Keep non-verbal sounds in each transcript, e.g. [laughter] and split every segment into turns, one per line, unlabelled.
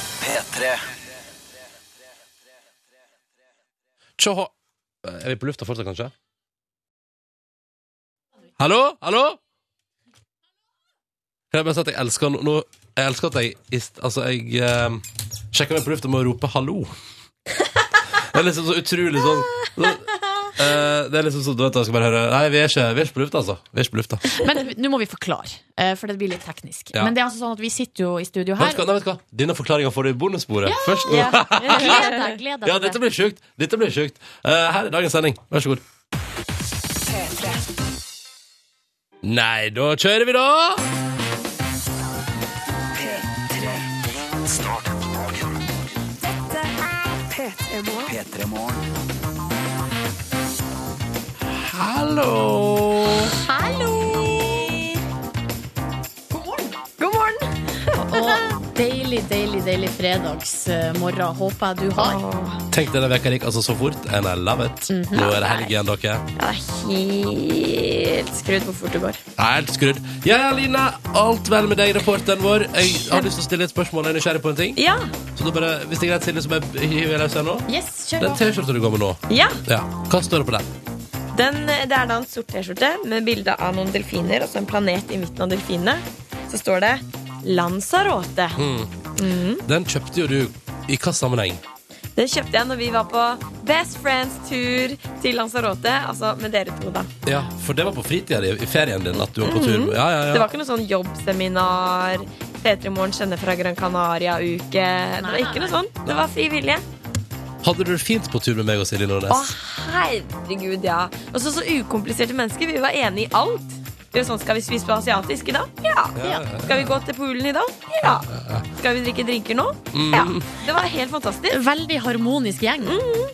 P3
Tjå Er vi på lufta fortsatt, kanskje? Hallo? Hallo? Kan jeg bare si at jeg elsker no- nå Jeg elsker at jeg ist- Altså, jeg eh, sjekker meg på lufta med å rope 'hallo'. Det er liksom så utrolig sånn eh, Det er liksom sånn Du vet, jeg skal bare høre Nei, vi er ikke, vi er ikke på lufta, altså. Vi er ikke på lufta.
Men nå må vi forklare, eh, for det blir litt teknisk.
Ja.
Men det er altså sånn at vi sitter jo i studio
Vet
her.
du hva, nei, vet du hva? Denne forklaringa får du i bonussporet. Først nå.
Ja. Gled deg, gled deg.
[laughs] Ja, dette blir sjukt. Dette blir sjukt. Eh, her er dagens sending. Vær så god. Nei, da kjører vi, da!
P3 Morgen
Hallo!
Hallo! God morgen! God morgen! Og deilig, deilig, deilig fredagsmorgen håper jeg du har.
Tenk denne veka gikk altså så fort, and I love it. Nå er det helg igjen, dere.
Jeg er helt skrudd hvor fort det går.
Helt skrudd. Ja, Line, alt vel med deg, reporteren vår? Jeg har lyst til å stille et spørsmål, jeg er nysgjerrig på en ting.
Ja.
Så da bare, hvis det er greit, Silje, så bare hiver jeg løs her nå.
Yes, kjør
Den
på.
T-skjorta du går med nå,
ja.
ja. hva står det på den?
Den, det er da en sort T-skjorte med bilde av noen delfiner og så en planet i midten av delfinene. Så står det Lanzarote.
Hmm. Mm. Den kjøpte jo du i hva sammenheng?
Den kjøpte jeg når vi var på Best Friends-tur til Lanzarote. Altså med dere to, da.
Ja, for det var på fritida di, i ferien din, at du var på tur. Ja, ja, ja.
Det var ikke noe sånn jobbseminar, P3 Morgen kjenner fra Gran Canaria-uke. Det var ikke noe sånn. Det var fri vilje.
Hadde du det fint på tur med meg og Silje Nordnes?
Å, herregud, ja. Og så så ukompliserte mennesker. Vi var enige i alt. Det er jo sånn, Skal vi spise på asiatisk i dag? Ja. Skal vi gå til poolen i dag? Ja. Mm. Skal vi drikke drinker nå? Ja. Det var helt fantastisk. Mm.
Veldig harmonisk gjeng.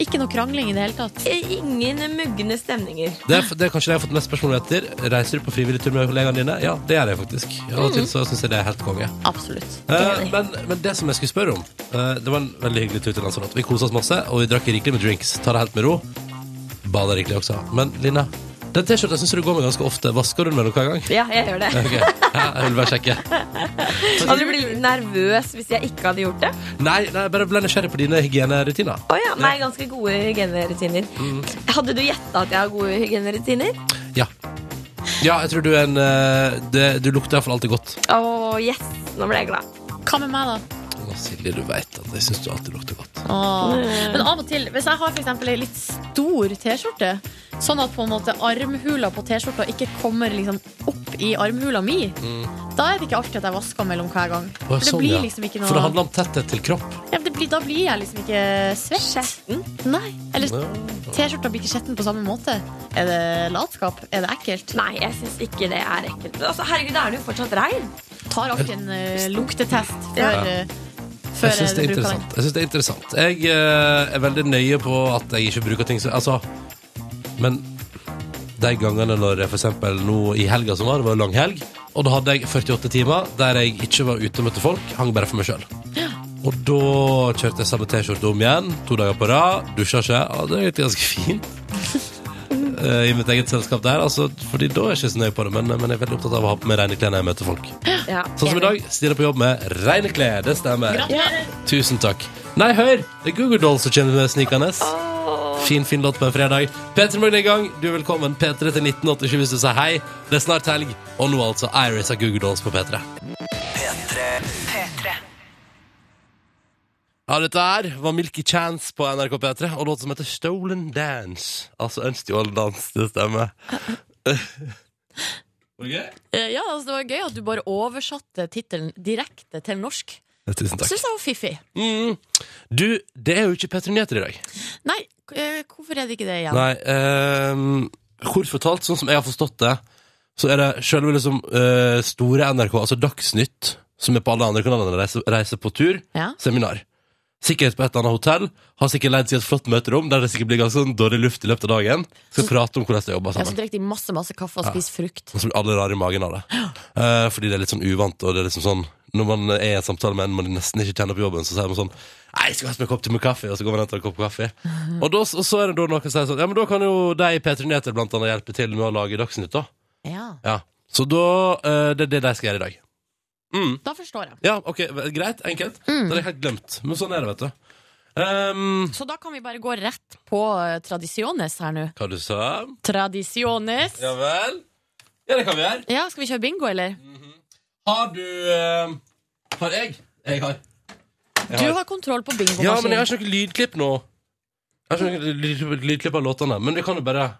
Ikke noe krangling i det hele tatt.
Ingen mugne stemninger.
Det, er, det er kanskje det jeg har fått mest spørsmål etter. Reiser du på frivillig tur med kollegaene dine? Ja, det gjør jeg faktisk. Av
Mm.
og til så syns jeg det er helt konge.
Absolutt.
Eh, men, men det som jeg skulle spørre om eh, Det var en veldig hyggelig tur til Lanzarote. Vi kosa oss masse, og vi drakk rikelig med drinks. Ta det helt med ro. Bada rikelig også. Men Line, den T-skjorta syns du går med ganske ofte. Vasker du den med den
[laughs]
hver gang?
Ja, jeg gjør det.
Ok, ja, jeg vil bare sjekke.
Hadde du blitt nervøs hvis jeg ikke hadde gjort det?
Nei, nei, bare ble nysgjerrig på dine hygienerutiner. Mm.
Å ja, nei, ganske gode hygienerutiner. Hadde du gjetta at jeg har gode hygienerutiner?
Ja. Ja, jeg tror du er en eh, det, Du lukter iallfall alltid godt.
Å, yes! Nå ble jeg glad.
Hva med meg, da?
Å, Silje, du veit at jeg syns du alltid lukter godt.
Åh.
Mm.
Men av og til, hvis jeg har for eksempel ei litt stor T-skjorte, sånn at på en måte armhula på T-skjorta ikke kommer liksom opp i armhula mi, da er det ikke alltid at jeg vasker mellom hver gang.
Å,
Mm. For det
Mm. sånn,
blir
ja.
liksom ikke
For det
noe
handler om tetthet til kropp.
ja, men det blir, Da blir jeg liksom ikke svett.
Skjetten.
Nei. Eller
Ja.
T-skjorta blir ikke skjetten på samme måte. Er det latskap? Er det ekkelt?
Nei, jeg syns ikke det er ekkelt. Men Altså, herregud, da er det jo fortsatt regn.
Tar alltid en eh, luktetest før,
Ja.
eh, før
Jeg syns det er
bruker den.
interessant. Jeg, synes det er, interessant. jeg eh, er veldig nøye på at jeg ikke bruker ting som Altså, men de gangene når jeg for eksempel nå i helga som var, det var lang helg, og da hadde jeg 48 timer der jeg ikke var ute og møtte folk, hang bare for meg sjøl. Og da kjørte jeg samme T-skjorte om igjen, to dager på rad, dusja ikke. Ja, det gikk ganske fint. Eh, I mitt eget selskap der, altså, Fordi da er jeg ikke så nøye på det. Men, men jeg er veldig opptatt av å ha på meg rene klær når jeg møter folk.
Ja,
Sånn som i dag, stiller på jobb med rene klær. Det stemmer.
Gratulerer.
Tusen takk. Nei, hør! Det er Google Doll som kommer med snikende. Fin, fin låt på en fredag. P3 Morgen er i gang. Du er velkommen. P3 til 1987 hvis du sier hei. Det er snart helg. Og nå altså Iris av Google Dolls på P3.
P3
Ja, dette her var Milky Chance på NRK P3, og låt som heter Stolen Dance. Altså Unstjålen dans, det stemmer. Var det gøy?
Eh, Ja, altså, det var gøy at du bare oversatte tittelen direkte til norsk.
Tusen takk.
Syns jeg var fiffig.
Mm. Du, det er jo ikke P3 Nyheter i dag.
Nei, eh, hvorfor er det ikke det igjen?
Nei, ehm, kort fortalt, sånn som jeg har forstått det, så er det selve liksom, eh, store NRK, altså Dagsnytt, som er på alle andre kanalene, reiser, reiser på tur,
Ja.
seminar. Sikkert på et eller annet hotell, har sikkert leid seg et flott møterom, der det sikkert blir ganske sånn dårlig luft i løpet av dagen. Skal prate om hvordan det jobber
Jeg så
sammen.
drikker de masse masse kaffe og spiser frukt.
Og så blir alle rare i magen av det. Eh, fordi det er litt sånn uvant, og det er liksom sånn når man er i en samtale med en man nesten ikke kjenner på jobben, så sier man sånn Nei, jeg skal ha en kopp til med kaffe, og så går man og henter en kopp kaffe. Og, da, og så er det da noen som sier sånn Ja, men da kan jo de i P3 Nyheter blant annet hjelpe til med å lage Dagsnytt, da.
Ja.
Ja. Så da eh, Det er det de skal gjøre i dag.
Da forstår jeg.
Ja, ok, greit, enkelt. Det hadde jeg helt glemt. Men sånn er det, vet du. Um,
[gasps] Så da kan vi bare gå rett på eh, tradisjones her nå.
hva du sa du?
Tradisjones.
Ja vel? Ja, det kan vi gjøre.
Ja, skal vi kjøre bingo, eller?
Har du eh, Har jeg? Jeg har.
Du har kontroll på bingomaskinen.
Ja, men jeg har ikke noe lydklipp nå. Jeg har ikke noe lyd- lydklipp av låtene, men vi kan jo bare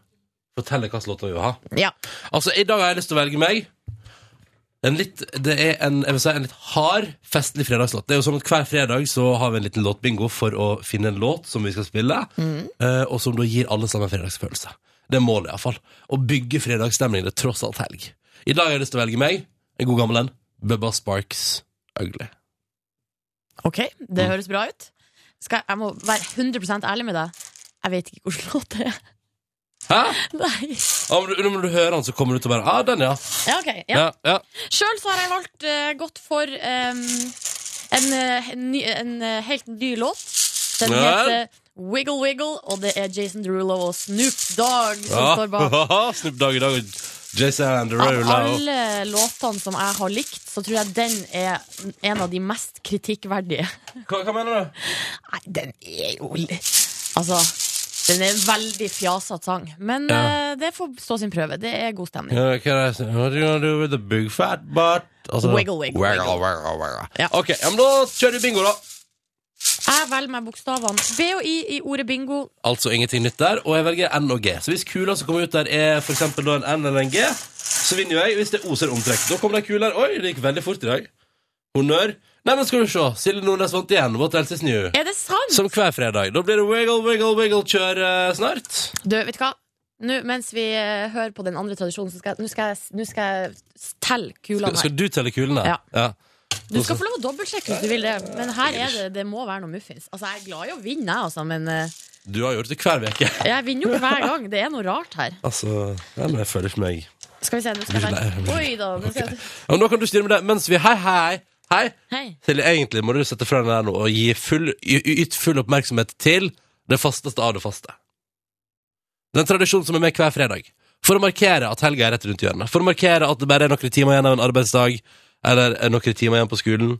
fortelle hvilke låter vi vil ha.
Ja.
Altså, i dag har jeg lyst til å velge meg en litt, Det er en, jeg vil si, en litt hard, festlig fredagslåt. Det er jo sånn at Hver fredag så har vi en liten låtbingo for å finne en låt som vi skal spille,
Mm.
eh, og som da gir alle sammen fredagsfølelse. Det er målet, iallfall. Å bygge fredagsstemning. Det er tross alt helg. I dag har jeg lyst til å velge meg en god gammel en. Bubba Sparks Ugly.
Ok, det høres bra ut. Skal jeg, jeg må være 100 ærlig med deg. Jeg vet ikke hvilken låt det er.
Hæ?
Nei.
Ja, men du- Når du hører den, så kommer du til å bare Ah, den, ja.
Ja, ok. Ja.
ja. ja.
Sjøl så har jeg valgt eh, gått for em, en, eh, en, ny, en eh, helt ny låt. Den
Vel.
heter Wiggle Wiggle, og det er Jason Derulo og Snoop Dogg
[laughs]
som
ja.
står bak.
Snoop Dogg i dag og Jason and the
Av
Roller.
alle låtene som jeg har likt, så tror jeg den er en av de mest kritikkverdige.
Hva, hva mener du?
Nei, den er jo litt Altså, den er en veldig fjasete sang. Men
Ja.
eh, det får stå sin prøve. Det er god stemning.
Yeah, can I say, what are you gonna do with the big fat butt? Altså,
Wiggle, wiggle,
wiggle,
wiggle.
wiggle, wiggle.
Ja.
Ok, ja, men da kjører vi bingo, da.
Jeg velger meg bokstavene B og I i ordet bingo.
Altså ingenting nytt der, og jeg velger N og G. Så hvis kula som kommer ut der, er for eksempel da en N eller en G, så vinner jo jeg. Hvis det er O, så er det omtrekk. Da kommer det en kule her. Oi, det gikk veldig fort i dag. Honnør. Nei, men skal du se. Silje Nordnes vant igjen. What else is new?
Er det sant?
Som hver fredag. Da blir det wiggle, wiggle, wiggle-kjør eh, snart.
Du, vet du hva? Nå, mens vi eh, hører på den andre tradisjonen, så skal jeg, nå skal jeg, nå skal jeg s- telle
Skal,
kulene her.
skal du telle kulene?
Ja. Du
også-
skal få lov å dobbeltsjekke hvis du vil det, men her er det, det må være noe muffins. Altså, jeg er glad i å vinne, jeg, altså, men eh,
Du har gjort det hver uke.
jeg vinner jo ikke hver gang. Det er noe rart her.
Altså, nei, men jeg føler ikke meg
Skal vi se, nå skal jeg
Blir
bare Oi da. Nå skal jeg...
Ja, men da kan du styre med det mens vi Hei, hei, hei.
Hei.
Silje, egentlig må du sette fra deg den her nå og gi full, y- y- yt full oppmerksomhet til det fasteste av det faste. Det er en tradisjon som er med hver fredag. For å markere at helga er rett rundt hjørnet. For å markere at det bare er noen timer igjen av en arbeidsdag, eller er noen timer igjen på skolen.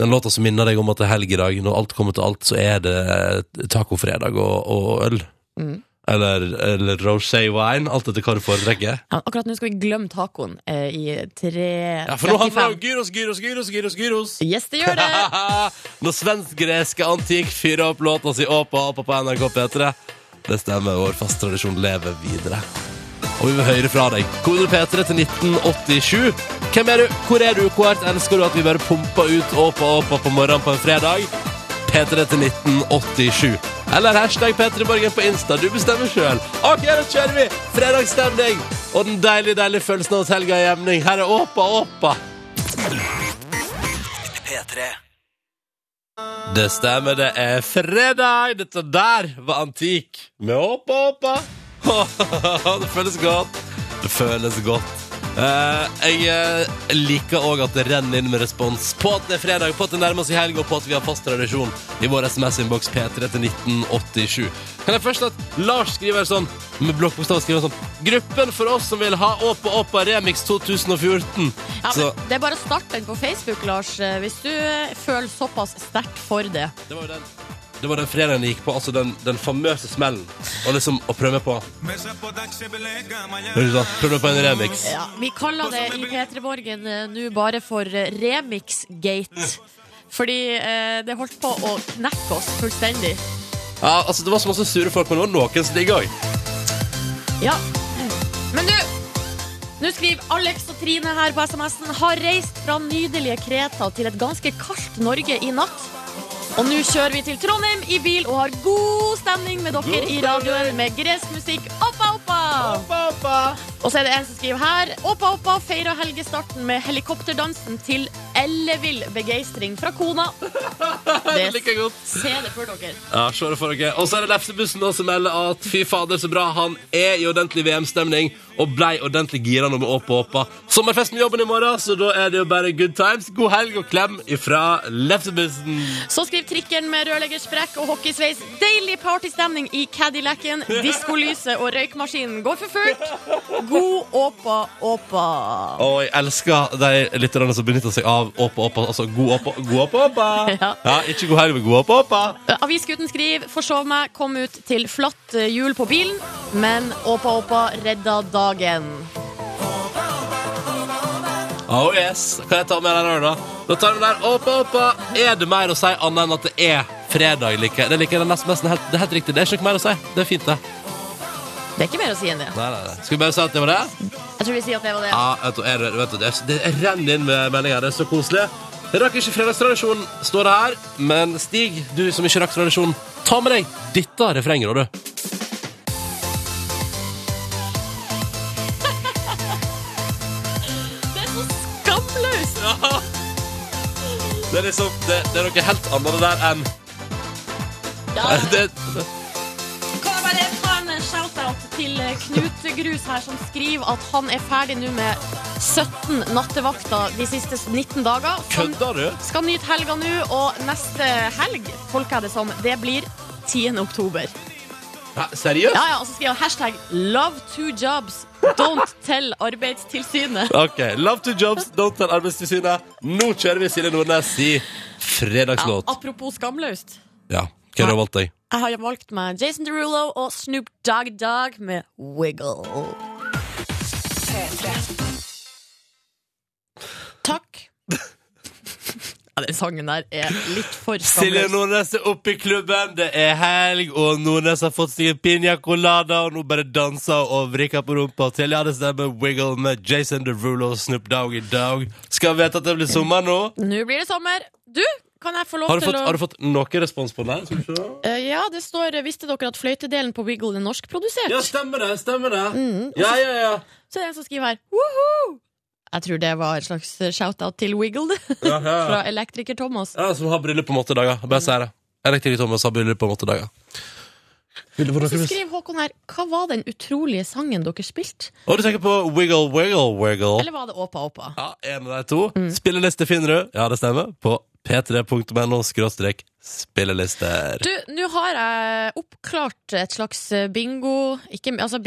Den låta som minner deg om at det er helg i dag. Når alt kommer til alt, så er det eh, tacofredag og, og øl.
Mm.
Eller, eller rosé wine. Alt etter hva du foretrekker.
Ja, akkurat nå skal vi glemme tacoen eh, i 3.35.
Ja, for nå handler det om gyros, gyros, gyros, gyros, gyros.
Yes, det gjør det!
[laughs] Når svensk-greske antikk fyrer opp låta si Åpa Åpa på NRK P3. Det stemmer, vår faste tradisjon lever videre. Og vi vil høre fra deg. Kode P3 til 1987. Hvem er du? Hvor er du? Hvor hardt elsker du at vi bare pumper ut Åpa Åpa på morgenen på en fredag? P3 til 1987. Eller hashtag P3morgen på Insta. Du bestemmer sjøl. OK, da kjører vi! Fredagsstemning og den deilige, deilige følelsen av at helga er i emning. Her er Åpa Åpa.
P3
Det stemmer, det er fredag. Dette der var antikk. Med hoppa, hoppa. [laughs] Det føles godt. Det føles godt. Eh, jeg eh, liker òg at det renner inn med respons på at det er fredag, på at det nærmer seg helg, og på at vi har fast tradisjon i vår SMS-innboks P3 til 1987. Kan jeg først at Lars skriver sånn med blokkbokstav skriver sånn Gruppen for oss som vil ha Åpa Åpa Remix 2014.
Ja,
Så
men det er bare å starte den på Facebook, Lars, eh, hvis du eh, føler såpass sterkt for det.
Det var jo den det var den fredagen jeg gikk på, altså den, den famøse smellen. Og liksom å prøve meg på Hører du da? Prøve meg på en remix.
Ja, vi kaller det i P3 Borgen eh, nå bare for eh, remix-gate. Fordi eh, det holdt på å knekke oss fullstendig.
Ja, altså Det var så masse sure folk, men det var noen som digga òg.
Ja. Men du! Nå skriver Alex og Trine her på SMS-en har reist fra nydelige Kreta til et ganske kaldt Norge i natt. Og nå kjører vi til Trondheim i bil og har god stemning med dere i radioen med gresk musikk. Oppa, oppa! Og så er det en som skriver her. Oppa, oppa feirer helgestarten med helikopterdansen til ellevill begeistring fra kona. [laughs] Det
Like godt.
Se det for dere.
Ja, se det for dere. Og så er det Lefsebussen da, som melder at fy fader, så bra. Han er i ordentlig VM-stemning og blei ordentlig gira når vi åpa åpa. Sommerfest med jobben i morgen, så da er det jo bare good times. God helg og klem ifra Lefsebussen.
Så skriver trikken med rørleggersprekk og hockeysveis. Deilig partystemning i Cadillacen. Diskolyset og røykmaskinen går for fullt. God åpa åpa.
Og jeg elsker de lytterne som benytter seg av åpa åpa. Altså god åpa god åpa. åpa.
[laughs] Ja.
ja, ikke god helg, men god åpa åpa.
Eh, Avisgutten skriver 'Forsov meg, kom ut til flatt eh, hjul på bilen', men åpa åpa redda dagen.
Oh yes. Kan jeg ta med den her, da? Da tar vi den der. Oppa, oppa. Er det mer å si annet enn at det er fredag? Like? Det liker jeg nesten nesten helt, det er helt riktig. Det er ikke noe mer å si. Det er fint, det.
Det er ikke mer å si enn det.
Nei, nei, nei. Skal vi bare si at det var det?
Jeg tror vi sier at det var det.
Ja, vet du, er det, vet du, det, er- det renner inn med meldinger. Det er så koselig. Jeg rakk ikke fredagstradisjonen, står det her. Men Stig, du som ikke rakk tradisjonen, ta med deg dette refrenget, da, du.
Det er så skamløst!
Det er liksom Det, det er noe helt annet det der enn [laughs] det,
Kan jeg bare ta en eh, shout-out til eh, Knut Grus her, som skriver at han er ferdig nå med 17 nattevakter de siste 19 dager. Som
Kødder du?
skal nyte helga nå, og neste helg, tolker jeg det som, det blir 10. oktober.
Hæ, seriøst?
Ja, altså, ja, og så skriver han hashtag 'love two jobs'. Don't tell Arbeidstilsynet.
Ok, Love to jobs, don't tell Arbeidstilsynet. Nå kjører vi Silje Nordnes i
Ja,
fredagslåt.
apropos skamløst.
Ja, hva har du valgt deg?
Jeg har valgt meg Jason Derulo og Snoop Dogg Dogg med 'Wiggle'. Takk. Ja, den sangen der er litt for
Silje
skamløs.
Nordnes er oppe i klubben, det er helg, og Nordnes har fått seg en piña colada, og nå bare danser og vrikker på rumpa til. Ja, det stemmer. Wiggle med Jason Derulo og Snoop Dogg i dag. Skal vi vite at det blir sommer nå?
Nå blir det sommer. Du, kan jeg få lov
Har du
til
fått,
å
har du fått noe respons på den? her? Skal vi se?
Eh, Ja, det står Visste dere at fløytedelen på Wiggle er norskprodusert? Mm,
Ja, stemmer det. Stemmer det. Ja, ja, ja.
Så er det en som skriver her Woohoo! Jeg tror det var et slags eh, shout-out til Wiggle, [laughs] det.
ja, ja, ja.
Fra elektriker Thomas.
Ja, som har bryllup på måtedager. Bare si det. Elektriker Thomas har bryllup på måtedager. Vil du få
Så
noe
skriver Håkon her Hva var den utrolige sangen dere spilte?
Og du tenker på Wiggle, Wiggle, Wiggle.
Eller Mm. var det Åpa Åpa?
Ja, en av de to. Spilleliste finner du, ja det stemmer, på p3.no skråstrek spillelister.
Du, nå har jeg oppklart et slags eh, bingo Ikke, altså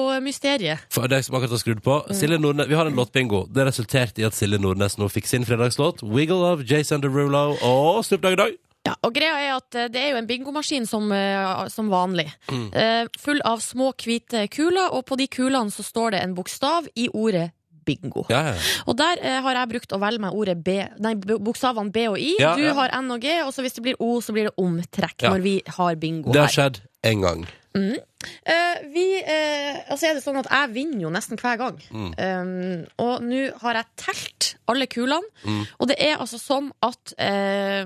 bingo-mysterie.
For deg som akkurat har skrudd på,
Mm.
Silje Nordnes, vi har en låtbingo. Det resulterte i at Silje Nordnes nå fikk sin fredagslåt, Wiggle of Jason Derulo og Snoop Dogg Dogg.
Ja, og greia er at eh, det er jo en bingomaskin som, eh, som vanlig.
Mm.
Eh, Full av små, hvite kuler, og på de kulene så står det en bokstav i ordet bingo.
Ja, ja.
Og der eh, har jeg brukt å velge meg ordet B, nei, b- bokstavene B og I.
Ja,
du
ja.
har N og G, og så hvis det blir O, så blir det omtrekk
Ja.
når vi har bingo
Det har
her.
skjedd en gang.
Eh, vi, eh, altså er det sånn at jeg vinner jo nesten hver gang.
Mm.
Um, og nå har jeg telt alle kulene,
Mm.
og det er altså sånn at eh,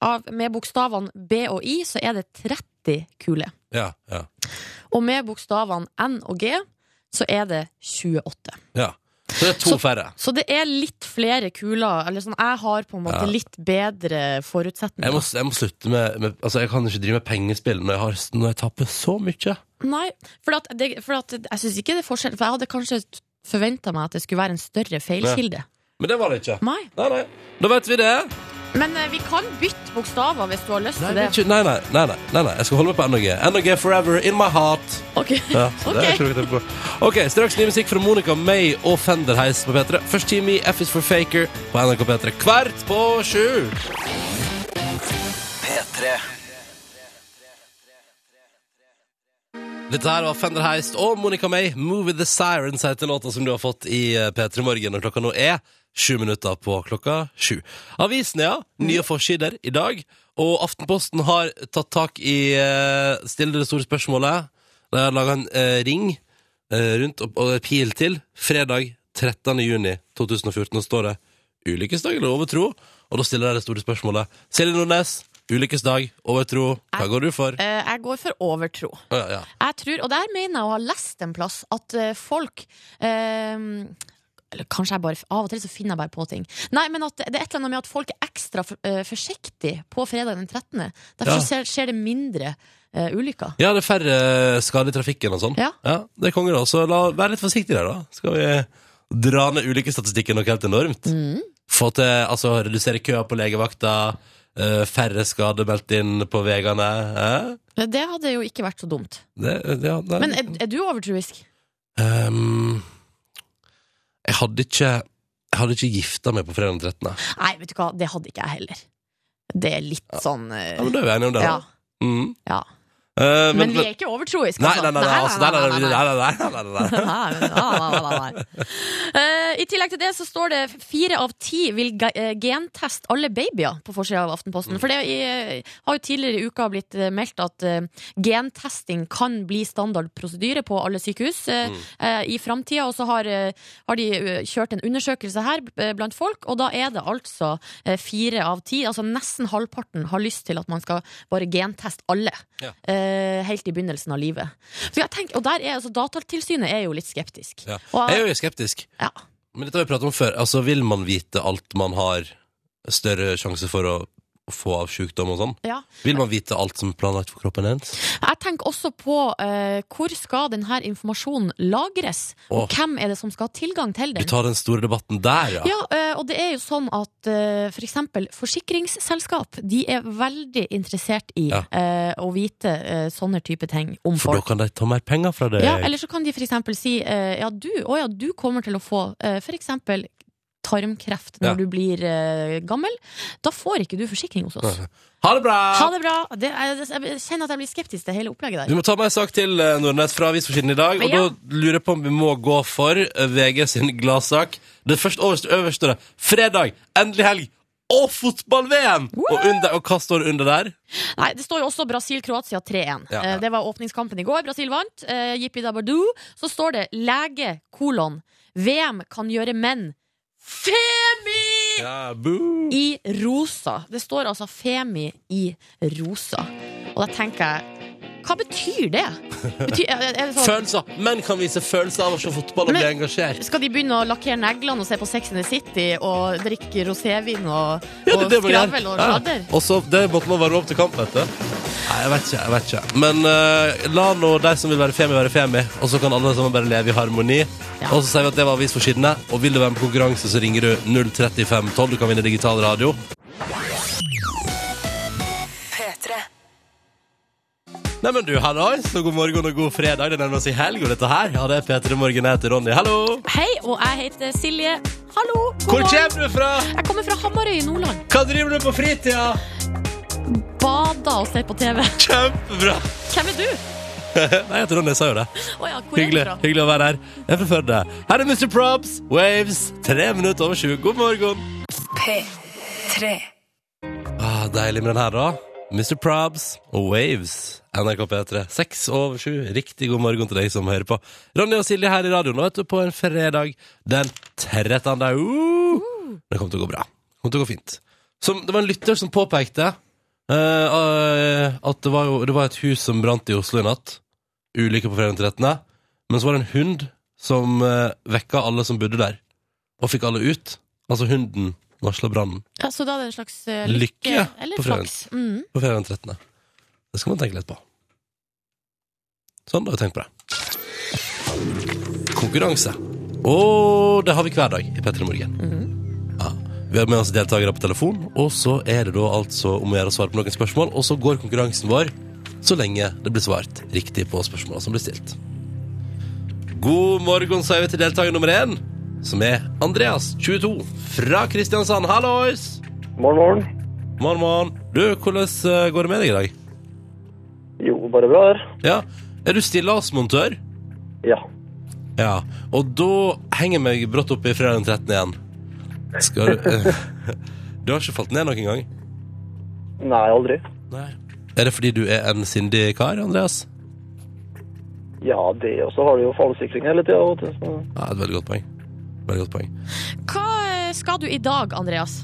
av, med bokstavene B og I så er det 30 kuler.
Ja, ja,
Og med bokstavene N og G så er det 28.
ja. Så det er to
Så-
færre.
Så det er litt flere kuler. Eller sånn, jeg har på en måte
Ja.
litt bedre
Jeg
forutsetninger.
må, jeg må slutte med, med Altså, jeg kan ikke drive med pengespill når jeg, har, når jeg taper så mye.
Nei, for, at det, for at jeg syns ikke det er forskjell. For jeg hadde kanskje forventa meg at det skulle være en større feilkilde.
Men det var det ikke.
Nei.
Nei, nei. Da vet vi det.
Men eh, vi kan bytte bokstaver hvis du har lyst
Nei,
til
det
det.
er ikke, nei, nei, nei, nei, nei, nei. Jeg skal holde meg på NRG. NRG forever in my heart.
Ok.
Ja, så det er
Ok.
ikke noe å tenke på. ok, straks ny musikk fra Monica May og Fenderheis på P3. Først time i F is for Faker på NRK P3 kvart på sju.
P3
Dette her var Fender Heist og Monica May. 'Movie The Sirens' heter låta som du har fått i eh, P3 Morgen. Og klokka nå er sju minutter på klokka sju. Avisene, ja. Nye forsider i dag. Og Aftenposten har tatt tak i eh, Still dere store spørsmålet. De har laga en eh, ring eh, rundt og, og pil til. Fredag 13. juni 2014. Og står det 'Ulykkesdag eller overtro?' Og da stiller jeg det store spørsmålet. Silje Nordnes, ulykkesdag, overtro. Hva går du for?
Eh, Jeg går for overtro.
Å, ja, ja.
Jeg tror, og der mener jeg å ha lest en plass, at eh, folk eh, eller kanskje jeg bare, Av og til så finner jeg bare på ting. Nei, men at Det er et eller annet med at folk er ekstra for, eh, forsiktige på fredag den 13. Derfor
Ja.
så ser- skjer det mindre eh, ulykker.
Ja, det er færre skader i trafikken og sånn.
Ja.
det er konger da. Så la, vær litt forsiktig der, da. Skal vi dra ned ulykkesstatistikken noe helt enormt?
Mm.
Få til, altså, redusere køa på legevakta, eh, færre skader meldt inn på veiene. eh?
Det hadde jo ikke vært så dumt.
Det, ja, nei.
Men er, er du overtroisk?
Ehm, Jeg hadde ikke jeg hadde ikke gifta meg på fredag den 13.
Nei, vet du hva, det hadde ikke jeg heller. Det er litt sånn eh,
Ja, men da er vi enige om det, da.
ja,
Mm.
ja.
Eh,
Men vi
nei,
er ikke overtroiske,
nei, nei, nei, altså, nei, nei, nei,
nei, nei.
nei, nei, nei, nei, nei, nei.
[laughs] Nei, men- nei, nei, nei, nei. Eh, I tillegg til det så står det fire av ti vil ge- eh, genteste alle babyer på forsida av Aftenposten. For det i, har jo tidligere i uka blitt eh, meldt at eh, gentesting kan bli standard prosedyre på alle sykehus eh, eh, i framtida. Og så har, eh, har de eh, kjørt en undersøkelse her eh, blant folk, og da er det altså eh, fire av ti, altså nesten halvparten, har lyst til at man skal bare genteste alle.
Ja.
eh, helt i begynnelsen av livet. Så jeg tenker, og der er, altså, Datatilsynet er jo litt skeptisk.
Ja.
Og,
Jeg er jo skeptisk.
ja.
Men dette har vi pratet om før. Altså, vil man vite alt man har større sjanse for å få av sykdom og sånn?
Ja.
Vil man vite alt som er planlagt for kroppen ens?
Jeg tenker også på eh, hvor skal denne informasjonen lagres?
Åh.
Og hvem er det som skal ha tilgang til
Du
den?
tar den store debatten der, ja.
Ja, eh, og det er jo sånn at eh, for eksempel forsikringsselskap, de er veldig interessert i
Ja.
eh, å vite eh, sånne type ting om
For da
folk.
kan de ta mer penger fra deg.
Ja, eller så kan de for eksempel si eh, ja, du, å ja, du kommer til å få eh, for eksempel tarmkreft når
Ja.
du blir eh, gammel. Da får ikke du forsikring hos oss.
[laughs] Ha det bra!
Ha det bra! Det er, jeg kjenner at jeg blir skeptisk til hele opplegget der.
Vi må ta med en sak til eh, Nordnett fra Avisforsiden i dag. Og
Ja.
da lurer jeg på om vi må gå for eh, VG sin gladsak. Det første øverste, øverste står det. Fredag, endelig helg og fotball-VM! Og, under- og hva står under der?
Nei, Det står jo også Brasil-Kroatia 3-1.
Ja, ja.
Eh, Det var åpningskampen i går. Brasil vant. Eh, Jippi dabadu. Så står det lege kolon VM kan gjøre menn femi
Ja, boo!
i rosa. Det står altså femi i rosa. Og da tenker jeg hva betyr det? Betyr, er er det sånn,
Følelser! Menn kan vise følelser av å se fotball og bli
Men-
engasjert.
skal de begynne å lakkere neglene og se på Sex in the City og drikke rosévin og,
Ja,
og
det er det man gjør.
skravel og
Ja.
sladder?
Og så det måtte man varme opp til kamp, vet du. Nei, jeg vet ikke. jeg vet ikke Men eh, la nå de som vil være femi, være femi. Og så kan alle sammen bare leve i harmoni.
Ja.
Og så sier vi at det var avisforsidene. Og vil du være med på konkurranse, så ringer du 03512. Du kan vinne digital radio. Neimen du, hallois, og god morgen og god fredag. Det nærmer seg helg, og dette her, ja, det er P3 Morgen. Jeg heter Ronny. Hallo!
Hei, og jeg heter Silje. Hallo! god
Hvor
morgen.
kommer du fra?
Jeg kommer fra Hamarøy i Nordland.
Hva driver du på fritida?
Bader og ser på TV.
Kjempebra!
Hvem er du?
Nei, jeg heter Ronny. Jeg sa jo det.
Å ja, hvor
Hyggelig,
er du fra?
hyggelig å være her. Jeg er fra Førde. Her er Mr. Props, Waves, tre minutter over sju. God morgen. Ah, deilig med den her, da. Mr. Probs og Waves. NRK P3. Seks over sju. Riktig god morgen til deg som hører på. Ronny og Silje her i radioen vet du, på en fredag den 13. Uh! Det kommer til å gå bra. Det kommer til å gå fint. Som, det var en lytter som påpekte eh, eh, at det var, jo, det var et hus som brant i Oslo i natt. Ulykke på fredag den 13. Men så var det en hund som eh, vekka alle som bodde der, og fikk alle ut. Altså hunden varsla brannen
Ja, så da er det en slags eh,
Lykke
lykke
på
eller
fredagen.
flaks. Mm.
på fredag den 13. Det skal man tenke litt på. Sånn, da har vi tenkt på det. Konkurranse. Og det har vi hver dag i P3 Morgen. Ja. Vi har med oss deltakere på telefon, og så er det da altså om å gjøre å svare på noen spørsmål. Og så går konkurransen vår så lenge det blir svart riktig på spørsmålene som blir stilt. God morgen, sier vi til deltaker nummer én, som er Andreas, 22, fra Kristiansand. Hallois!
Morgen, morgen.
Morgen, morgen. Du, hvordan eh, går det med deg i dag?
Jo, bare bra her.
Ja, Er du stillasmontør?
Ja.
Ja. Og da henger jeg meg brått opp i fredag den 13. igjen. Skal du eh, [laughs] Du har ikke falt ned noen gang?
Nei, aldri.
Nei. Er det fordi du er en sindig kar, Andreas?
Ja, det og så har du jo fallsikring hele tida. vet du, så-
Ja, et veldig godt poeng. Veldig godt poeng.
Hva eh, skal du i dag, Andreas?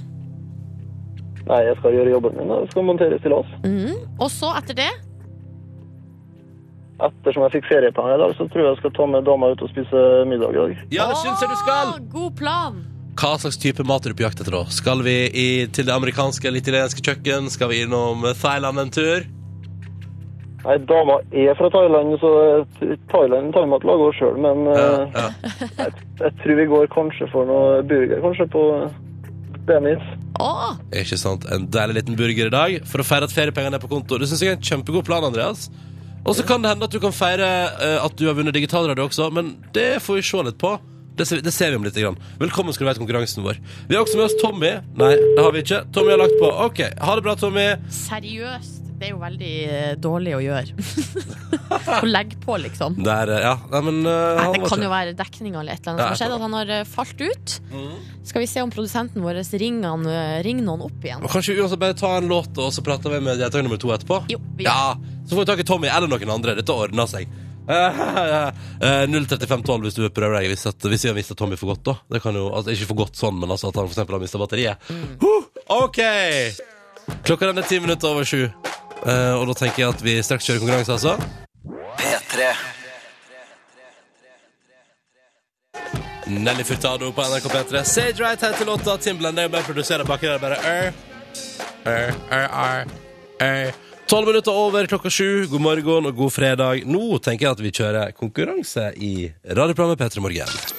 Nei, jeg skal gjøre jobben min. da. Jeg skal montere stillas.
Og så etter det?
Ettersom jeg fikk feriepenger i dag, så tror jeg jeg skal ta med dama ut og spise middag i dag.
Ja, det syns jeg du skal!
Å, God plan!
Hva slags type mat er du på jakt etter, da? Skal vi i, til det amerikanske eller italienske kjøkken? Skal vi innom Thailand en tur?
Nei, dama er fra Thailand, så eh, Thailand tar vi at lager oss sjøl, men eh,
Ja,
jeg, jeg tror vi går kanskje for noe burger, kanskje, på Benis.
Å,
Ikke sant? En deilig liten burger i dag for å feire at feriepengene er på konto. Det syns jeg er en kjempegod plan, Andreas. Og så kan det hende at du kan feire eh, at du har vunnet digitalradio også, men det får vi se litt på. Det ser, vi- det ser vi om litt. Grann. Velkommen skal du være til konkurransen vår. Vi har også med oss Tommy. Nei, det har vi ikke. Tommy har lagt på. OK. Ha det bra, Tommy.
seriøst. Det er jo veldig eh, dårlig å gjøre. å legge på, liksom.
Der, eh, ja. Nei, men eh,
Nei,
han
det
var
kan
ikke-
jo være dekninga eller et eller annet
Ja,
som har skjedd.
jeg
At han har eh, falt ut.
Mm.
Skal vi se om produsenten vår ringer, han, eh, ringer noen opp igjen.
Og Kanskje vi uansett bare ta en låt, og så prater vi med deltaker nummer to etterpå?
Jo, vi gjør
ja. Så får vi tak i Tommy eller noen andre. Dette ordner seg. [laughs] Eh, eh, 03512 hvis du prøver deg, hvis, at, hvis vi har mista Tommy for godt, da. Det kan jo, altså, ikke for godt sånn, men altså at han for eksempel har mista batteriet.
Mm.
Huh, OK! Klokka den er ti minutter over sju, Eh, og da tenker jeg at vi straks kjører konkurranse, altså.
P3
Nelly Furtado på NRK P3. Sage Right heter låta. Timbaland er jo bare produserer baki der. Bare er, er, er, er, er. Tolv minutter over klokka sju. God morgen og god fredag. Nå tenker jeg at vi kjører konkurranse i radioprogrammet P3 Morgen.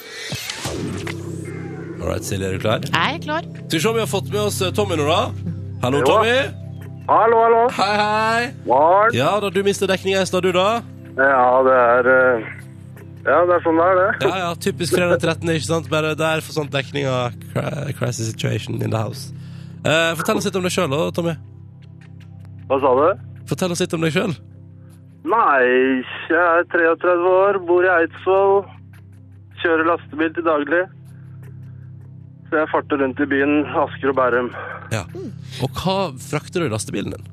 All right, Silje, er du klar?
Jeg er klar.
Skal vi se om vi har fått med oss eh, Tommy nå, da. Hallo,
Jo.
Tommy.
Hallo, hallo.
Hei, hei.
Morn.
Ja da, du mistet dekninga i stad, du, da.
Ja, det er eh, Ja, det er sånn det er, det.
Ja, ja, typisk fredag 13, ikke sant? Bare der for sånn dekning av cra- crisis situation in the house. Eh, fortell oss litt om deg sjøl, Tommy.
[laughs] Hva sa du?
Fortell oss litt om deg sjøl.
Nei, jeg er 33 år, bor i Eidsvoll, kjører lastebil til daglig. Så jeg farter rundt i byen Asker og Bærum.
Ja. Og hva frakter du i lastebilen din?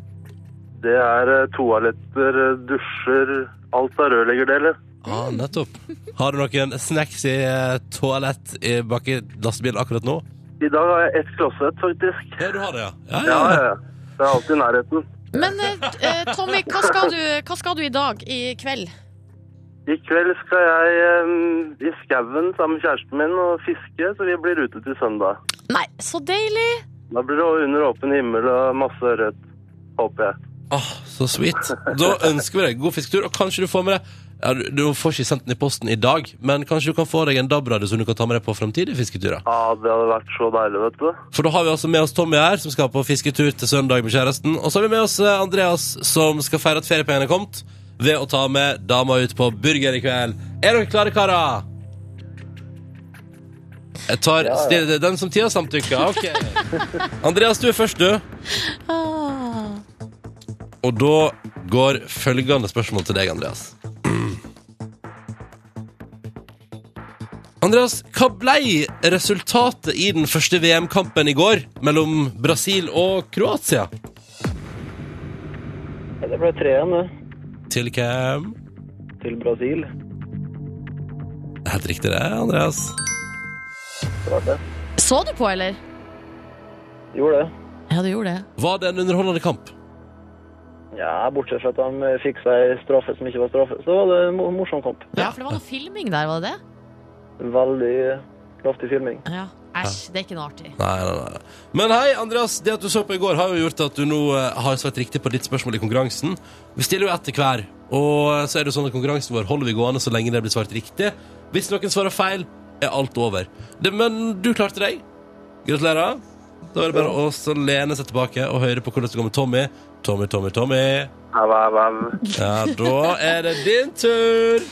Det er eh, toaletter, eh, dusjer, alt av rørleggerdeler.
Ah, nettopp. Har du noen snacks i eh, toalett i bak i lastebilen akkurat nå?
I dag har jeg ett klosett, faktisk.
Ja, du har det, ja. Ja,
Ja,
ja,
ja,
ja.
ja. Det er alltid i nærheten.
Men eh, eh, Tommy, hva skal, du, hva skal du i dag? I kveld?
I kveld skal jeg eh, i skauen sammen med kjæresten min og fiske, så vi blir ute til søndag.
Nei, så deilig!
Da blir det under åpen himmel og masse rødt, håper jeg.
Ah, så sweet. Da ønsker vi deg god fisketur, og kanskje du får med deg ja, du, du får ikke sendt den i posten i dag, men kanskje du kan få deg en DAB-radio som du kan ta med deg på framtidige fisketurer.
Ja, det hadde vært så deilig, vet du.
For da har vi altså med oss Tommy her, som skal på fisketur til søndag med kjæresten. Og så har vi med oss eh, Andreas, som skal feire at feriepengene er kommet, ved å ta med dama ut på burger i kveld. Er dere klare, karer? Jeg tar stille- den som tida samtykker.
[laughs]
Ok. Andreas, du er først, du.
[laughs] Ah.
Og da går følgende spørsmål til deg, Andreas. [clears throat] Andreas, hva blei resultatet i den første VM-kampen i går mellom Brasil og Kroatia?
Det ble tre igjen, det.
Til hvem?
til Brasil.
Det er Helt riktig det, Andreas.
Klart det.
Så du på, eller?
Gjorde det.
Ja, du gjorde det.
Var det en underholdende kamp?
Ja, bortsett fra at de fikk seg straffe som ikke var straffe, så var det en mo- morsom kamp.
Ja, For det var noe filming der, var det det?
Veldig kraftig filming.
Ja. Æsj, det er ikke noe artig.
Nei, nei, nei. Men hei, Andreas, det at du så på i går, har jo gjort at du nå eh, har svart riktig på ditt spørsmål i konkurransen. Vi stiller jo ett til hver, og så er det jo sånn at konkurransen vår holder vi gående så lenge det blir svart riktig. Hvis noen svarer feil, er alt over. Det, men du klarte deg. Gratulerer. Da er det bare å så lene seg tilbake og høre på hvordan det går med Tommy. Tommy, Tommy, Tommy.
Au, au, au.
Ja, da er det din tur.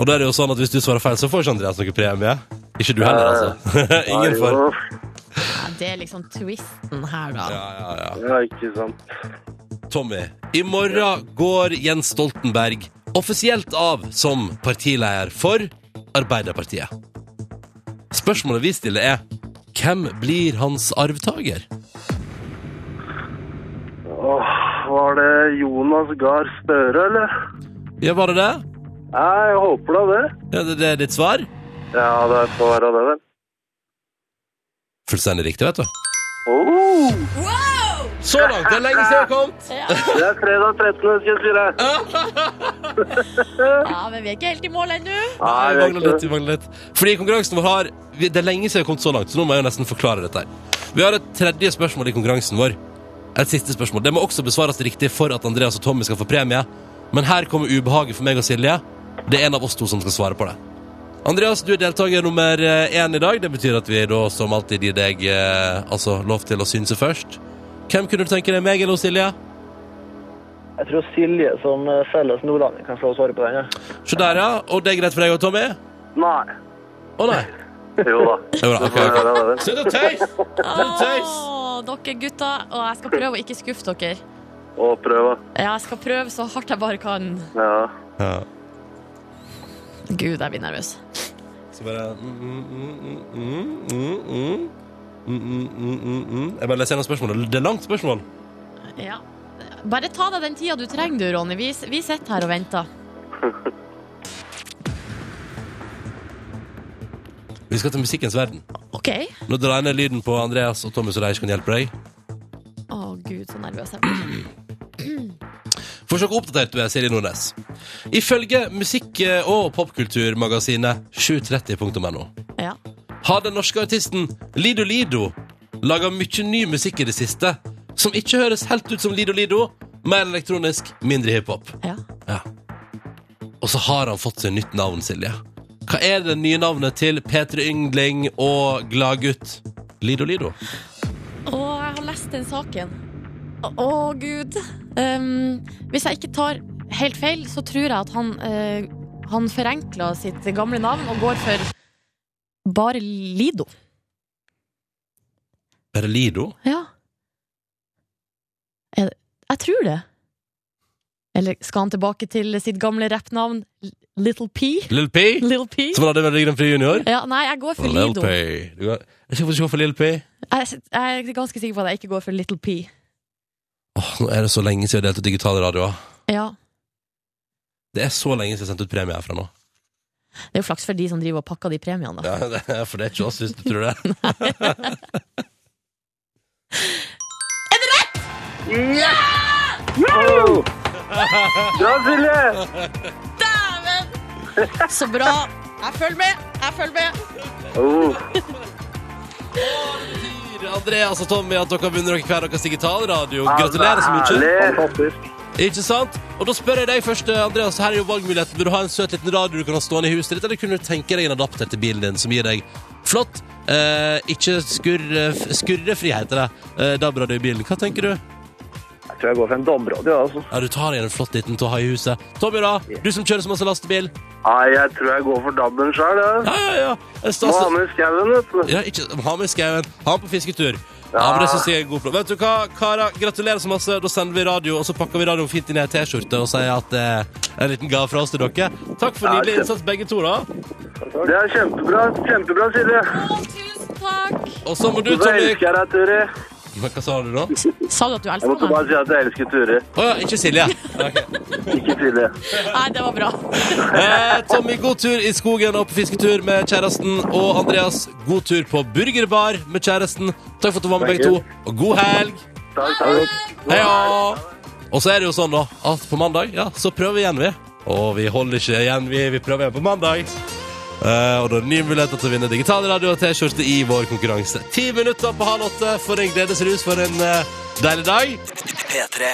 Og da er det jo sånn at hvis du svarer feil, så får ikke Andreas noen premie. Ikke du heller, altså.
Eh,
[laughs] Ingen får.
Ja, det er liksom twisten her,
[laughs]
da.
Ja, ja, ja.
Ja, ikke sant.
Tommy, i morgen går Jens Stoltenberg offisielt av som partileder for Arbeiderpartiet. Spørsmålet vi stiller er hvem blir hans arvtaker?
[laughs] Åh, var det Jonas Gahr Støre, eller?
Ja, var det det?
Ja, jeg håper da det.
Ja, det, det er ditt svar?
Ja, det får være det, vel.
Fullstendig riktig, vet du.
Oh,
Wow!
Så langt. Det er lenge siden jeg har kommet.
Det er fredag 13. skal jeg si deg.
[laughs]
Ja, men vi er ikke helt i mål ennå.
Nei,
Nei,
det
vi
er
mangler
ikke
litt,
det.
vi mangler litt. Fordi konkurransen vår har vi- Det er lenge siden vi har kommet så langt, så nå må jeg jo nesten forklare dette her. Vi har et tredje spørsmål i konkurransen vår. Et siste spørsmål. Det må også besvares riktig for at Andreas og Tommy skal få premie. Men her kommer ubehaget for meg og Silje. Det er en av oss to som skal svare på det. Andreas, du er deltaker nummer eh, én i dag. Det betyr at vi da som alltid gir deg eh, altså, lov til å synse først. Hvem kunne du tenke deg, meg eller Silje?
Jeg tror Silje som eh, felles nordlanding kan få lov å svare på den. Ja.
Se der, ja. Og det er greit for deg og Tommy?
Nei.
Å nei.
Jo da.
[laughs] Jo da,
Du
ok,
får
ok.
gjøre det, vel.
Slutt å tøys! Slutt å tøys!
Åh, dere gutter, og jeg skal prøve å ikke skuffe dere.
Og prøve.
Ja, jeg skal prøve så hardt jeg bare kan.
Ja.
Ja.
Gud, jeg blir nervøs.
Så bare mm, mm, mm, mm, mm, mm, mm, mm, mm, mm, mm. Jeg bare leser gjennom spørsmålet. Det er langt spørsmål.
Ja. Bare ta deg den tida du trenger, du, Ronny. Vi, vi sitter her og venter.
Vi skal til musikkens verden.
OK.
Nå drar jeg ned lyden på Andreas og Tommy, så de ikke kan hjelpe deg.
Å, gud, så nervøs jeg blir. [clears throat]
For så oppdatert du er, Siri Nordnes. Ifølge musikk- og popkulturmagasinet 730.no
Ja.
har den norske artisten Lido Lido laga mye ny musikk i det siste som ikke høres helt ut som Lido Lido, mer elektronisk, mindre hiphop.
ja.
Ja. Og så har han fått seg nytt navn, Silje. Hva er det nye navnet til Peter Yngling og Gladgutt? Lido Lido.
Å, jeg har lest den saken. Å, å, gud. Um, hvis jeg ikke tar helt feil, så tror jeg at han, eh, han forenkla sitt gamle navn og går for bare Lido.
Er det Lido?
Ja. Jeg, jeg tror det. Eller skal han tilbake til sitt gamle rappnavn L- Little P?
Lill P?
Little P?
Som han hadde med Rygg Grand Prix Junior?
Ja, nei, jeg går for
Lill
Lido.
P. Du kan- Jeg skal få se for Lill P.
Jeg, jeg er ganske sikker på at jeg ikke går for Little P.
Åh, nå er det så lenge siden jeg delte ut digitale radioer.
Ja.
Det er så lenge siden jeg sendte ut premie herfra nå.
Det er jo flaks for de som driver og pakker de premiene, da.
Ja, det er- for det er ikke oss, hvis du tror det.
[laughs]
er det rett?!
Bra, Silje!
Så bra! Jeg følger med! Jeg følger med!
Oh,
Andreas og Tommy, at dere har vunnet dere hver deres digitalradio. Gratulerer så mye.
herlig.
Fantastisk.
Ikke sant? Og da spør jeg deg først, Andreas. Her er jo valgmuligheten. Vil du ha en søt liten radio du kan ha stående i huset ditt, eller kunne du tenke deg en adapter til bilen din som gir deg flott, eh, ikke skurre, skurrefri, heter det, eh, DAB-radio i bilen? Hva tenker du?
Jeg tror jeg går for en DAB-radio. Altså.
Ja, Du tar igjen en flott liten til å ha i huset. Tommy, da? Du som kjører så masse lastebil.
Nei, jeg tror jeg går for dabben sjøl, jeg.
Ja, ja, ja. En
Må ha
stas...
med skauen, vet du.
Ja, ikke, ha med skauen. Ha med på fisketur. Ja, men det synes jeg er god plan. Vet du hva, karer, gratulerer så masse. Da sender vi radio, og så pakker vi radioen fint inn i ei T-skjorte og sier at det er en liten gave fra oss til dere. Takk for
Ja,
nydelig
kjempe-
innsats, begge to, da.
Det er kjempebra. Kjempebra, Silje.
Tusen takk!
Og så må du,
Så
Tommy
elsker jeg deg, Turi.
Men Hva sa du da? Å
Sa du at du
Jeg måtte
elsker
bare
meg?
si at jeg elsker Turi.
ja, ikke Silje. Ok.
Ikke Silje.
Nei, det var bra.
Eh, Tommy, god tur i skogen og på fisketur med kjæresten. Og Andreas, god tur på burgerbar med kjæresten. Takk for at du var med, begge to. Og god helg.
Takk, takk.
Heia! Og så er det jo sånn, da, at på mandag ja, så prøver vi igjen, vi. Og vi holder ikke igjen, vi. Vi prøver igjen på mandag. Eh, og da er det nye muligheter til å vinne digital radio og T-skjorte i vår konkurranse. Ti minutter på halv åtte for en gledesrus for en eh, deilig dag.
P3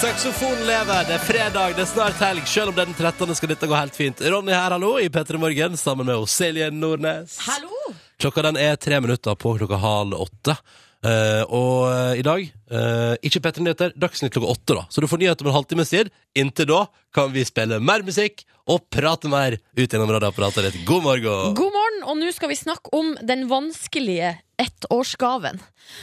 Saksofonen lever, det er fredag, det er snart helg. Selv om det er den 13. skal dette gå helt fint. Ronny her, hallo, i P3 Morgen sammen med oss, Silje Nordnes.
Hallo!
Klokka den er tre minutter på klokka halv åtte. Eh, og eh, i dag, eh, ikke P3 Nyheter, Dagsnytt klokka åtte, da. Så du får nyheter om en halvtimes tid. Inntil da kan vi spille mer musikk og prate mer ut gjennom radioapparatet ditt. God morgen!
God morgen, og nå skal vi snakke om den vanskelige ettårsgaven.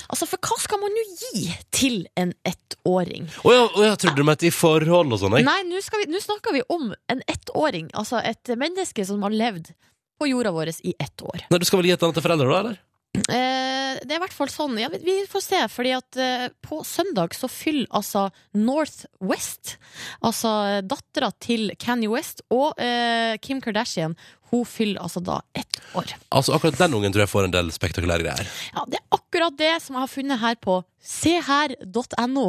Altså, for hva skal man nå gi til en ettåring?
Å ja, å ja, trodde du mente i forhold og sånn? jeg?
Nei, nå skal vi- nå snakker vi om en ettåring, altså et menneske som har levd på jorda vår i ett år.
Nei, du skal vel gi et eller annet til foreldre, da? eller?
Eh, det er i hvert fall sånn. Ja, vi- vi får se, fordi at eh, på søndag så fyller altså Northwest, altså dattera til Kanye West og eh, Kim Kardashian, hun fyller altså da ett år.
Altså, akkurat den ungen tror jeg får en del spektakulære greier.
Ja, det er akkurat akkurat det som jeg har funnet her på seher.no.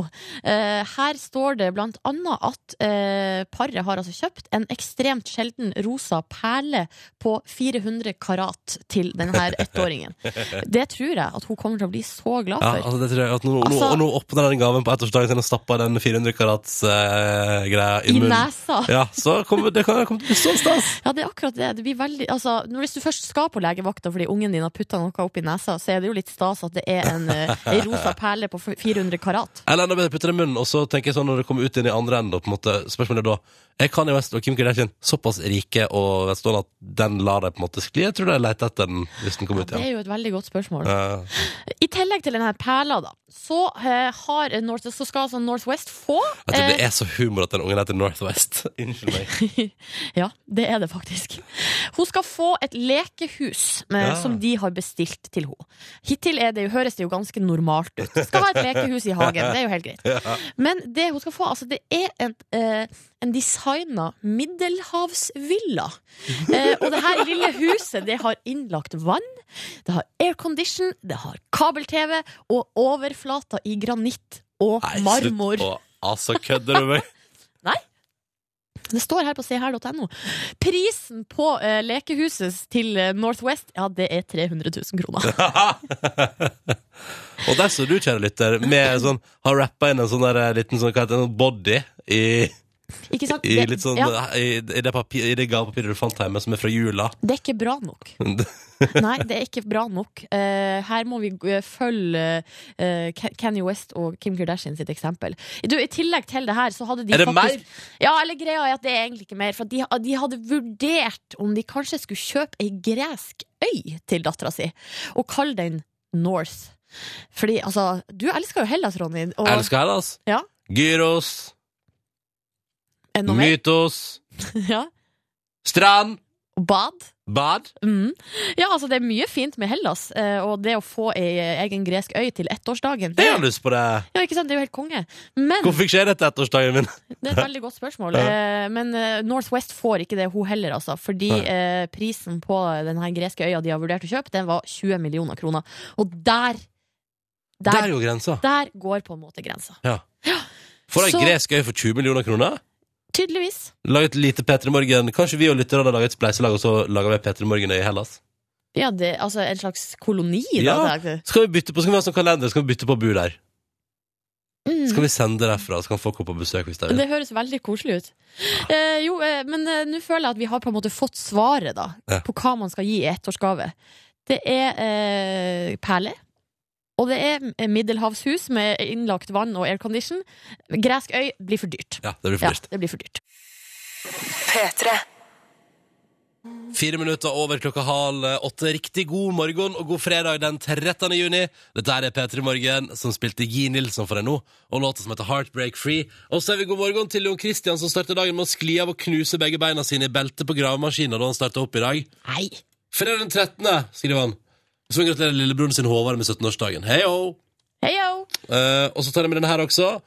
Eh, her står det blant annet at eh, paret har altså kjøpt en ekstremt sjelden rosa perle på 400 karat til denne
[laughs]
ettåringen. Det tror jeg at hun kommer til å bli så glad
Ja,
for.
altså det tror jeg at nå, nå,
Altså-
og nå åpner den gaven på ettårsdagen sin og stapper den 400 karats eh, greia i
I
munnen.
nesa.
Ja, så kommer, det kan komme til å bli sånn stas.
Ja, det er akkurat det. det blir veldig, altså, når, hvis du først skal på legevakta fordi ungen din har putta noe opp i nesa, så er det jo litt stas at det er en, eh, en rosa perle på 400 karat.
Eller enda bedre putte det i munnen, og så tenker jeg sånn når det kommer ut inn i andre enden, på en måte, spørsmålet er da Er Kanye West og Kim Kardashian såpass rike og velstående at den lar dem på en måte skli? Jeg tror de leter etter den hvis den kommer ut
Det
igjen.
er jo et veldig godt spørsmål.
Ja.
I tillegg til denne perla, da, så, eh, har North, så skal altså Northwest få eh,
Jeg tror Altså, det er så humor at den ungen heter Northwest. [laughs] Unnskyld meg.
Ja, det er det faktisk. Hun skal få et lekehus eh,
Ja.
som de har bestilt til henne. Hittil er det jo, høres det jo ganske normalt ut. Skal ha et lekehus i hagen, det er jo helt greit. Men det hun skal få, altså, det er en, eh, en designa
[laughs]
middelhavsvilla. Eh, og det her lille huset, det har innlagt vann, det har aircondition, det har kabel-TV og overflater i granitt og
Nei,
marmor.
Slutt. å- altså, kødder du med meg?
Det står her på seher.no. Prisen på eh, lekehuset til eh, Northwest ja, det er 300 000 kroner.
[laughs] og der står du, kjære lytter, med sånn Har rappa inn en sånn der liten sånn, hva heter det, en body i,
Ikke sant?
i,
Det-
litt sånn,
ja,
i, i det, papir, i det gavepapiret du fant hjemme, som er fra jula.
det er ikke bra nok. Nei,
[laughs]
det er ikke bra nok. Eh, her må vi eh, følge eh, Ke- Kanye West og Kim Kardashian sitt eksempel. Du, I tillegg til det her, så hadde de
Er det
faktisk Ja, eller greia er at det er egentlig ikke mer. For de, de hadde vurdert om de kanskje skulle kjøpe ei gresk øy til dattera si, og kalle den North. Fordi, altså, du elsker jo Hellas, Ronny. Og
Elsker Hellas.
Ja.
Gyros.
Er det noe mer?
Mytos.
[laughs] Ja.
Strand.
Og bad.
Bad.
Mm. Ja, altså det er mye fint med Hellas, eh, og det å få ei eh, egen gresk øy til ettårsdagen
Jeg har lyst på det.
ja, ikke sant? Det er jo helt konge. Men
Hvorfor fikk ikke jeg det til ettårsdagen min?
det er
[laughs]
et veldig godt spørsmål. Eh, Men eh, Northwest får ikke det, hun heller, altså. Fordi eh, prisen på denne greske øya de har vurdert å kjøpe, den var 20 millioner kroner. Og der
Der
Der,
går grensa.
der går på en måte grensa.
Får ei
Så-
gresk øy for 20 millioner kroner?
Tydeligvis.
Lag et lite P3 Morgen. Kanskje vi og lytterne hadde laget et spleiselag, og så lager vi P3 Morgen i Hellas?
Ja, det, altså en slags koloni, da.
Ja.
tenker jeg.
Skal vi bytte på, skal vi ha sånn kalender, skal vi bytte på bu der?
Mm.
Skal vi sende det derfra, så kan folk gå på besøk hvis de vil?
Det høres veldig koselig ut. Eh, jo, eh, men eh, nå føler jeg at vi har på en måte fått svaret da,
Ja.
på hva man skal gi i ettårsgave. Det er eh, perler, og det er middelhavshus med innlagt vann og aircondition. Gresk øy blir for dyrt.
Ja, det blir for
Ja,
dyrt.
det blir for dyrt.
Fire minutter over klokka halv åtte. Riktig god morgen og god fredag den 13. juni. Dette her er P3 Morgen, som spilte Gi Nilsson for deg nå, og låta som heter Heartbreak Free. Og så er vi god morgen til Jon Christian, som starter dagen med å skli av og knuse begge beina sine i beltet på gravemaskina da han starta opp i dag.
Nei,
Fredag den 13., skriver han. Så gratulerer lillebroren sin Håvard med 17-årsdagen. Hei ho!
heio!
Eh, og så tar jeg med denne her også.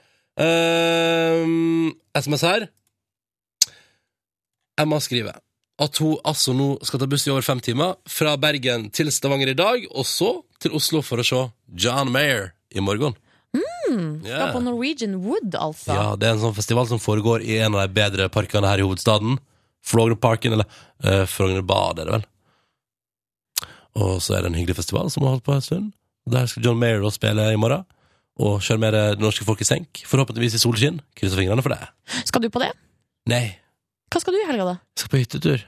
Eh, SMS her. Emma skriver at hun altså nå skal ta buss i over fem timer fra Bergen til Stavanger i dag, og så til Oslo for å se John Mayer i morgen.
Mm, Skal
Yeah.
på Norwegian Wood, altså.
Ja, det er en sånn festival som foregår i en av de bedre parkene her i hovedstaden. Frognerparken, eller uh, Frognerbad, er det vel. Og så er det en hyggelig festival som har holdt på en stund. Der skal John Mayer også spille i morgen. Og sjarmere det norske folk i senk. Forhåpentligvis i solskinn. Krysser fingrene for det.
Skal du på det?
Nei,
Hva skal du i helga, da?
jeg skal på hyttetur.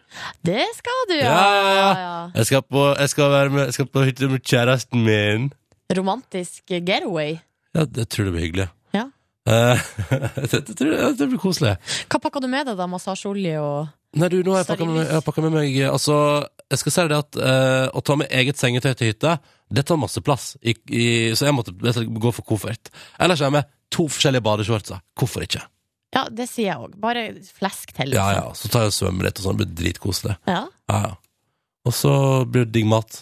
Det skal du, ja!
Ja,
ja.
Jeg skal på, jeg skal være med, jeg skal på hytte med kjæresten min.
Romantisk getaway.
Ja, det tror jeg blir hyggelig.
Ja.
Eh, [laughs] det, det, tror jeg- det blir koselig.
Hva pakka du med deg, da? Massasjeolje og
Nei, du, nå har jeg pakka med,
Stearinlys.
jeg har pakket med meg eh, Altså, jeg skal si det at eh, å ta med eget sengetøy til hytta, det tar masse plass, i, i, så jeg måtte jeg skal gå for koffert. Ellers har jeg med to forskjellige badeshortser. Hvorfor ikke?
Ja, det sier jeg òg. Bare flesk til.
Ja,
liksom.
ja, Så tar jeg og svømmer litt, og sånn. Det blir dritkoselig.
Ja.
Ja, ja. Og så blir det digg mat.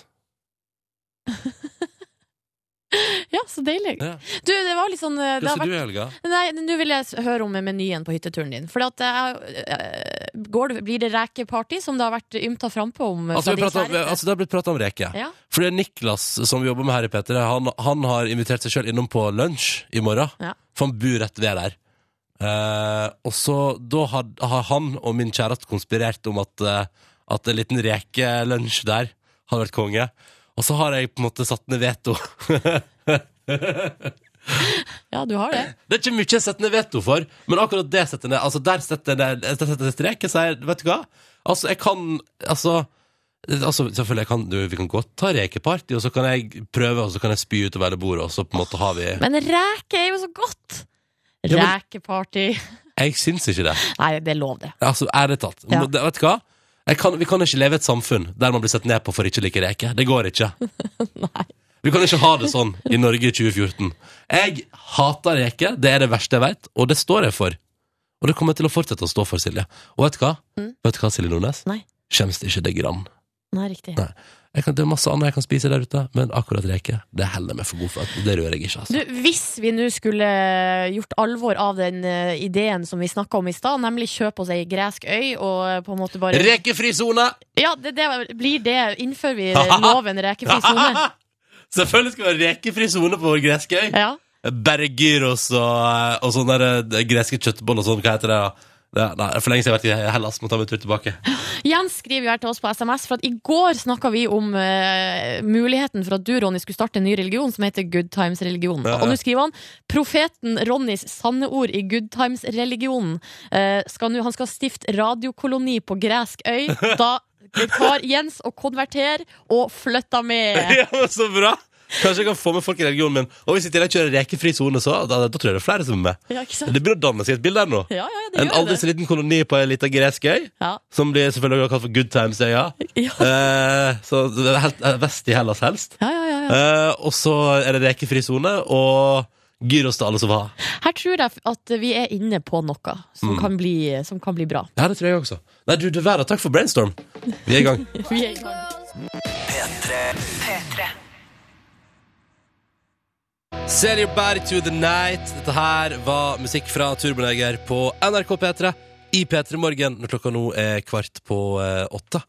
Ja, så deilig.
Ja.
Du, det var litt sånn eh, det
Hva sier
har vært,
du, Helga?
Nei, nå vil jeg s- høre om menyen på hytteturen din. For at eh, eh, går det, blir det rekeparty, som det har vært ymta frampå om? eh,
Altså,
fra
vi
din
prater,
kjæreste?
altså, det har blitt pratet om reke.
Ja.
Fordi Niklas, som vi jobber med her i Peter, han, han har invitert seg selv innom på lunsj i morgen.
Ja.
For han bor rett ved der. Eh, og så da har, har han og min kjæreste konspirert om at, eh, at en liten rekelunsj der hadde vært konge. Og så har jeg på en måte satt ned veto. [laughs]
ja, du har det.
Det er ikke mye jeg setter ned veto for, men akkurat det setter jeg ned. Altså, der setter jeg ned, jeg setter ned strek. Jeg sier, vet du hva? Altså, jeg kan Altså, altså selvfølgelig, jeg kan, du, vi kan godt ta rekeparty, og så kan jeg prøve, og så kan jeg spy utover hele bordet, og så på en måte har vi
Men reke er jo så godt!
Ja, men-
Rekeparty.
Jeg syns ikke det.
Nei, det er lov, det.
Altså, ærlig talt.
Ja.
Må- det- Vet du hva? Jeg kan, vi kan ikke leve i et samfunn der man blir sett ned på for ikke å like reker. Det går
[laughs]
ikke. Vi kan ikke ha det sånn i Norge i 2014. Jeg hater reker. Det er det verste jeg vet, og det står jeg for. Og det kommer jeg til å fortsette å stå for, Silje. Og vet du hva?
Mm.
Vet du hva, Silje Nordnes?
Nei.
Kjems det ikke det grann.
Nei, riktig.
Nei. Jeg kan, det er masse annet jeg kan spise der ute, men akkurat reker, det holder jeg meg for god for. Det rører jeg ikke, altså.
Du, hvis vi nå skulle gjort alvor av den eh, ideen som vi snakka om i stad, nemlig kjøpe oss ei gresk øy og eh, på en måte bare
Rekefri sone!
Ja, det, det blir det. Innfører vi loven rekefri sone?
[laughs] Selvfølgelig skal vi ha rekefri sone på vår greske øy.
Ja.
Bare gyros og, og sånne der, eh, greske kjøttboller og sånn. Hva heter det? da? det nei, for lenge siden jeg har vært i Hellas. Må ta meg en tur tilbake.
Jens skriver jo her til oss på SMS, for at i går snakka vi om eh, muligheten for at du, Ronny, skulle starte en ny religion som heter Good Times-religion.
Ja, ja.
Og nå skriver han profeten Ronnys sanne ord i Good Times-religionen. Eh, skal nå- han skal stifte radiokoloni på gresk
[laughs]
øy. Da tar Jens og konverterer og flytter med.
[laughs] Ja, men Så bra! Kanskje jeg kan få med folk i religionen min. Og hvis jeg i tillegg kjører rekefri sone, så da, da tror jeg det er flere som er med.
Ja, ikke sant?
Det begynner å danne seg et bilde her nå.
Ja, ja, det
En
gjør
aldri
det.
så liten koloni på ei lita gresk øy,
Ja.
som blir selvfølgelig også kalt for Good Times-øya.
Ja.
Eh, så det er helt, eh, vest i Hellas helst.
Ja, ja, ja, ja.
Eh, og så er det rekefri sone og gyros til alle som vil ha.
Her tror jeg at vi er inne på noe
Mm.
som, kan, bli, som kan bli bra. [laughs]
Ja, det tror jeg også. Nei, du, du verden. Takk for brainstorm. Vi er i [laughs] gang.
Vi er i gang.
Sell your body to the night. Dette her var musikk fra Turboneger på NRK P3 i P3 Morgen når klokka nå er kvart på eh, åtte.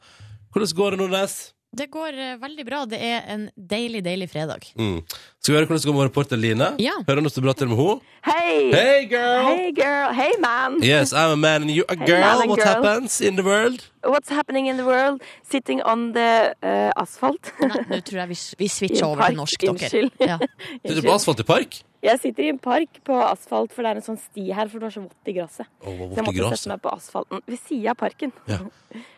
Hvordan går det, Nordnes?
Det går eh, veldig bra. Det er en deilig, deilig fredag.
Mm. Skal vi høre hvordan det går med reporter Line?
Ja.
Hører du noe så bra til med henne?
Hey,
Hey, girl!
hey, girl. Hey, man.
Yes, I'm a man and you a girl.
man and
What
girl.
happens in the world?
What's happening in the world? Sitting on the uh, asphalt.
Nei, nå tror jeg vi, vi switcher
[laughs] I en
over til
park,
norsk, dere.
unnskyld. [laughs]
Ja.
Sitter du på asfalt i park?
Jeg sitter i en park på asfalt, for det er en sånn sti her, for det var så vått i gresset.
Å, hvor
Så jeg
vått i
måtte
gresset.
sette meg på asfalten ved sida av parken.
Ja.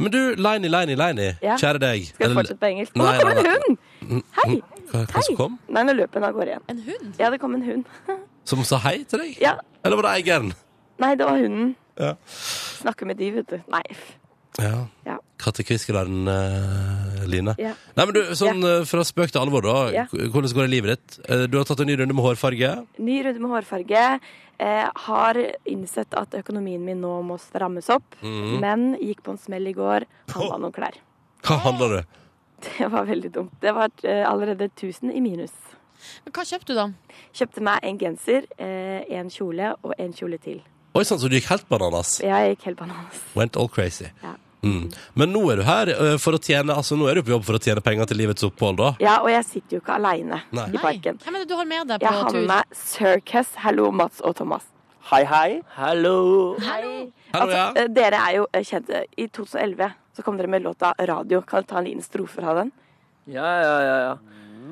Men du, Liney, Liney, Liney,
Ja.
kjære deg.
Skal jeg
Eller-
fortsette på engelsk? Å,
Nei,
nå kom
nei,
en
nei.
hund! Hei!
Hva, hva som kom?
Nei, nå løper hun av gårde igjen.
En hund?
Ja, det kom en hund.
Som sa hei til deg?
Ja.
Eller var det eieren?
Nei, det var hunden.
Ja.
Snakker med de, vet du. Nei. f-
Ja.
Ja.
Kattekviskelaren eh, Line.
Ja.
Nei, men du, sånn eh, fra spøk til alvor, da.
Ja.
K- Hvordan går det i livet ditt? Eh, Du har tatt en ny runde med hårfarge.
Ny runde med hårfarge. Eh, har innsett at økonomien min nå må strammes opp, men gikk på en smell i går. Handla noen klær. [laughs]
Hva handler det?
Det var veldig dumt. Det var eh, allerede 1000 i minus.
Men hva kjøpte du, da?
Kjøpte meg en genser, eh, en kjole og en kjole til.
Oi sann, så du gikk helt bananas.
Jeg gikk helt bananas.
Went all crazy.
Ja.
Mm. Men nå er du her eh, for å tjene Altså, nå er du på jobb for å tjene penger til livets opphold, da.
Ja, og jeg sitter jo ikke aleine
Nei.
i parken.
Hvem er det du har med deg på
Jeg har med
tur?
meg Circus, hallo Mats og Thomas.
Hei, hei. Hallo.
Hei.
Hallo, ja.
eh, Dere er jo eh, kjente. I 2011 så kom dere med låta Radio. Kan du ta en liten strofe fra den?
Ja, ja, ja. ja.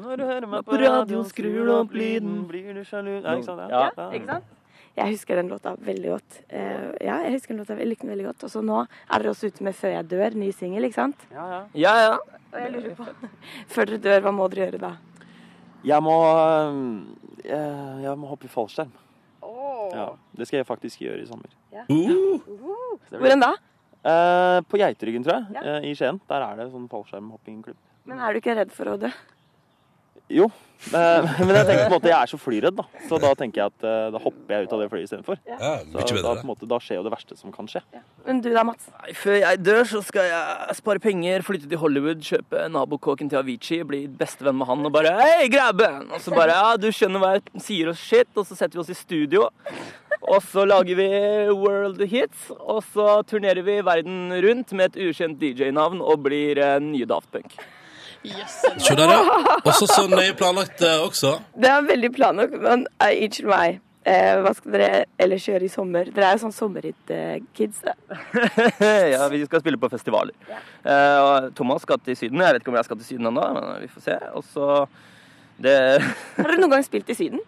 Når du hører meg på radioen, skrur du opp lyden, blir du sjalu Ja, ikke sant? Ja.
Ikke sant? Jeg husker den låta veldig godt. Eh, ja, jeg husker den låta jeg likte den veldig godt. Og så nå er dere også ute med Før jeg dør, ny singel, ikke sant?
ja, ja.
Og jeg lurer på, før dere dør, hva må dere gjøre da?
Jeg må eh, Jeg må hoppe i fallskjerm. Ja, det skal jeg faktisk gjøre i sommer.
Uh,
Hvor enn da?
Eh, på Geiteryggen, tror jeg,
Ja.
eh, i Skien. Der er det sånn fallskjermhoppingklubb.
Men er du ikke redd for å dø?
Jo, men, men jeg tenker på en måte jeg er så flyredd, da. Så da tenker jeg at eh, da hopper jeg ut av det flyet istedenfor.
Ja,
Da,
mye
da,
bedre.
på en måte, da skjer jo det verste som kan skje.
Men du da, Mats?
Nei, Før jeg dør, så skal jeg spare penger, flytte til Hollywood, kjøpe nabokåken til Avicii, bli bestevenn med han og bare Hei, grabben! Og så bare Ja, du skjønner hva jeg sier og shit, og så setter vi oss i studio. Og så lager vi world hits, og så turnerer vi verden rundt med et ukjent DJ-navn og blir eh, nye Daft Punk.
Se der, ja. Også så nøye planlagt eh, også.
Det er veldig planlagt, men eh, unnskyld meg. Eh, hva skal dere ellers gjøre i sommer? Dere er jo sånn sommerhit-kids.
[laughs] ja, vi skal spille på festivaler. Eh, og Thomas skal til Syden. Jeg vet ikke om jeg skal til Syden ennå, men vi får se. Og så det [laughs]
Har dere noen gang spilt i Syden?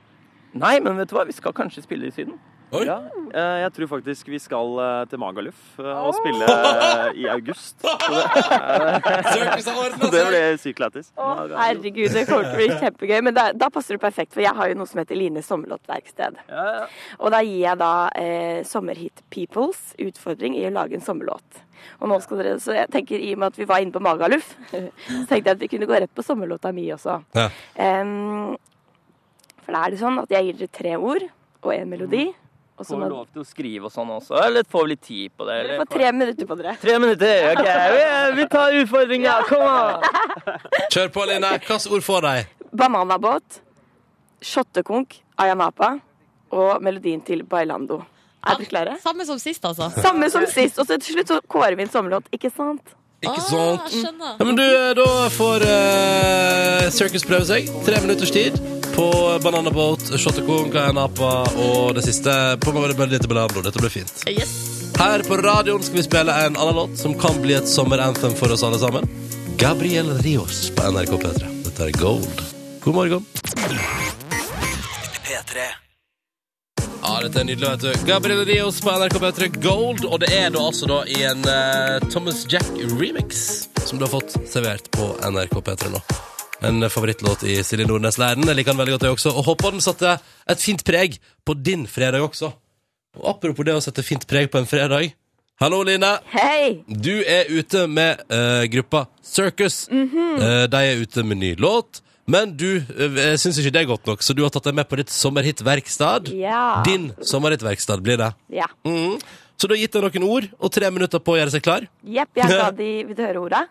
Nei, men vet du hva? Vi skal kanskje spille i Syden.
Oi.
Ja, eh, jeg tror faktisk vi skal eh, til Magaluf eh, og spille eh, i
[laughs]
august. Så det,
Circus har ordnet
det
seg.
blir sykt lættis.
Herregud, det kommer til å bli kjempegøy. Men da, da passer det perfekt, for jeg har jo noe som heter Line sommerlåtverksted.
Ja, ja.
Og da gir jeg da eh, Sommerhit Peoples utfordring i å lage en sommerlåt. Og nå skal dere, så jeg tenker I og med at vi var inne på Magaluf, [laughs] så tenkte jeg at vi kunne gå rett på sommerlåta mi også.
Ja.
Em, for da er det sånn at jeg gir dere tre ord og en melodi. Og så
Får vi
må
Mm. lov til å skrive og sånn også, eller får vi litt tid på det?
dere
Eller?
får tre minutter på dere.
[laughs] Tre minutter, ok. Vi,
Eh,
vi tar utfordringa, kom an!
Kjør på, Line. Hvilke ord får de?
Bananabåt, Shottekonk, Ayanapa og melodien til Bailando. Er dere klare?
Samme som sist, altså.
Samme som sist. Og så til slutt så kårer vi en sommerlåt, ikke sant?
Ikke
Ah,
sånt.
skjønner.
Ja, men du, da får eh, Circus prøve seg. Tre minutters tid på Bananaboat, Shottekong, Kayanapa og det siste på Magne Bølle til Belando. Dette blir fint.
Yes.
Her på radioen skal vi spille en annen låt som kan bli et sommeranthem for oss alle sammen. Gabriel Rios på NRK P3. Dette er Gold. God morgen.
P3.
Ja, dette er nydelig, vet du. Gabriel Rios på NRK P3 Gold. Og det er da altså da i en eh, Thomas Jack remix som du har fått servert på NRK P3 nå. En favorittlåt i Silje Nordnes-leiren. Jeg liker den veldig godt, jeg også. Og håper den satte et fint preg på din fredag også. Og apropos det å sette fint preg på en fredag. Hallo, Line.
Hei!
Du er ute med eh, gruppa Circus.
Mhm.
Eh, de er ute med ny låt. Men du uh, syns ikke det er godt nok, så du har tatt deg med på ditt sommerhitverksted.
Ja.
Din sommerhitverksted blir det.
Ja.
Mhm. Så du har gitt deg noen ord og tre minutter på å gjøre seg klar.
Jepp, jeg
[laughs]
ga de Vil du høre orda?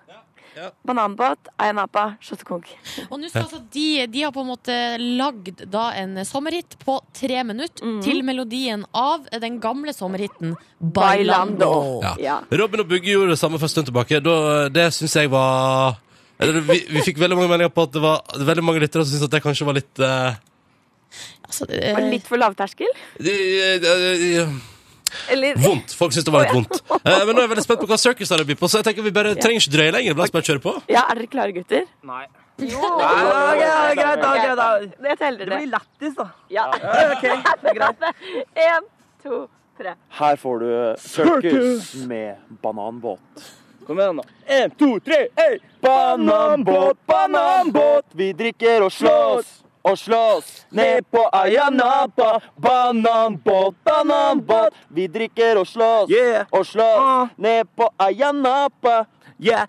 ja.
Bananbåt, Ayanapa, Shottekonk.
Og nå skal altså de, de har på en måte lagd da en sommerhit på tre minutter
Mhm.
til melodien av den gamle sommerhiten Bailando.
Bailando. Ja.
Robin og Bugge gjorde det samme for en stund tilbake. Da, eh, det syns jeg var eller, vi, vi fikk veldig mange meldinger på at det var veldig mange lyttere som syntes at det kanskje var litt eh,
Altså, eh,
Var det litt for lavterskel?
de- de- de- eh,
Eller
Vondt. Folk syns det var litt vondt. Eh, men nå er jeg veldig spent på hva circus det byr på, så jeg tenker vi bare trenger ikke drøye lenger. La oss bare kjøre på.
[laughs] Ja, er dere klare, gutter?
Nei.
Jo!
greit, greit, da, greit, da.
Jeg teller
Det
dere.
blir lættis, da.
Ja. [laughs]
Ok, det er greit.
En, to, tre.
Her får du Circus med bananbåt.
Kom igjen, da. En, to, tre, hei!
Bananbåt, bananbåt, vi drikker og slåss. Og slåss ned på Ayanapa. Bananbåt, bananbåt, vi drikker og slåss.
Yeah.
Og
Ah.
slåss ned på Ayanapa.
Yeah.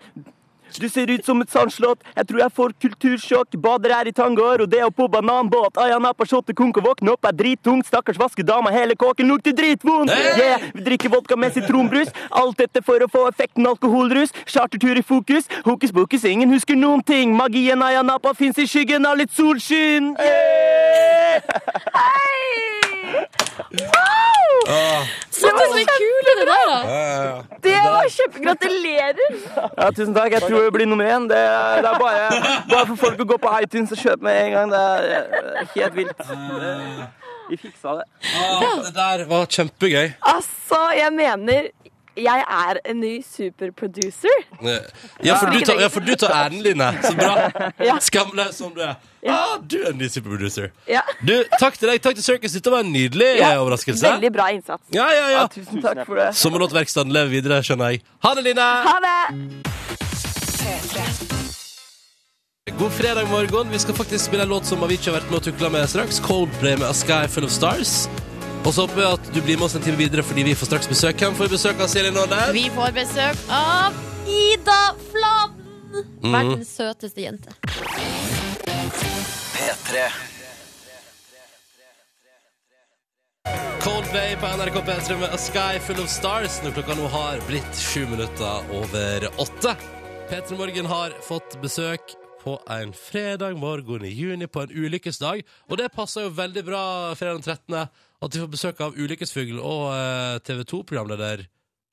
Du ser ut som et sandslott. Jeg tror jeg får kultursjokk. Bader her i tangoer, og det er på bananbåt. Ayanapa, shotte, konk og våkne opp er drittung. Stakkars vaskedama, hele kåken lukter dritvond.
Hey!
Yeah. Vi drikker vodka med sitronbrus. Alt dette for å få effekten alkoholrus. Chartertur i fokus. Hokus pokus, ingen husker noen ting. Magien Ayanapa fins i skyggen av litt solskinn. Yeah!
Ah.
Satte som en kule, det der, da!
Det var kjempe... Gratulerer!
Ja, tusen takk. Jeg tror det blir nummer én. Det, er- det er bare, bare for folk å gå på iTunes og kjøpe med en gang. Det er eh, helt vilt. Eh, Vi fiksa det.
Ah, det der var kjempegøy.
Altså, jeg mener jeg er en ny superproducer.
Eh, Ja, for du tar, ja, for du tar æren, Line. Så bra.
Ja.
Skamløs som du er. Ah, du er en ny superproducer.
Ja.
Du, takk til deg. Takk til Circus. Dette var en nydelig eh, overraskelse.
Veldig bra innsats.
Ja, ja, ja.
Ja, tusen takk for det.
Sommerlåtverkstedet lever videre, skjønner jeg. Ha det, Line!
Ha det!
God fredag morgen. Vi skal faktisk spille en låt som Avicii har vært med og tukla med straks. Coldplay med A Sky Full of Stars. Og så håper jeg at du blir med oss en time videre, fordi vi får straks besøk. Hvem får vi besøk av, Silje Nordnes?
Vi får besøk av Mm. Ida Fladen! Verdens søteste jente.
P3
Coldplay på NRK P3 med A Sky Full of Stars når klokka nå har blitt sju minutter over åtte. P3 Morgen har fått besøk på en fredag morgen i juni på en ulykkesdag. Og det passer jo veldig bra fredag den 13. at vi får besøk av Ulykkesfugl og eh, TV 2-programleder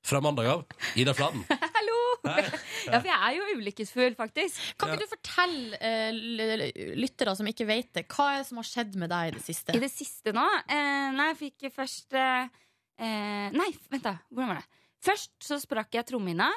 fra mandag av, Ida Fladen.
Hallo! Ja, for jeg er jo ulykkesfull, faktisk.
Kan ikke du fortelle eh, l- l- lyttere som ikke vet det, hva er det som har skjedd med deg i det siste?
I det siste nå eh, Nei, jeg fikk først eh, eh, Nei, vent da. Hvordan var det? Først så sprakk jeg trommehinna.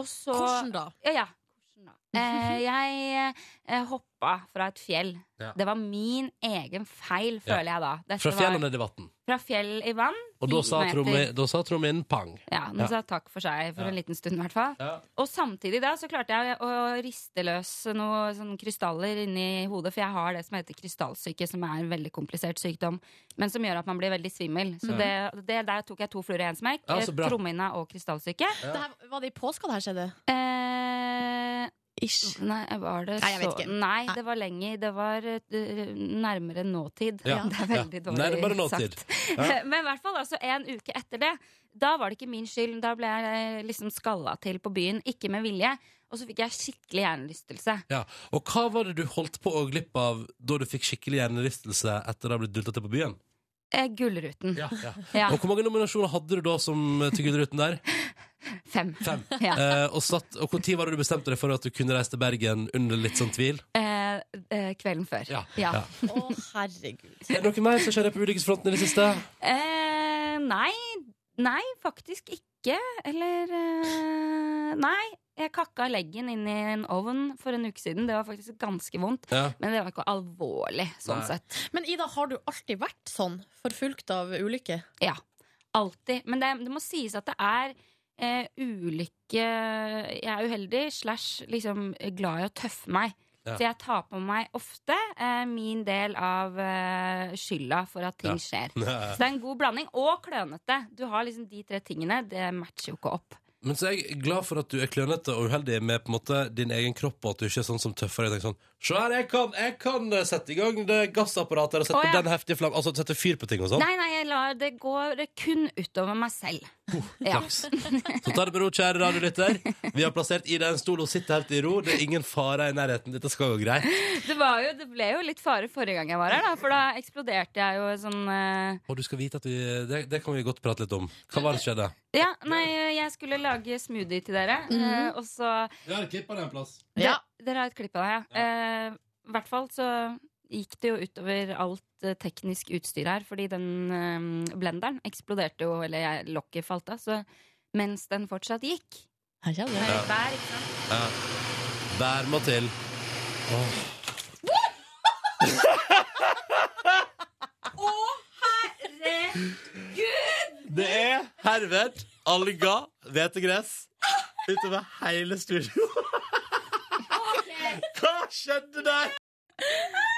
Og så
Hvordan da?
Ja, ja. Hvordan da? Eh, jeg eh, hoppa fra et fjell.
Ja.
Det var min egen feil, [laughs] føler jeg da. Dette
Fra fjellet
var,
ned i vann.
fra fjell i vann.
Og da
fire
sa
meter.
trommi- da sa tromminnen pang.
Ja, nå
Ja.
sa jeg takk for seg for en liten stund, i hvert fall.
Ja.
Og samtidig da så klarte jeg å riste løs noen sånne krystaller inni hodet, for jeg har det som heter krystallsyke, som er en veldig komplisert sykdom, men som gjør at man blir veldig svimmel. Så det, det, der tok jeg to fluer i én smekk.
Ja, så bra.
Trommehinna og krystallsyke.
Det her, var det i påska det her skjedde?
Eh,
Ish.
nei, var det
Nei, jeg vet
så
ikke.
Nei, det var lenger. Det var eh, nærmere nåtid.
Ja.
Det er veldig
Ja.
dårlig
Nærmere nåtid.
sagt. [laughs] Men i hvert fall altså en uke etter det. Da var det ikke min skyld. Da ble jeg eh, liksom skalla til på byen, ikke med vilje. Og så fikk jeg skikkelig hjernerystelse.
Ja. Og hva var det du holdt på å glippe av da du fikk skikkelig hjernerystelse etter å ha blitt dulta til på byen?
Eh, Gullruten.
Ja, ja.
[laughs] Ja,
Og hvor mange nominasjoner hadde du da som eh, til Gullruten der?
Fem.
Fem.
[laughs] Ja.
Eh, og satt, og når var det du bestemte deg for at du kunne reise til Bergen under litt sånn tvil?
Eh, eh, kvelden før. Ja.
Å, herregud.
Er det noe mer som skjer på ulykkesfronten i det siste?
Eh, nei, nei, faktisk ikke. Eller eh, Nei, jeg kakka leggen inn i en ovn for en uke siden. Det var faktisk ganske vondt.
Ja.
Men det var ikke alvorlig, sånn
Nei.
sett.
Men Ida, har du alltid vært sånn? Forfulgt av ulykker?
Ja, Alltid. Men det, det må sies at det er eh, ulykke Jeg er uheldig slash liksom glad i å tøffe meg.
Ja.
Så jeg tar på meg ofte eh, min del av eh, skylda for at ting
[laughs]
skjer. Så det er en god blanding. Og klønete. Du har liksom de tre tingene. Det matcher jo ikke opp.
Men så er jeg glad for at du er klønete og uheldig med på en måte din egen kropp, og at du ikke er sånn som tøffer deg. Sånn, Se her, jeg kan, jeg kan eh, sette i gang det gassapparatet og sette
Å, ja.
den heftige flammen Altså sette fyr på ting og sånn.
Nei, nei, jeg lar det gå kun utover meg selv.
Oh,
Ja.
Flaks. Så ta det med ro, kjære radiolytter. Vi har plassert Ida i en stol og sitter helt i ro. Det er ingen fare i nærheten. Dette skal gå greit.
[laughs] Det, var jo, det ble jo litt fare forrige gang jeg var her, da, for da eksploderte jeg jo sånn eh,
Og du skal vite at vi Det, det kan vi godt prate litt om. Hva var det som skjedde?
Ja, nei, jeg skulle lage smoothie til dere, eh, og så
Vi har klippa det en plass.
Ja.
Dere har et klipp av det, ja. Eh, I hvert fall så gikk det jo utover alt eh, teknisk utstyr her, fordi den eh, blenderen eksploderte jo, eller jeg, lokket falt av, så mens den fortsatt gikk. eh,
Her kommer det.
Med bær, ikke sant?
Der må til. Det er herved alger, hvetegress, utover hele studio. Hva skjedde der?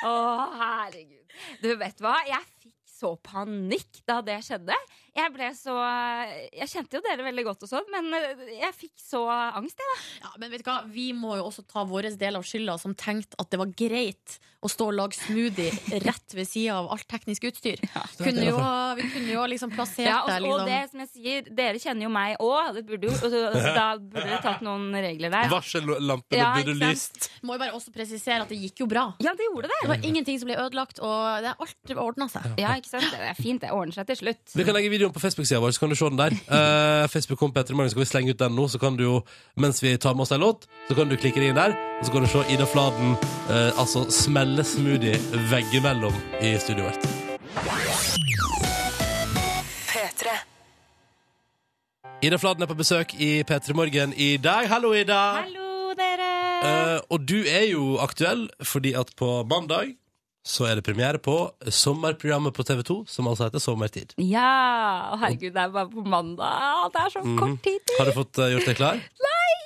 Å, herregud. Du vet hva? Jeg fikk så panikk da det skjedde. Jeg ble så Jeg kjente jo dere veldig godt og sånn, men eh, jeg fikk så angst, jeg, da.
Ja, men vet du hva? Vi må jo også ta vår del av skylda, som tenkte at det var greit å stå og lage smoothie rett ved sida av alt teknisk utstyr. kunne
altså.
jo, ha- vi kunne jo ha liksom plassert
Ja, og,
deg
og
liksom.
det som jeg sier, dere kjenner jo meg òg. Da burde dere tatt noen regler der.
Varsellampene
Ja,
burde
ikke
lyst.
sant?
Må jo bare også presisere at det gikk jo bra.
Ja, det gjorde det.
Det var ingenting som ble ødelagt, og det alt ordna seg.
Ja, ikke sant? Det er fint, det ordner seg til slutt.
Vi kan legge videoen på Facebook-sida vår, så kan du se den
[laughs]
der. Eh, Facebook kom Petter i morgen, skal vi slenge ut den nå, så kan du jo, mens vi tar med oss en låt, så kan du klikke deg inn der, og så kan du se Ida Fladen eh, altså smelle smoothie veggimellom i studioet vårt. Ida Fladen er på besøk i P3 Morgen i dag. Hallo, Ida!
Hallo, dere!
Eh, og du er jo aktuell fordi at på mandag så er det premiere på sommerprogrammet på TV2, som altså heter Sommertid.
Ja! Å, herregud, det er bare på mandag. Det er så kort tid til.
Mhm. Har du fått eh, gjort deg
[laughs]
klar? Nei!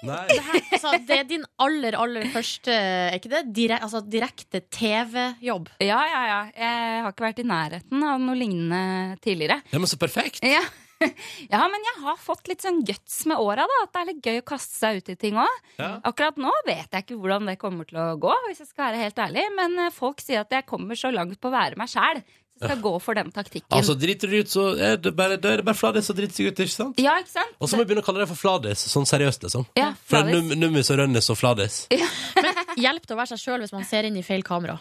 Altså, det er din aller, aller første er ikke det? Direk, altså, direkte TV-jobb.
Ja, ja, ja. Jeg har ikke vært i nærheten av noe lignende tidligere.
Ja, men så perfekt!
Ja. [laughs] Ja, men jeg har fått litt sånn guts med åra, da. At det er litt gøy å kaste seg ut i ting òg.
Ja.
Akkurat nå vet jeg ikke hvordan det kommer til å gå, hvis jeg skal være helt ærlig. Men eh, folk sier at jeg kommer så langt på å være meg sjæl. Så jeg skal gå for den taktikken.
Altså, driter du ut, så er det bare, da er det bare Fladis som driter seg ut, ikke sant?
ja, ikke sant?
Og så må vi begynne å kalle det for Fladis, sånn seriøst, liksom.
Ja,
Fra
Fladis.
num Nummis og Rønnis og Fladis.
Hjelp det å være seg sjøl hvis man ser inn i feil kamera.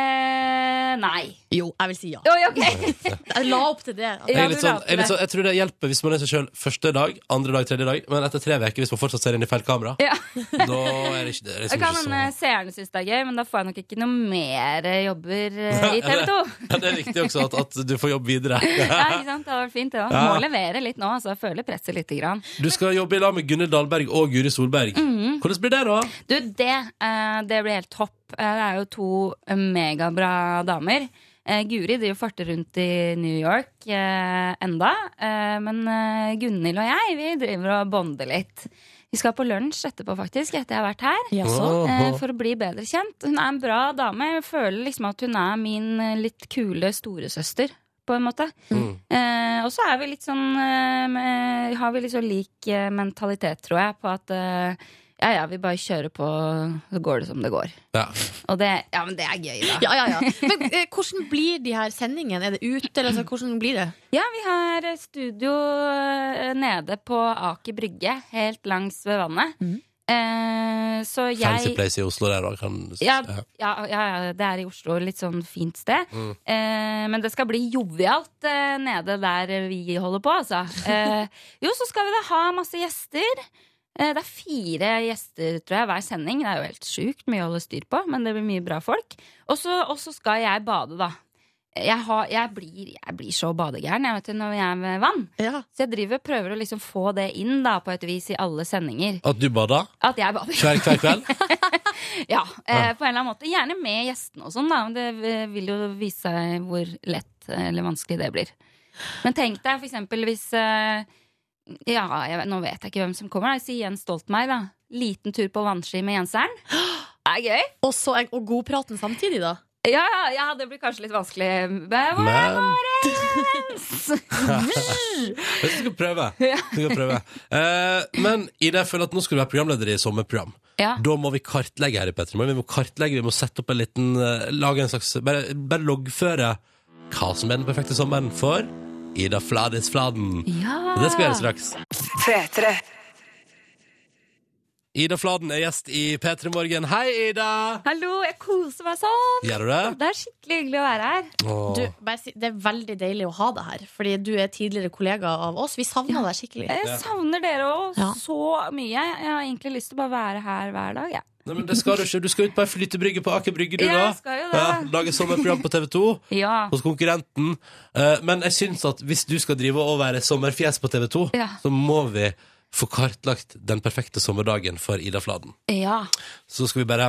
Eh, nei.
Jo, jeg vil si ja.
Oi, ok.
[laughs] Jeg la opp til det.
Ja,
Jeg, er
du
litt sånn,
la
jeg, er litt sånn, jeg tror det hjelper hvis man er seg sjøl første dag, andre dag, tredje dag, men etter tre uker, hvis man fortsatt ser inn i feil kamera,
Ja.
[laughs] da er det ikke det. Er
Det
liksom
kan
ikke så...
hende seerne syns det er gøy, men da får jeg nok ikke noe mer eh, jobber eh, i TV 2.
[laughs] Ja, det er viktig også at, at du får jobb videre.
[laughs] Ja, ikke sant? Det hadde vært fint, det òg.
Ja.
Må levere litt nå, altså. Jeg føler presset lite grann.
Du skal jobbe i lag med Gunhild Dahlberg og Guri Solberg.
Mm.
Hvordan blir det, da?
Du, det, eh, det blir helt topp. Eh, det er jo to eh, megabra damer. Eh, Guri driver og farter rundt i New York eh, enda. Eh, men eh, Gunhild og jeg, vi driver og bonder litt. Vi skal på lunsj etterpå, faktisk, etter jeg har vært her. eh, for å bli bedre kjent. Hun er en bra dame. Jeg føler liksom at hun er min eh, litt kule storesøster. På en måte.
Mm.
Eh, og så er vi litt sånn eh, med, Har vi litt sånn lik eh, mentalitet, tror jeg, på at eh, ja ja, vi bare kjører på, så går det som det går.
Ja.
Og det, ja, men det er gøy, da.
[laughs] Ja, ja, ja. Men eh, hvordan blir de her sendingene? Er det ute, eller altså, hvordan blir det?
[laughs] Ja, vi har eh, studio eh, nede på Aker Brygge, helt langs ved vannet.
Mhm.
Eh, så jeg
Fancy place i Oslo der, da. Kan...
Ja, ja, ja, ja, det er i Oslo. Litt sånn fint sted.
Mm.
Eh, men det skal bli jovialt eh, nede der vi holder på, altså. Eh, jo, så skal vi da ha masse gjester. Eh, det er fire gjester, tror jeg, hver sending. Det er jo helt sjukt mye å holde styr på, men det blir mye bra folk. Og så og så skal jeg bade, da. Jeg, har, jeg, blir, jeg blir så badegæren jeg vet du, når jeg er ved vann.
Ja.
Så jeg driver og prøver å liksom få det inn da, på et vis i alle sendinger.
At du bader
At jeg bader.
hver, hver kveld?
Ja, eh, på en eller annen måte. Gjerne med gjestene og sånn, da. Men det eh, vil jo vise seg hvor lett eh, eller vanskelig det blir. Men tenk deg for eksempel hvis eh, Ja, jeg, vet- nå vet jeg ikke hvem som kommer. Da. Si Jens Stoltenberg, da. Liten tur på vannski med Jenseren. Det er gøy.
Og, så, og godpraten samtidig, da.
Ja, ja, ja, det blir kanskje litt vanskelig. Men hvor er
Men
Jens? [laughs]
Vi skal prøve. Vi Skal prøve. Eh, men i det jeg føler at nå skal du være programleder i sommerprogram,
Ja.
da må vi kartlegge her i Petter. Vi må kartlegge, vi må sette opp en liten eh, Lage en slags Bare, bare loggføre hva som er den perfekte sommeren for Ida Fladis Fladen.
Ja.
Det skal vi gjøre straks. Ida Fladen er gjest i P3 Morgen. Hei, Ida!
Hallo, jeg koser meg sånn!
Gjør du det?
Det er skikkelig hyggelig å være her.
Åh.
Du, bare si, det er veldig deilig å ha deg her, fordi du er tidligere kollega av oss. Vi savner deg skikkelig.
Ja.
Jeg savner dere òg
Ja.
så mye. Jeg har egentlig lyst til å bare være her hver dag. Ja.
Nei, men det skal du ikke. Du skal ut på ei flytebrygge på Aker Brygge, du,
Ja,
da.
jeg skal jo det.
Ja, lage sommerprogram på TV 2.
Ja.
hos konkurrenten. Eh, Men jeg syns at hvis du skal drive og være sommerfjes på TV 2,
Ja.
så må vi få kartlagt den perfekte sommerdagen for Ida Fladen.
ja.
Så skal vi bare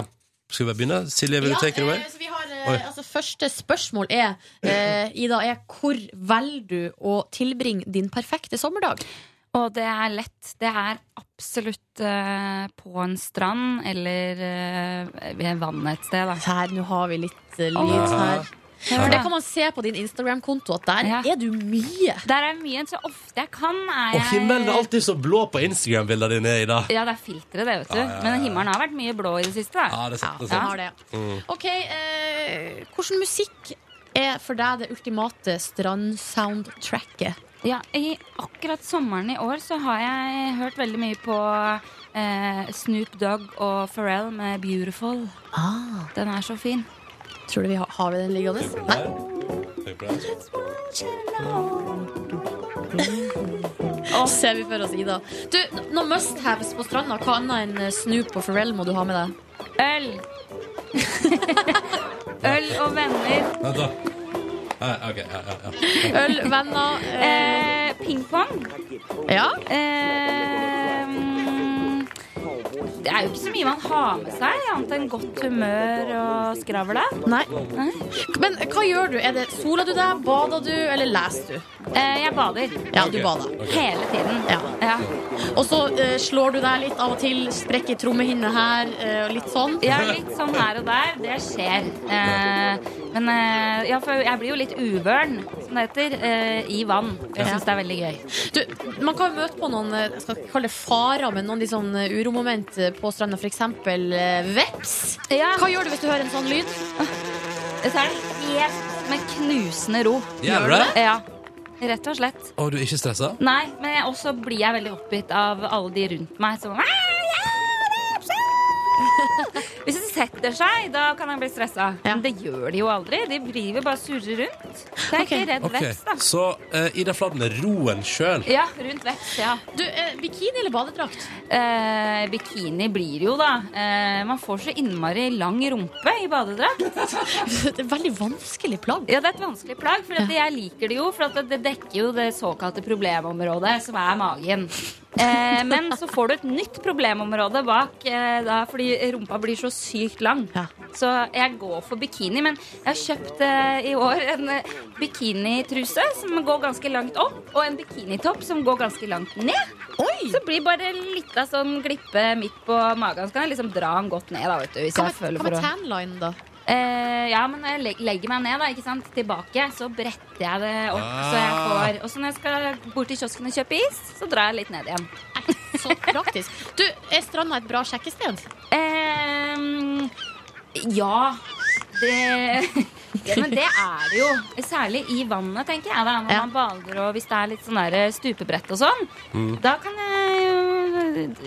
Skal vi bare begynne? Silje, vil du take it away?
eh, så vi har, eh,
Oi.
altså, første spørsmål er, eh, Ida, er hvor velger du å tilbringe din perfekte sommerdag?
Og det er lett. Det er absolutt eh, på en strand eller eh, ved vannet et sted, da.
Her, nå har vi litt eh, lyd her. For det kan man se på din Instagram-konto, at der
Ja.
er du mye.
Der er mye så ofte jeg kan. Er
Og
jeg...
himmelen er alltid så blå på Instagram-bildene dine, Ida.
Ja, det er filteret, det, vet du. Men himmelen har vært mye blå i det siste.
Ja, Mm.
da.
det er sant. Det er
Den
sant.
har det. Ok, eh, hvordan musikk er for deg det ultimate strandsoundtracket?
Ja, i Akkurat sommeren i år så har jeg hørt veldig mye på eh, Snoop Dogg og Pharrell med 'Beautiful'.
Ah,
Den er så fin.
tror du vi har, har vi den liggende? Nei. Ser vi for oss, Ida. Du, noen must-haves på stranda. Hva annet enn eh, Snoop og Pharrell må du ha med deg?
Øl! Øl og venner.
Vent, da. Nei, ok, ja, ja, ja.
Øl, venner eh,
Eh, Pingpong.
Ja?
Eh, mm, det er jo ikke så mye man har med seg, annet enn godt humør og skravla.
Nei. Men hva gjør du? Er det Soler du deg? Bader du? Eller leser du?
Eh, jeg bader
Ja, du bader.
hele tiden.
Ja.
Ja.
Og så eh, slår du deg litt av og til. Sprekker trommehinne her eh, og litt sånn.
Ja, litt sånn her og der. Det skjer. Eh, Men eh, ja, for jeg blir jo litt uvøren, som det heter, eh, i vann. Jeg syns det er veldig gøy.
Du, man kan jo møte på noen eh, jeg skal ikke kalle det farer, men noen litt sånn eh, uromoment eh, på stranda, f.eks. veps. Hva gjør du hvis du hører en sånn lyd?
Eh, Så er det helt med knusende ro.
Gjør du det?
Ja. Rett og slett.
Å, du er ikke stressa?
Nei, men jeg- også blir jeg veldig oppgitt av alle de rundt meg som «Æ, ja, det er så!» [laughs] Hvis det setter seg, da kan jeg bli stressa.
Ja.
Men det gjør de jo aldri. De driver bare og surrer rundt. Så jeg er
Ok.
ikke redd
Ok,
veps, da.
Så uh, Ida Fladen er roen sjøl.
Ja, rundt veps, ja.
Du, eh, Bikini eller badedrakt?
Eh, bikini blir det jo, da. Eh, man får så innmari lang rumpe i badedrakt.
[laughs] Det er et veldig vanskelig plagg.
Ja, det er et vanskelig plagg, for at jeg liker det jo. For at det dekker jo det såkalte problemområdet, som er magen. Eh, men så får du et nytt problemområde bak, eh, da, fordi rumpa blir så sykt lang.
Ja.
Så jeg går for bikini, men jeg har kjøpt eh, i år en eh, bikinitruse som går ganske langt opp, og en bikinitopp som går ganske langt ned. Så blir bare litt av sånn glippe midt på magen. Så kan jeg liksom dra den godt ned, da, vet du. Hvis
Hva
jeg
med,
føler
hva med
for å
tanline, da?
Eh, ja, men når jeg leg- legger meg ned da, ikke sant, tilbake, så bretter jeg det opp. eh, Så jeg får, og så når jeg skal bort til kiosken og kjøpe is, så drar jeg litt ned igjen.
Nei, Så praktisk. Du, er stranda et bra sjekkested?
Ehm, ja, det, det Men det er det jo. Særlig i vannet, tenker jeg. Da, når
Ja.
man bader og hvis det er litt sånn der stupebrett og sånn.
Mm.
Da kan jeg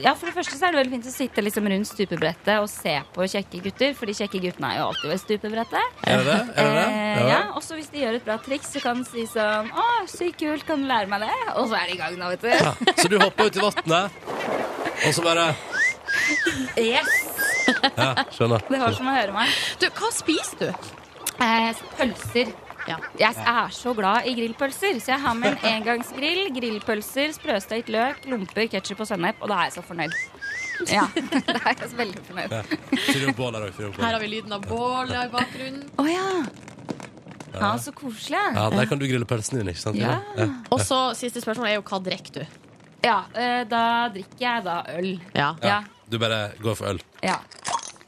Ja, for det første så er det veldig fint å sitte liksom rundt stupebrettet og se på kjekke gutter. For de kjekke guttene er jo alltid ved stupebrettet.
Er det det? Er det det?
Eh,
Ja.
ja, også hvis de gjør et bra triks, så kan de si sånn Å, sykt kult, kan du lære meg det? Og så er de i gang nå, vet du.
Ja, Så du hopper ut i vannet, og så bare
Yes!
Ja, skjønner.
Det var som å høre meg.
Du, hva spiser du?
Eh, pølser.
Ja.
Jeg er så glad i grillpølser, så jeg har med en engangsgrill, grillpølser, sprøstekt løk, lomper, ketsjup og sennep, og da er jeg så fornøyd.
[laughs]
Ja, da er jeg så veldig fornøyd. Å
Fyr opp bål her òg.
Her har vi lyden av bålet i bakgrunnen.
ja. Ja, så koselig.
Ja, der kan du grille pølsen din, ikke sant? Ida? Ja.
Og så siste spørsmål er jo hva drikker du?
Ja, eh, da drikker jeg da øl.
Ja.
Ja.
Ja.
Du bare går for øl.
ja.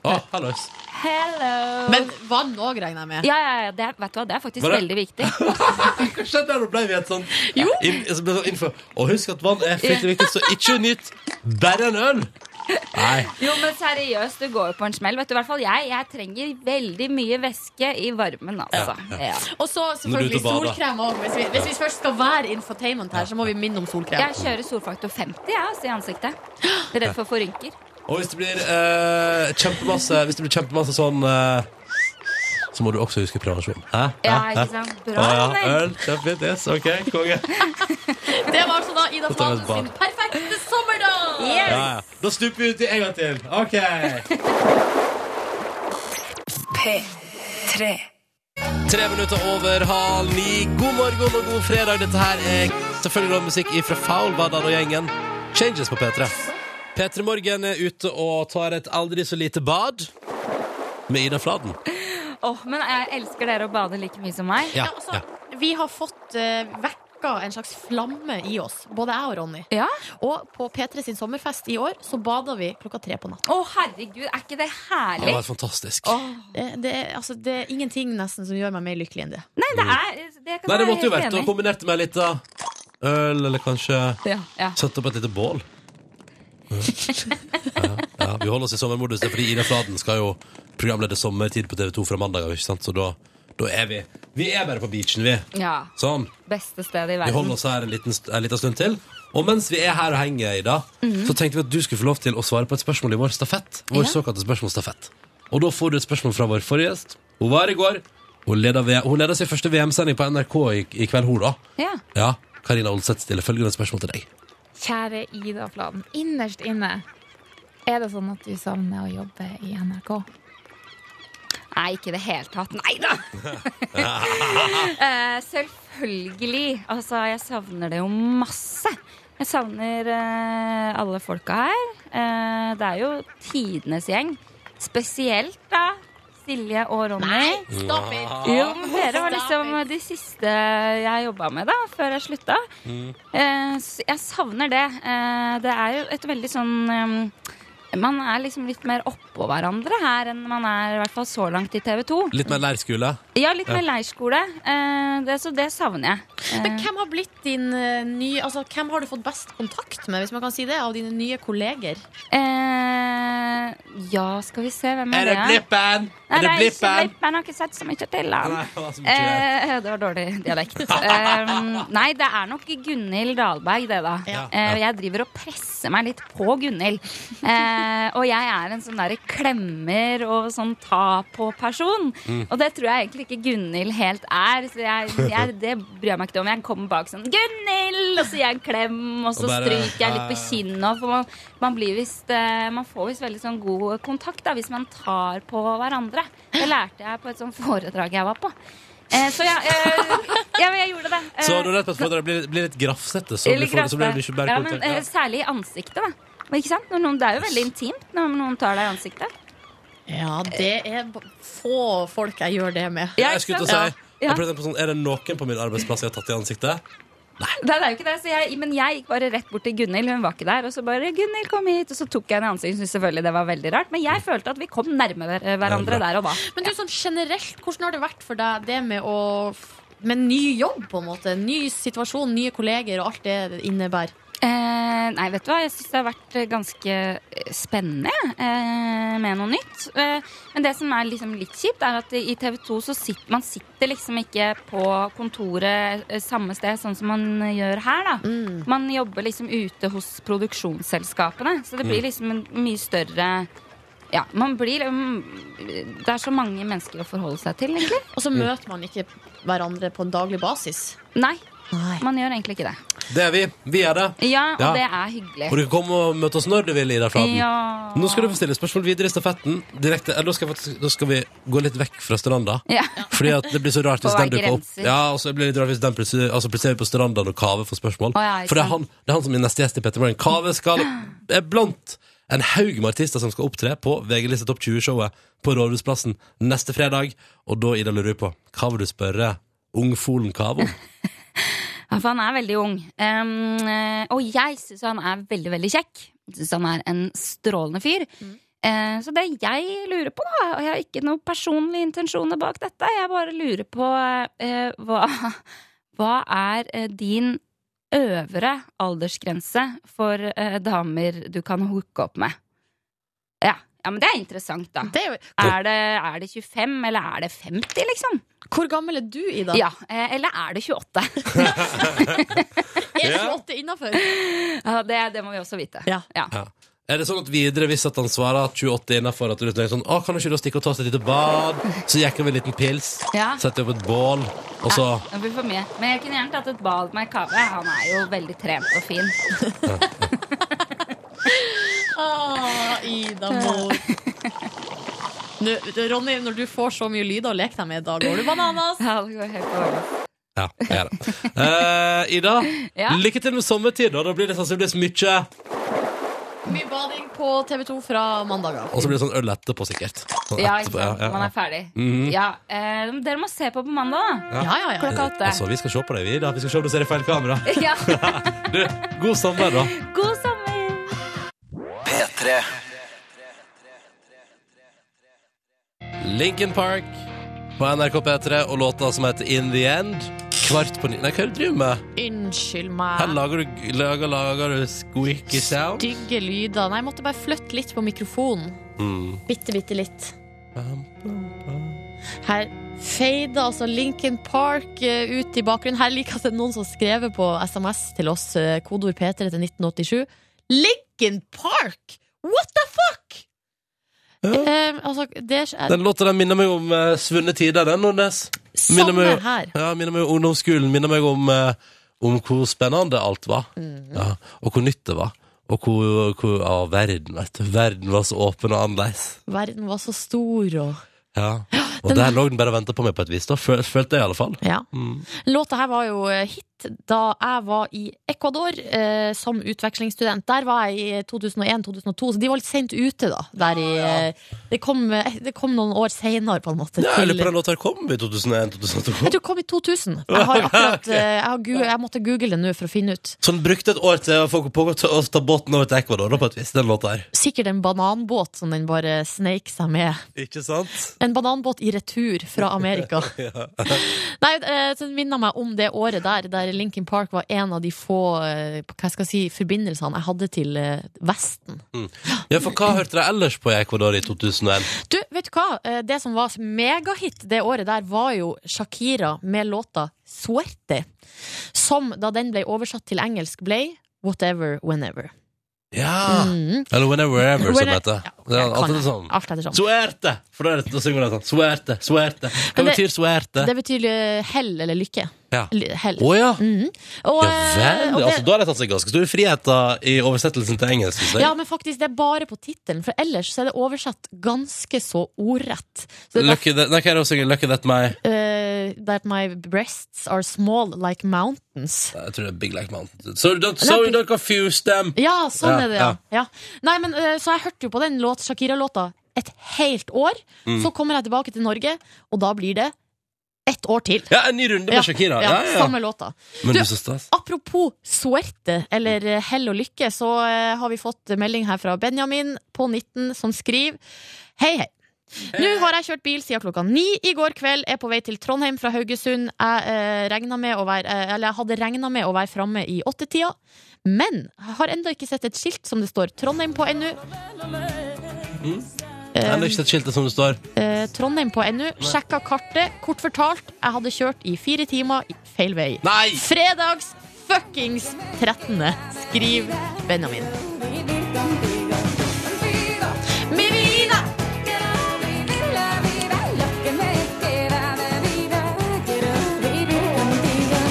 Å, hallois.
Hello!
Men vann òg, regner jeg med.
ja, ja, ja, det, er- vet du hva, det er faktisk
Var det-
veldig viktig.
[laughs] Hva skjedde her? Nå ble vi helt sånn inn, så ble det sånn innenfor. Og husk at vann er fryktelig viktig, så ikke nytt bare en øl. Nei.
Jo, men seriøst, du går jo på en smell. Vet du, i hvert fall jeg, jeg trenger veldig mye væske i varmen, altså. Ja.
Og så
Når du er ute
selvfølgelig
og bader.
solkrem òg. Hvis, vi- hvis vi først skal være infotainment her, så må vi minne om solkrem.
Jeg kjører solfaktor 50 jeg, altså, i ansiktet. Redd for å få rynker.
Og hvis det blir eh, kjempemasse Hvis det blir kjempemasse sånn eh, Så må du også huske prevensjon. Hæ?
Ja,
Hæ?
ikke sant?
Å,
Bra,
ja.
Daniel.
Øl, kjempefint. Yes, OK, konge.
[laughs] Det var altså da Ida
Da tar vi
Fladen
et
sin
bad.
perfekte sommerdag!
Ja, ja. Da stuper vi uti en gang til. OK.
P3.
Tre minutter over halv ni. God morgen og god fredag. Dette her er selvfølgelig da musikk ifra Faulbadan og gjengen. Changes på P3. P3 Morgen er ute og tar et aldri så lite bad med Ida Fladen.
Åh, men jeg elsker dere å bade like mye som meg.
Ja,
Ja, altså,
ja.
Vi har fått eh, vekka en slags flamme i oss, både jeg og Ronny.
Ja?
Og på P3 sin sommerfest i år så bada vi klokka tre på natta.
Å, herregud, er ikke det
Det
herlig?
var fantastisk.
Åh,
Det, det, er- altså, det er ingenting nesten som gjør meg mer lykkelig enn det.
nei, det er det kan
Nei, det
jeg være
måtte jo
helt
vært å
enig i.
kombinert med litt av øl, eller kanskje
Ja, ja.
satt opp et lite bål. Ja, ja, vi holder oss i sommermodus, det er fordi Ida Fladen skal jo programlede sommertid på TV 2 fra mandag av, ikke sant? Så da, da er vi Vi er bare på beachen, vi.
ja.
Sånn.
Beste stedet i
Vi
verden.
holder oss her en liten, st- en liten stund til. Og mens vi er her og henger, Ida, så tenkte vi at du skulle få lov til å svare på et spørsmål i vår stafett. Vår såkalte spørsmålsstafett. Og da får du et spørsmål fra vår forrige gjest. Hun var her i går. Hun leda, V- hun leda sin første VM-sending på NRK i, i kveld, hun, da.
Ja.
Ja, Karina Olseth stiller følgende spørsmål til deg.
Kjære Ida Fladen, innerst inne, er det sånn at du savner å jobbe i NRK?
Nei, ikke i det hele tatt. Nei da!
[laughs]
Eh, Selvfølgelig. Altså, jeg savner det jo masse. Jeg savner eh, alle folka her. Eh, det er jo tidenes gjeng. Spesielt da Silje og Ronny.
Stopp it!
Jo, men dere var liksom de siste jeg jobba med da, før jeg slutta.
Mm.
Eh, så jeg savner det. Eh, det er jo et veldig sånn eh, Man er liksom litt mer oppå hverandre her enn man er i hvert fall så langt i TV 2.
Litt mer leirskole?
Ja, litt mer leirskole. Eh, det, så det savner jeg. Eh,
Men hvem har blitt din eh, nye Altså, hvem har du fått best kontakt med, hvis man kan si det, av dine nye kolleger?
eh, ja, skal vi se hvem
Er
er,
det Blippen?
Nei,
Er det
det er ikke
Blippen?
Blippen. Jeg har ikke sett så mye til han.
Nei, det var så mye
Eh, det var dårlig dialekt. Eh, nei, det er nok Gunhild Dahlberg, det, da.
Ja.
Eh, jeg driver og presser meg litt på Gunhild. Eh, og jeg er en sånn derre klemmer og sånn ta-på-person.
Mm.
Og det tror jeg egentlig ikke Gunhild helt er. Så jeg, jeg, det bryr jeg meg ikke om. Jeg kommer bak sånn 'Gunhild!' og så gir jeg en klem, og så
Og bare-
stryker jeg litt på
Ja, ja.
kinnet. og For man, man, blir visst, eh, man får visst veldig sånn god kontakt da, hvis man tar på hverandre. Det lærte jeg på et sånt foredrag jeg var på. Eh, så ja, eh, ja, men jeg gjorde det. Eh,
[laughs] Så når du er på et foredrag blir, blir litt grafsete, så blir,
eller
folk- så blir du
grafse.
ikke bare
ja, men,
kontakt.
eh,
Ja.
Særlig i ansiktet, da. Men Ikke sant? Når noen, det er jo veldig intimt når noen tar deg i ansiktet.
Ja, det er b- få folk jeg gjør det med.
Jeg skulle til å si
Ja.
jeg prøvde på sånn, Er det noen på min arbeidsplass jeg har tatt i ansiktet?
Nei, det er jo ikke det, så jeg, Men jeg gikk bare rett bort til Gunhild, hun var ikke der. Og så bare 'Gunhild, kom hit', og så tok jeg henne i ansiktet. Hun syntes selvfølgelig det var veldig rart, men jeg følte at vi kom nærmere hverandre der og da.
Men du, sånn generelt, hvordan har det vært for deg det med å f- Med ny jobb, på en måte? Ny situasjon, nye kolleger og alt det det innebærer?
Eh, nei, vet du hva? Jeg syns det har vært eh, ganske eh, spennende jeg, eh, med noe nytt. Eh, men det som er liksom litt kjipt, er at i TV 2 så sitter man sitter liksom ikke på kontoret eh, samme sted, sånn som man gjør her, da.
Mm.
Man jobber liksom ute hos produksjonsselskapene, så det
Mm.
blir liksom en mye større ja, man blir mm, Det er så mange mennesker å forholde seg til, egentlig.
Og så møter man ikke hverandre på en daglig basis.
Nei. Man gjør egentlig ikke det.
Det er vi. Vi er det.
Ja, og
Ja.
det er hyggelig.
Og du kan komme og møte oss når du vil, Ida Fladen.
Ja.
Nå skal du få stille spørsmål videre i stafetten. Direkte, eller, nå, skal jeg faktisk, nå skal vi gå litt vekk fra stranda.
Ja.
Fordi at det blir så rart
På
hvis
hver
den dukker opp.
grenser.
Ja, og så blir det litt rart hvis den plutselig altså plutselig er vi på stranda når Kave får spørsmål.
Å, ja, ikke
For det er, han,
sant.
det er han som er neste gjest i Petter Morgen. Kave
[gasps]
skal er blant en haug med artister som skal opptre på VG-lista Topp 20-showet på Rådhusplassen neste fredag. Og da, Ida, lurer vi på hva vil du spørre ungfolen Kave om?
Ja, for han er veldig ung. Em, eh, og jeg syns han er veldig, veldig kjekk. Jeg Syns han er en strålende fyr.
Mm.
Eh, så det jeg lurer på, da, og jeg har ikke noen personlige intensjoner bak dette, jeg bare lurer på eh, hva, hva er eh, din øvre aldersgrense for eh, damer du kan hooke opp med? Ja. ja, men det er interessant, da. er, det, er det 25, eller er det 50, liksom?
Hvor gammel er du, Ida?
Ja, eh, Eller er det 28?
Er
Ja.
28 innafor?
Ja, det, det må vi også vite. Ja.
Ja. Er det sånn at videre, hvis at han svarer at 28 innafor, at du tenker sånn Å, kan du ikke da stikke og ta seg et lite bad? Så jekker vi en liten pils,
Ja.
setter opp et bål, og så
Det blir for mye. Men jeg kunne gjerne tatt et bad med Kaveh. Han er jo veldig trent og fin.
Ah,
[laughs]
Ida mor. Nå, Ronny, når du får så mye lyd å leke deg med, da går du bananas.
Ja, det går helt bananas.
Ja, jeg gjør det. Eh, Ida,
Ja.
lykke til med sommertid, da. Da blir det sannsynligvis mye.
Mye bading på TV2 fra mandag av.
Og så blir det sånn øl etterpå, sikkert. Sånn
Ja,
etterpå,
ikke sant.
ja, ja,
Man
ja.
er ferdig.
Mhm.
Ja, eh, Dere må se på på mandag, da. Klokka åtte.
Altså, vi skal se på deg, vi, Ida. Vi skal se om du ser i feil kamera.
[laughs] Ja.
Du, god sommer, da.
God sommer!
P3.
Linkin Park på NRK P3 og låta som heter In The End. Kvart på ni Nei, hva er det du driver med?
Unnskyld
Her
meg.
lager du, lager, lager du squeaky sound.
Stygge lyder. Nei, jeg måtte bare flytte litt på mikrofonen.
Mm.
Bitte, bitte litt. Her fader altså Lincoln Park eh, ut i bakgrunnen. Her liker jeg at det er noen som har skrevet på SMS til oss, eh, kodeord P3 til 1987. Lincoln Park! What the fuck?! Eh, altså, det er
Den låta der minner meg om eh, svunne tider, den, Nordnes. Minner meg-
Samme her.
Ja, minner meg om ungdomsskolen. Minner meg om, eh, om hvor spennende alt var.
Mm.
Ja, og hvor nytt det var. Og hvor, hvor ja, verden, vet du. Verden var så åpen og annerledes.
Verden var så stor og
Ja. Og der lå den bare og venta på meg på et vis, da. Føl- Følte jeg i alle fall.
Ja.
Mm.
Låta her var jo eh, hit mitt da jeg var i Ecuador eh, som utvekslingsstudent. Der var jeg i 2001-2002, så de var litt sent ute da. Der i, eh, det, kom, eh, det kom noen år senere, på en måte.
Ja, jeg
til-
lurer på den låta her kom i 2001-2002.
jeg tror det kom i 2000. Jeg,
[laughs]
har akkurat, eh, jeg, har gu- jeg måtte google det nå for å finne ut.
Så den brukte Sånn et år til å få på å ta båten over til Ecuador, da, på et vis, den låta her.
Sikkert en bananbåt som den bare sneik seg med.
Ikke sant?
En bananbåt i retur fra Amerika.
[laughs] Ja.
Nei, eh, så den minner meg om det året der, der Linkin Park var en av de få eh, hva skal jeg si, forbindelsene jeg hadde til eh, Vesten.
Mm. ja, for hva hørte dere ellers på i Ecuador i 2001?
Du, vet du hva? Eh, Det som var megahit det året der, var jo Shakira med låta 'Suerte', som da den ble oversatt til engelsk, ble 'Whatever Whenever'.
Ja!
Mm.
Eller Whenever Ever, som
Whenever-
det heter. Det er alltid sånn.
Alt etter sånn.
Suerte! For da, er det, da synger man sånn. Suerte, suerte. Hva
Men det-
betyr suerte?
Det betyr eh, hell eller lykke.
Ja.
L- Hell.
Å ja.
Mhm. Og,
Ja
eh,
vel.
og
Altså,
det-
da har de tatt seg ganske store friheter i oversettelsen til engelsk. synes jeg.
Ja, men faktisk, det er bare på tittelen, for ellers så er det oversatt ganske så ordrett. Så det er
Lucky that, nei, hva er det hun synger? Lucky that my
eh, that my breasts are small like mountains.
Jeg tror det er Big Like Mountain. So you don't, so you don't confuse them!
Ja, sånn
Ja,
er det, ja.
ja.
ja. Nei, men eh, Så jeg hørte jo på den låt, Shakira-låta et helt år.
Mm.
Så kommer jeg tilbake til Norge, og da blir det ett år til.
Ja, en ny runde med Shakira. Ja, ja,
Samme låta.
Men
Du- ah.
du, så stas.
Apropos suerte, eller eh, hell og lykke, så eh, har vi fått melding her fra Benjamin på 19 som skriver Hei, hei. Nå har jeg kjørt bil siden klokka ni i går kveld, er på vei til Trondheim fra Haugesund. Jeg, eh, regnet med å være, eh, eller jeg hadde regna med å være framme i åttetida, men jeg har ennå ikke sett et skilt som det står Trondheim på ennå.
Mm. Jeg har ikke sett skiltet som det står.
Eh, Trondheim på NU. Sjekka kartet. Kort fortalt, jeg hadde kjørt i fire timer i feil vei.
Nei!
Fredags fuckings 13. Skriv Benjamin. Mi vida.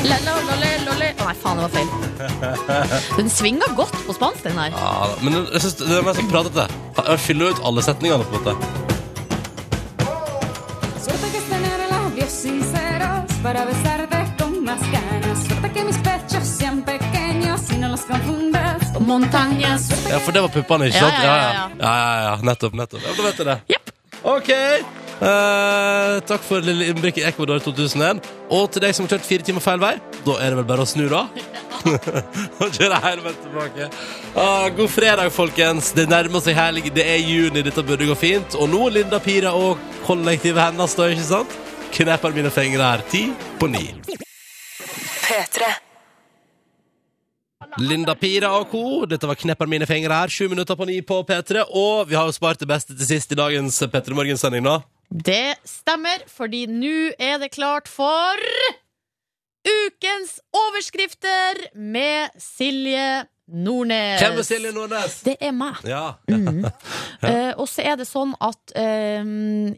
La, la, la, la, la, la. Å, Nei, faen, det var feil. Den svinga godt på spansk, den der.
Ja, men jeg synes det er mest pratete. Jeg fyller ut alle setningene, på en måte.
Montañas.
Ja, For det var puppene, ikke
Ja,
sant?
ja, ja,
ja. ja, ja, ja. Nettopp. nettopp. Ja, Da vet jeg det.
Jepp.
OK. Eh, takk for lille innblikk i Ecuador 2001. Og til deg som har kjørt fire timer feil vei, da er det vel bare å snu, da. [laughs] Og kjøre hele veien tilbake. Ah, god fredag, folkens. Det nærmer seg helg. Det er juni. Dette burde gå fint. Og nå Linda Pira og kollektivet hennes, da, ikke sant? Knepper mine fingre her. Ti på ni. Linda Pira og co. Dette var Knepper mine fingre her. Sju minutter på ni på P3. Og vi har jo spart det beste til sist i dagens P3 Morgen-sending, da.
Det stemmer, fordi nå er det klart for Ukens overskrifter med Silje Nordnes.
Hvem er Silje Nordnes?
Det er meg.
[laughs] Ja.
Eh, og så er det sånn at eh,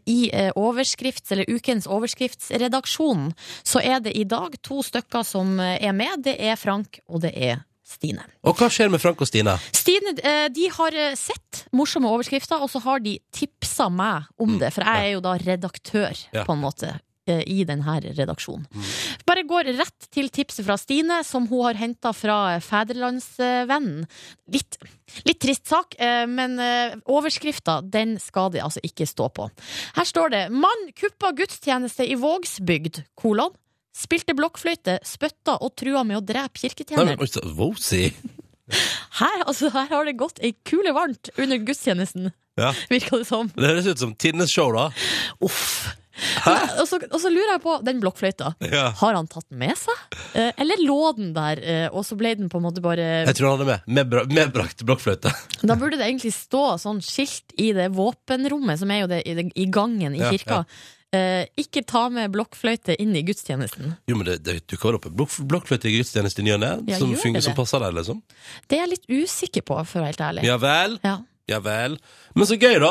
i eh, overskrifts- eller ukens overskriftsredaksjon, så er det i dag to stykker som eh, er med. Det er Frank, og det er Stine.
Og hva skjer med Frank og Stine?
Stine, eh, de har eh, sett morsomme overskrifter, og så har de tipsa meg om det, for jeg er jo da redaktør,
Mm. Ja.
på en måte. eh, I denne redaksjonen.
Mm.
Bare går rett til tipset fra Stine, som hun har henta fra eh, Fædrelandsvennen. Litt, litt trist sak, eh, men eh, overskrifta den skal de altså ikke stå på. Her står det 'Mann kuppa gudstjeneste i Vågsbygd', kolon. Spilte blokkfløyte, spytta og trua med å drepe
Nei, men,
kirketjeneren.
oi, så- Wosi.
Her, altså, her har det gått ei kule varmt under gudstjenesten,
Ja.
[laughs] virka det som.
Det høres ut som tidenes show, da.
Uff. eh, Og så, og så lurer jeg på den blokkfløyta.
Ja.
Har han tatt den med seg? Eh, eller lå den der, eh, og så ble den på en måte bare
Jeg tror han er med. Medbra medbrakt blokkfløyte.
Da burde det egentlig stå sånn skilt i det våpenrommet, som er jo det i, det, i gangen i
Ja,
kirka. Eh, ikke ta med blokkfløyte inn i gudstjenesten.
Jo, men det, det dukker opp en blokk, blokkfløyte i gudstjeneste i ny og ne,
Ja,
som,
gjør det
fungerer- som
det?
passer deg, liksom.
Det er jeg litt usikker på, for å være helt ærlig.
Ja vel.
Ja.
Ja vel. Men så gøy, da.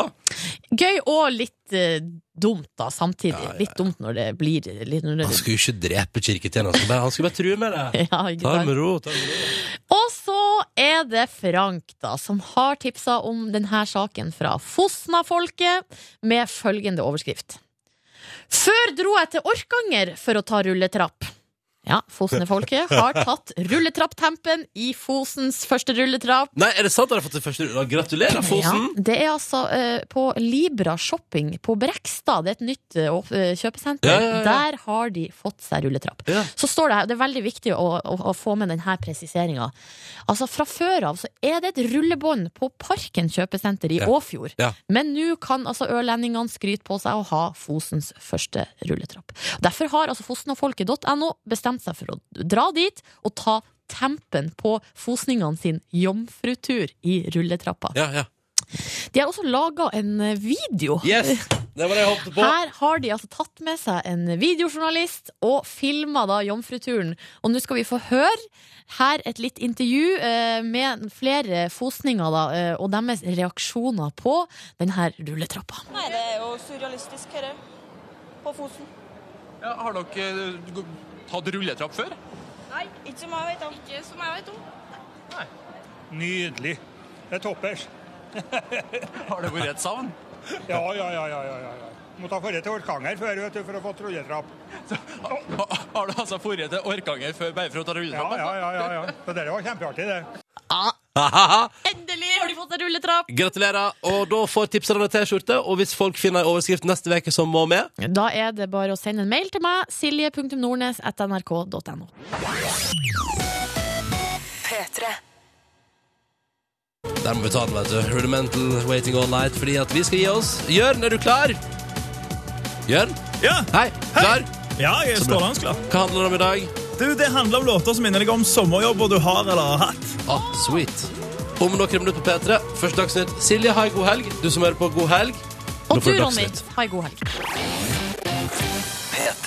Gøy og litt eh, dumt, da, samtidig.
Ja, ja,
Litt dumt når det blir litt, når det,
Han skulle jo ikke drepe kirketjeneren, han skulle bare- han skulle bare true med det.
[laughs] ja, ikke
Ta det
sant?
med ro. ta det med ro.
Og så er det Frank da, som har tipsa om denne saken fra Fosna-folket, med følgende overskrift. Før dro jeg til Orkanger for å ta rulletrapp. Ja, Fosne-folket har tatt rulletrapptempen i Fosens første rulletrapp.
Nei, er det sant at dere har fått sin første rulle? Gratulerer, Fosen!
Ja, det er altså eh, på Libra Shopping på Brekstad, det er et nytt eh, åp- eh, kjøpesenter.
Ja, ja, ja.
Der har de fått seg rulletrapp.
Ja.
Så står det her, og det er veldig viktig å, å, å få med denne presiseringa. Altså, fra før av så er det et rullebånd på Parken kjøpesenter i
Ja.
Åfjord.
Ja.
Men nå kan altså ørlendingene skryte på seg å ha Fosens første rulletrapp. Derfor har altså fosnafolket.no bestemt seg for å dra dit og ta tempen på fosningene sin jomfrutur i rulletrappa.
Ja, ja.
De har også laga en eh, video. [laughs]
Yes! Det var det jeg håpte på.
Her har de altså tatt med seg en videojournalist og filma da jomfruturen. Og nå skal vi få høre her et litt intervju eh, med flere fosninger da, eh, og deres reaksjoner på denne rulletrappa.
Nei, det er jo surrealistisk her på Fosen.
Ja, har dere eh, tatt rulletrapp før?
Nei, ikke som jeg vet om. Ikke som jeg vet om.
Nydelig. Det er toppers.
[laughs] Har det vært et savn?
Ja, ja, ja. ja, ja, ja. Måtte ha vært til Orkanger før vet du, for å få rulletrapp.
[laughs] Har du altså forrige til Orkanger før bare for å ta
Ja,
rulletrapp?
ja, ja. ja, ja. Så det var kjempeartig, det.
Endelig har de fått seg rulletrapp!
Gratulerer. Og da får tipserne T-skjorte. Og hvis folk finner en overskrift neste uke som må med
Da er det bare å sende en mail til meg, silje.nordnes.nrk.no.
Der må vi ta den, vet du. Rudimental Waiting All Night, fordi at vi skal gi oss. Jørn, er du klar? Jørn?
Ja.
Hei. Klar?
Ja, jeg er
Så bra.
strålende klar.
Hva handler det om i dag?
Du, Det handler om låter som minner deg om sommerjobber du har eller har hatt.
Ah, sweet. Om noen minutter på P3. Først Dagsnytt. Silje, ha en god helg. Du som hører på, god helg.
Og
Nå får
du,
du
Ronny,
Dagsnytt.
ha ei god helg.
P3.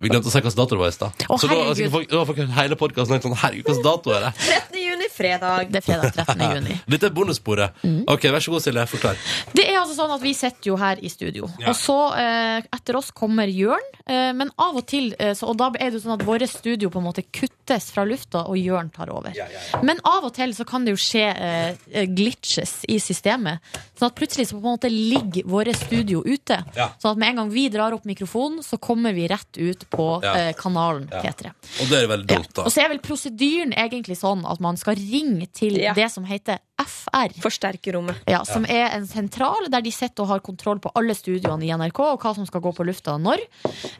Vi glemte å si hvilken dato det var i stad.
Å,
Så da har
herregud.
sikkert folk, da har folk hørt hele podkasten sånn Herregud, hvilken dato er det?
13. juni, fredag.
Det er fredag 13. juni.
[laughs] Dette er bonussporet.
Mm.
Ok, vær så god, Silje. Forklar.
Det er altså sånn at Vi sitter jo her i studio,
Ja.
og så eh, etter oss kommer Jørn. Eh, men av og til eh, så, Og da er det jo sånn at våre studio på en måte kuttes fra lufta, og Jørn tar over. Men av og til så kan det jo skje eh, eh, glitches i systemet. Sånn at plutselig så på en måte ligger våre studio ute.
Ja.
Sånn at med en gang vi drar opp mikrofonen, så kommer vi rett ut på
Ja.
eh, kanalen
Ja.
P3.
Og det er veldig dumt, da.
Og så er vel prosedyren egentlig sånn at man skal ringe til
Ja.
det som heter FR.
Forsterkerrommet.
Ja, som er en sentral der de sitter og har kontroll på alle studioene i NRK og hva som skal gå på lufta og når.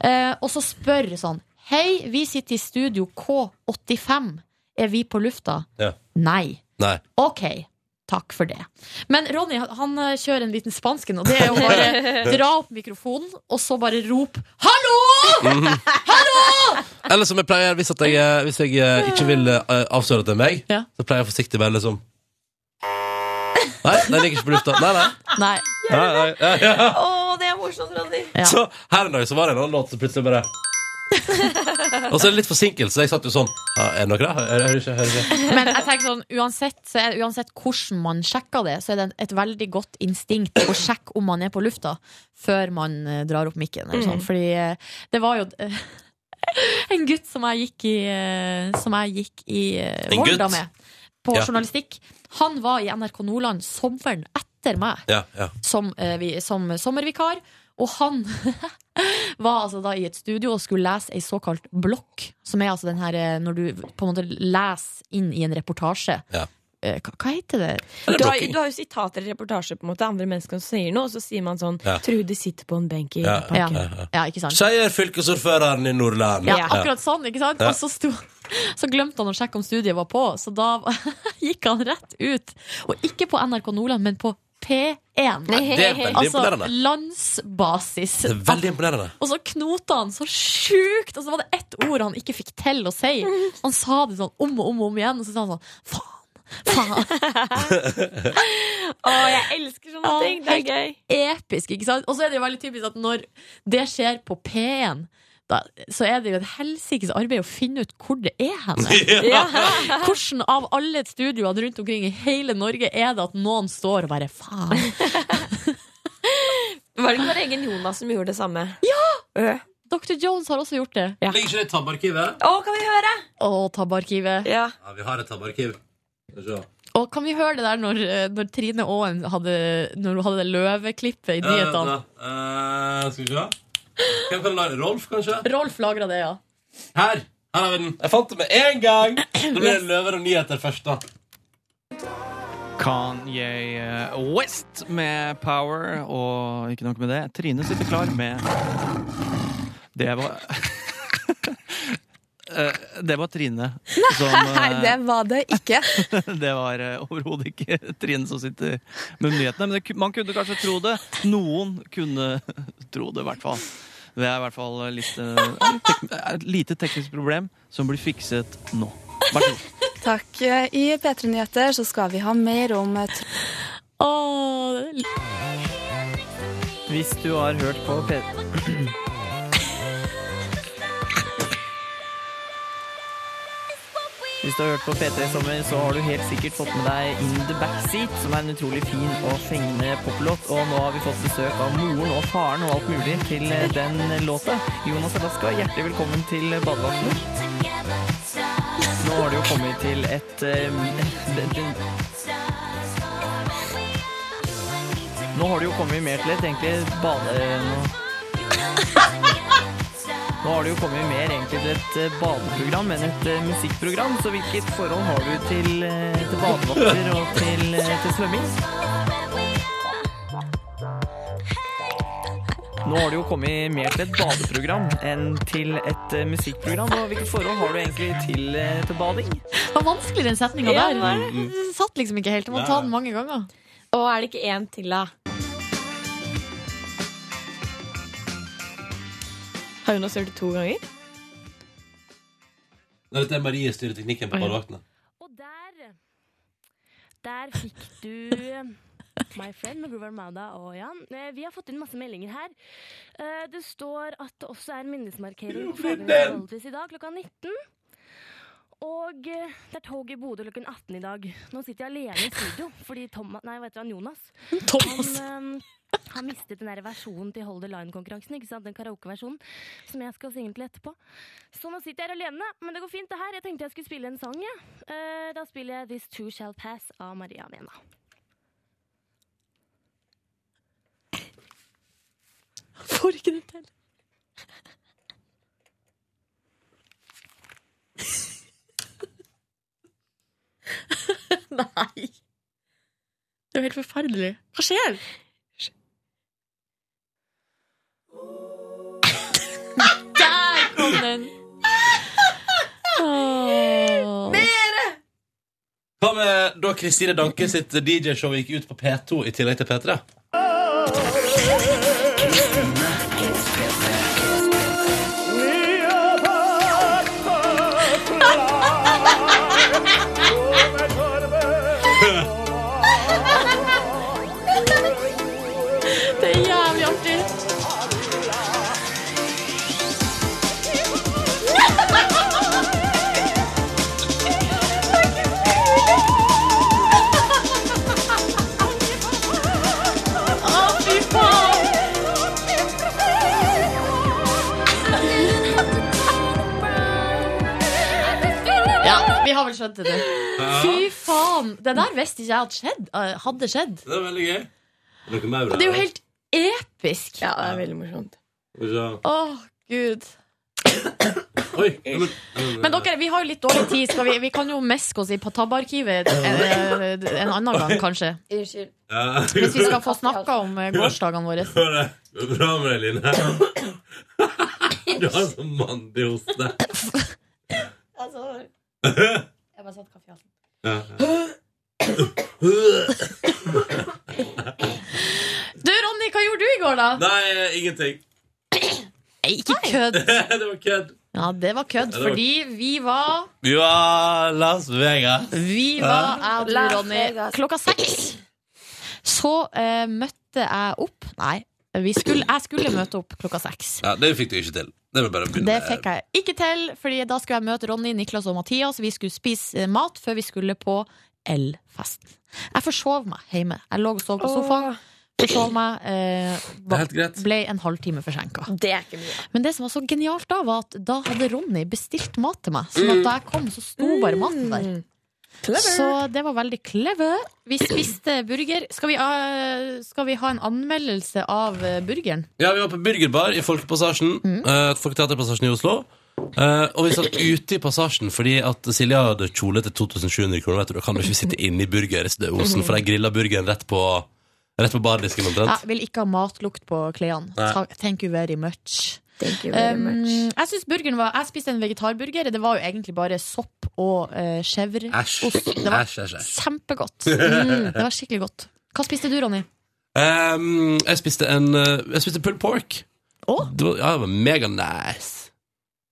Eh, og så spør sånn Hei, vi sitter i studio K85. Er vi på lufta?
Ja.
Nei.
Nei.
Ok. Takk for det. Men Ronny han- han eh, kjører en liten spansken, og det er jo
[laughs]
bare dra opp mikrofonen og så bare rop
Mhm.
'hallo!'
Eller som jeg pleier, hvis, at jeg, eh, hvis jeg eh, ikke vil eh, avsløre at det er meg, så pleier jeg forsiktig å være liksom Nei, den ligger ikke på lufta. Nei, nei.
Nei.
nei, nei. Ja,
Å,
ja.
det er morsomt, Ronny.
Så her en dag så var det en annen låt som plutselig bare Og så er det litt forsinkelse. Jeg satt jo sånn ja, Er det noe der? Hører, hører ikke, hører ikke.
[laughs] Men jeg tenker sånn, uansett, så er, uansett hvordan man sjekker det, så er det en- et veldig godt instinkt å sjekke om man er på lufta før man eh, drar opp mikken. Eller sånn.
Mm.
Fordi eh, det var jo eh, [laughs] en gutt som jeg gikk i, eh, som jeg gikk i eh,
En
Volda
gutt?
med, på
Ja.
journalistikk. Han var i NRK Nordland sommeren etter meg
Ja, ja.
som, eh, vi, som sommervikar. Og han [laughs] var altså da i et studio og skulle lese ei såkalt blokk, som er altså den her eh, når du på en måte leser inn i en reportasje. Eh, hva, hva heter det?
Du har, du har jo sitater i reportasje på en måte andre mennesker som sier noe, og så sier man sånn
Ja.
Trude sitter på en benk i
Ja,
parken.
ja, ja.
Ja, ikke sant?
Sier fylkesordføreren i Nordland.
Ja, akkurat sånn, ikke sant?
Ja.
Og så, sto, [laughs] så glemte han å sjekke om studiet var på, så da [laughs] gikk han rett ut. Og ikke på NRK Nordland, men på P1.
Det er veldig
altså
imponerende.
landsbasis.
Det er veldig imponerende.
Og så knota han så sjukt, og så var det ett ord han ikke fikk til å si. Han sa det sånn om og om og om igjen, og så sa han sånn faen.
Å, jeg elsker sånne ting! Det er gøy.
Episk, ikke sant? Og så er det jo veldig typisk at når det skjer på P1 da, så er det jo et helsikes arbeid å finne ut hvor det er henne.
Ja.
Hvordan av alle studioer rundt omkring i hele Norge er det at noen står og bare faen?
Var det ikke vår egen Jonas som gjorde det samme?
Ja! Dr. Jones har også gjort det.
Ligger ikke det i tabbarkivet?
Å, kan vi høre?
Å, tabbearkivet.
Ja, vi har et tabbarkiv. Skal vi se.
Og kan vi høre det der når, eh, når Trine Aaen hadde, når hun hadde det løveklippet i nyhetene?
Eh, eh, Skal vi se. Hvem kan lage Rolf, kanskje?
Rolf lagra det, ja.
Her! Her har vi den. Jeg fant det med en gang! Da blir det løver og nyheter først, da.
Kanye West med Power, og ikke nok med det, Trine sitter klar med Det var [laughs] Eh, Det var Trine
[laughs]
som
Nei,
eh,
det var det ikke.
[laughs] det var eh, overhodet ikke Trine som sitter med nyhetene. Men det, ku- man kunne kanskje tro det. Noen kunne tro det, i hvert fall. Det er i hvert fall litt, eh, tek- eh, et lite teknisk problem som blir fikset nå. Vær så god.
Takk. eh, I P3 Nyheter så skal vi ha mer om eh, tro...
Hvis du har hørt på P... Hvis du har hørt på P3 i sommer, så har du helt sikkert fått med deg In The Backseat, som er en utrolig fin og fengende poplåt. Og nå har vi fått besøk av moren og faren og alt mulig til den låta. Jonas Alaska, hjertelig velkommen til Badevannet. Nå har du jo kommet til et eh, det- det- Nå har du jo kommet mer til et egentlig bade... Nå, nå har du jo kommet mer egentlig til et eh, badeprogram enn et eh, musikkprogram, så hvilket forhold har du til, eh, til badevakter og til, eh, til svømming? Nå har du jo kommet mer til et badeprogram enn til et eh, musikkprogram, og hvilket forhold har du egentlig til, eh, til bading?
Det var vanskelig, den setninga
Ja,
der.
det var det.
Det satt liksom ikke helt. Du må
Nei.
ta den mange ganger.
Og er det ikke én til, da?
Har Jonas gjort det to ganger?
Nei, Dette er Marie styrer teknikken på badevaktene.
Og der Der fikk du My friend med Grover Mauda og Jan. Eh, Vi har fått inn masse meldinger her. Eh, Det står at det også er minnesmarkering på
den!
Forholdsvis i dag klokka 19. Og eh, det er tog i Bodø klokken 18 i dag. Nå sitter jeg alene i studio [laughs] fordi Thomas Nei, hva heter
[laughs]
han? Jonas? Han eh, har mistet den der versjonen til Hold the Line-konkurransen. ikke sant? Den karaokeversjonen som jeg skal synge til etterpå. Så nå sitter jeg her alene, men det går fint, det her. Jeg tenkte jeg skulle spille en sang, jeg. Eh, da spiller jeg This Too Shall Pass av Maria Nena.
Får ikke det til. Nei. Det er jo helt forferdelig. Hva skjer? Der kom den!
Mere!
Hva med da Kristine Danke sitt DJ-show gikk ut på P2 i tillegg til P3?
Det er jævlig artig. Å, fy faen!
Oh,
Ja, vi har vel skjønt det. nå.
Ja.
Fy faen! Det der visste ikke jeg hadde skjedd. eh, Hadde skjedd.
Det er veldig gøy. Er dere med,
Og det er jo helt episk. Ja, det er veldig morsomt.
helt
Å, gud.
Oi! ja, Men, ja,
Men dere, vi har jo litt dårlig tid. Skal vi, vi kan jo meske oss i på tabbearkivet en, en annen gang, kanskje.
Unnskyld.
Ja.
Hvis vi skal få snakka om eh, gårsdagene våre.
[laughs] Hør det. Det går bra med deg, Line. Du har så mandig
[laughs]
hoste.
Altså, jeg bare satte kaffe i halsen.
Ja.
Du, Ronny, hva gjorde du i går, da?
Nei, ingenting.
Nei, ikke kødd.
[laughs] det var kødd.
Ja, det var kødd,
Ja, det var-
fordi vi var
Vi var Las Vegas.
Vi var jeg og du,
Las
Ronny.
Vegas.
Klokka seks så eh, møtte jeg opp Nei, vi skulle, jeg skulle møte opp klokka seks.
Ja, det fikk du ikke til. Det var bare å begynne.
Det fikk jeg ikke til, Fordi da skulle jeg møte Ronny, Niklas og Mathias. Vi skulle spise eh, mat før vi skulle på elfesten. Jeg forsov meg hjemme. Jeg lå og sov på sofaen. Forsov meg. Eh,
Det er helt greit.
ble en halvtime forsinka.
Det er ikke mye.
Men det som var så
Mm.
genialt da, var at da hadde Ronny bestilt mat til meg. Sånn at da jeg kom, så sto bare maten der. Så det var veldig clever. Vi spiste burger. Skal vi, eh, skal vi ha en anmeldelse av eh, burgeren?
Ja, vi var på burgerbar i Folkepassasjen.
Mm.
eh, Folketeaterpassasjen i Oslo. Eh, og vi satt ute i passasjen fordi at Silje hadde kjole til 2700 kroner. Vet du, da kan du ikke sitte inne i burgerdosen, for de grilla burgeren rett på, rett på bardisken omtrent.
Jeg vil ikke ha matlukt på klærne.
Nei.
Ta- Thank you very much.
you very
Um, jeg synes burgeren var Jeg spiste en vegetarburger. Det var jo egentlig bare sopp og uh,
Æsj.
chèvreost. Det var
Æsj, æsj, æsj. [laughs]
kjempegodt. Mm, det var skikkelig godt. Hva spiste du, Ronny?
Ehm, jeg spiste en eh, Jeg spiste pulled pork. Det var, ja, det var mega nice.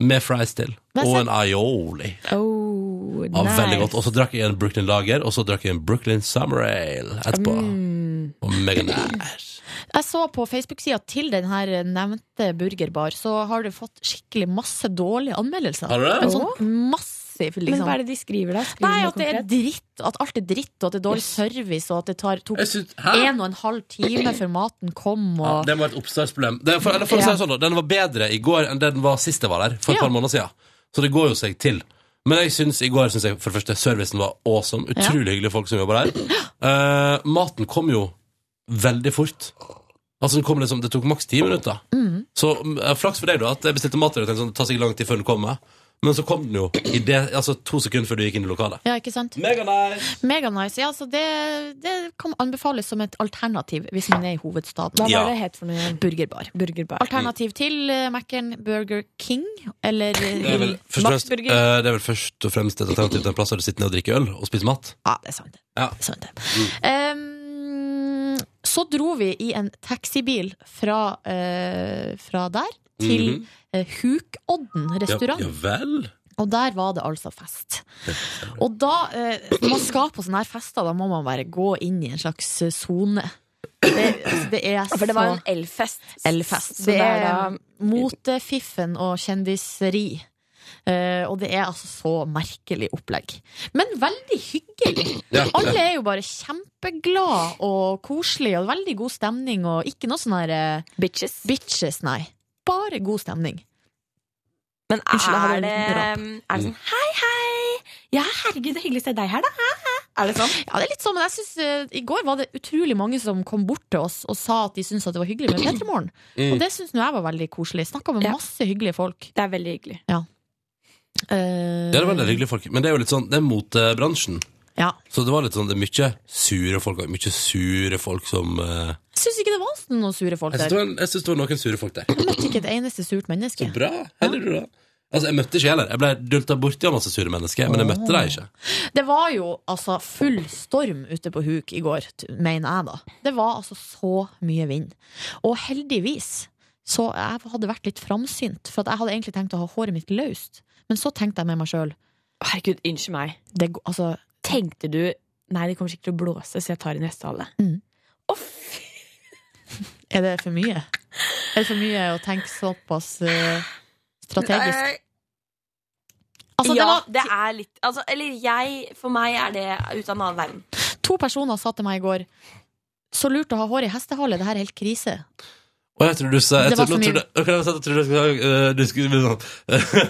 Med fries til.
Hva
Og
sa-
en aioli.
Oh,
Ja, Veldig godt. Og så drakk jeg en Brooklyn Lager, og så drakk jeg en Brooklyn Summer Ale etterpå.
Mm.
Og mega nice.
Jeg så på Facebook-sida til den her eh, nevnte burgerbar, så har du fått skikkelig masse dårlige anmeldelser.
Har du det?
En sånn massiv, liksom.
Men hva er det de skriver da? Skriver
Nei,
de noe
at det er
konkret?
dritt, at alt er dritt, og at det er dårlig service, og at det tar, tok en og en halv time før maten kom, og
Ja, det var et oppstartsproblem. Det, for, eller for å si
Ja.
det sånn, da, den var bedre i går enn det den var sist jeg var der, for et
Ja.
par måneder siden. Så det går jo seg til. Men jeg synes, i går syns jeg for det første servicen var awesome. Utrolig hyggelige folk som jobber der. Eh, maten kom jo veldig fort. Altså den kom liksom, Det tok maks ti minutter.
Mm.
Så eh, flaks for deg, da, at jeg bestilte mat til deg. og tenkte Sånn, det tar sikkert lang tid før den kommer. Men så kom den jo i det, altså to sekunder før du gikk inn i lokalet.
Ja, ikke sant?
Mega nice.
Ja, så det, det kan anbefales som et alternativ hvis man er i hovedstaden.
Hva var Ja. det
het for noe? Burgerbar. Alternativ til uh, Mac-en Burger King eller eh,
Det er vel først og fremst,
Maxburger.
eh, det er vel først og fremst et alternativ til en plass der du sitter ned og drikker øl og spiser mat.
Ja, det er sant.
Ja. Mm.
Ehm, så dro vi i en taxibil fra, eh, fra der til
Mhm.
eh, Hukodden Mm, restaurant.
Ja, ja vel.
Og der var det altså fest. Og da, eh, når man skal på sånne her fester, da må man bare gå inn i en slags eh, sone. Det, altså, det er så
For det var en elfest.
Elfest.
Så
Det
det er
er
da-
motefiffen og kjendiseri. Eh, og det er altså så merkelig opplegg. Men veldig hyggelig.
Ja.
Alle er jo bare kjempeglad og koselig og veldig god stemning. Og ikke noe sånn her eh,
Bitches.
nei. Bare god stemning.
Men
Unnskyld, jeg
er
hadde en
det, er
liten rap.
det sånn Hei, hei! Ja, herregud, det er hyggelig å se deg her, da. Hæ, hæ?» Er det sånn?
Ja, det er litt sånn, men jeg synes, eh, I går var det utrolig mange som kom bort til oss og sa at de syntes at det var hyggelig med P3morgen.
Mm.
Og det syns nå jeg var veldig koselig. Snakka med masse hyggelige folk.
Det er veldig hyggelig.
Ja. Eh,
Ja, det var en del hyggelige folk. Men det er jo litt sånn, det er motebransjen.
Ja.
Så det var litt sånn, det er mye sure folk og mye sure folk som eh,
jeg syns ikke det var noen sure folk
Jeg syns
der.
det, var en- jeg synes det var noen sure folk der.
Jeg møtte ikke et eneste surt menneske.
Så bra. Heller du, da. Altså, jeg møtte ikke heller. Jeg ble dulta borti av masse sure mennesker, men jeg møtte deg ikke.
Det var jo altså full storm ute på huk i går, t- mener jeg da. Det var altså så mye vind. Og heldigvis så jeg hadde vært litt framsynt, for at jeg hadde egentlig tenkt å ha håret mitt løst. Men så tenkte jeg med meg sjøl
Herregud, unnskyld meg.
Det, går- altså,
Tenkte du Nei, det kommer sikkert til å blåse, så jeg tar en hestehale.
Mm. er det for mye? Er det for mye å tenke såpass eh, strategisk?
Eh,
Altså, det
ja,
var-
det er litt altså, Eller jeg For meg er det ut av en annen verden.
To personer sa til meg i går så lurt å ha håret i hestehale, det her er helt krise.
Og jeg tror du sa jeg
Det var
tror, nå
for mye.
trodde, ok, jeg trodde jeg skulle, eh, du skulle bli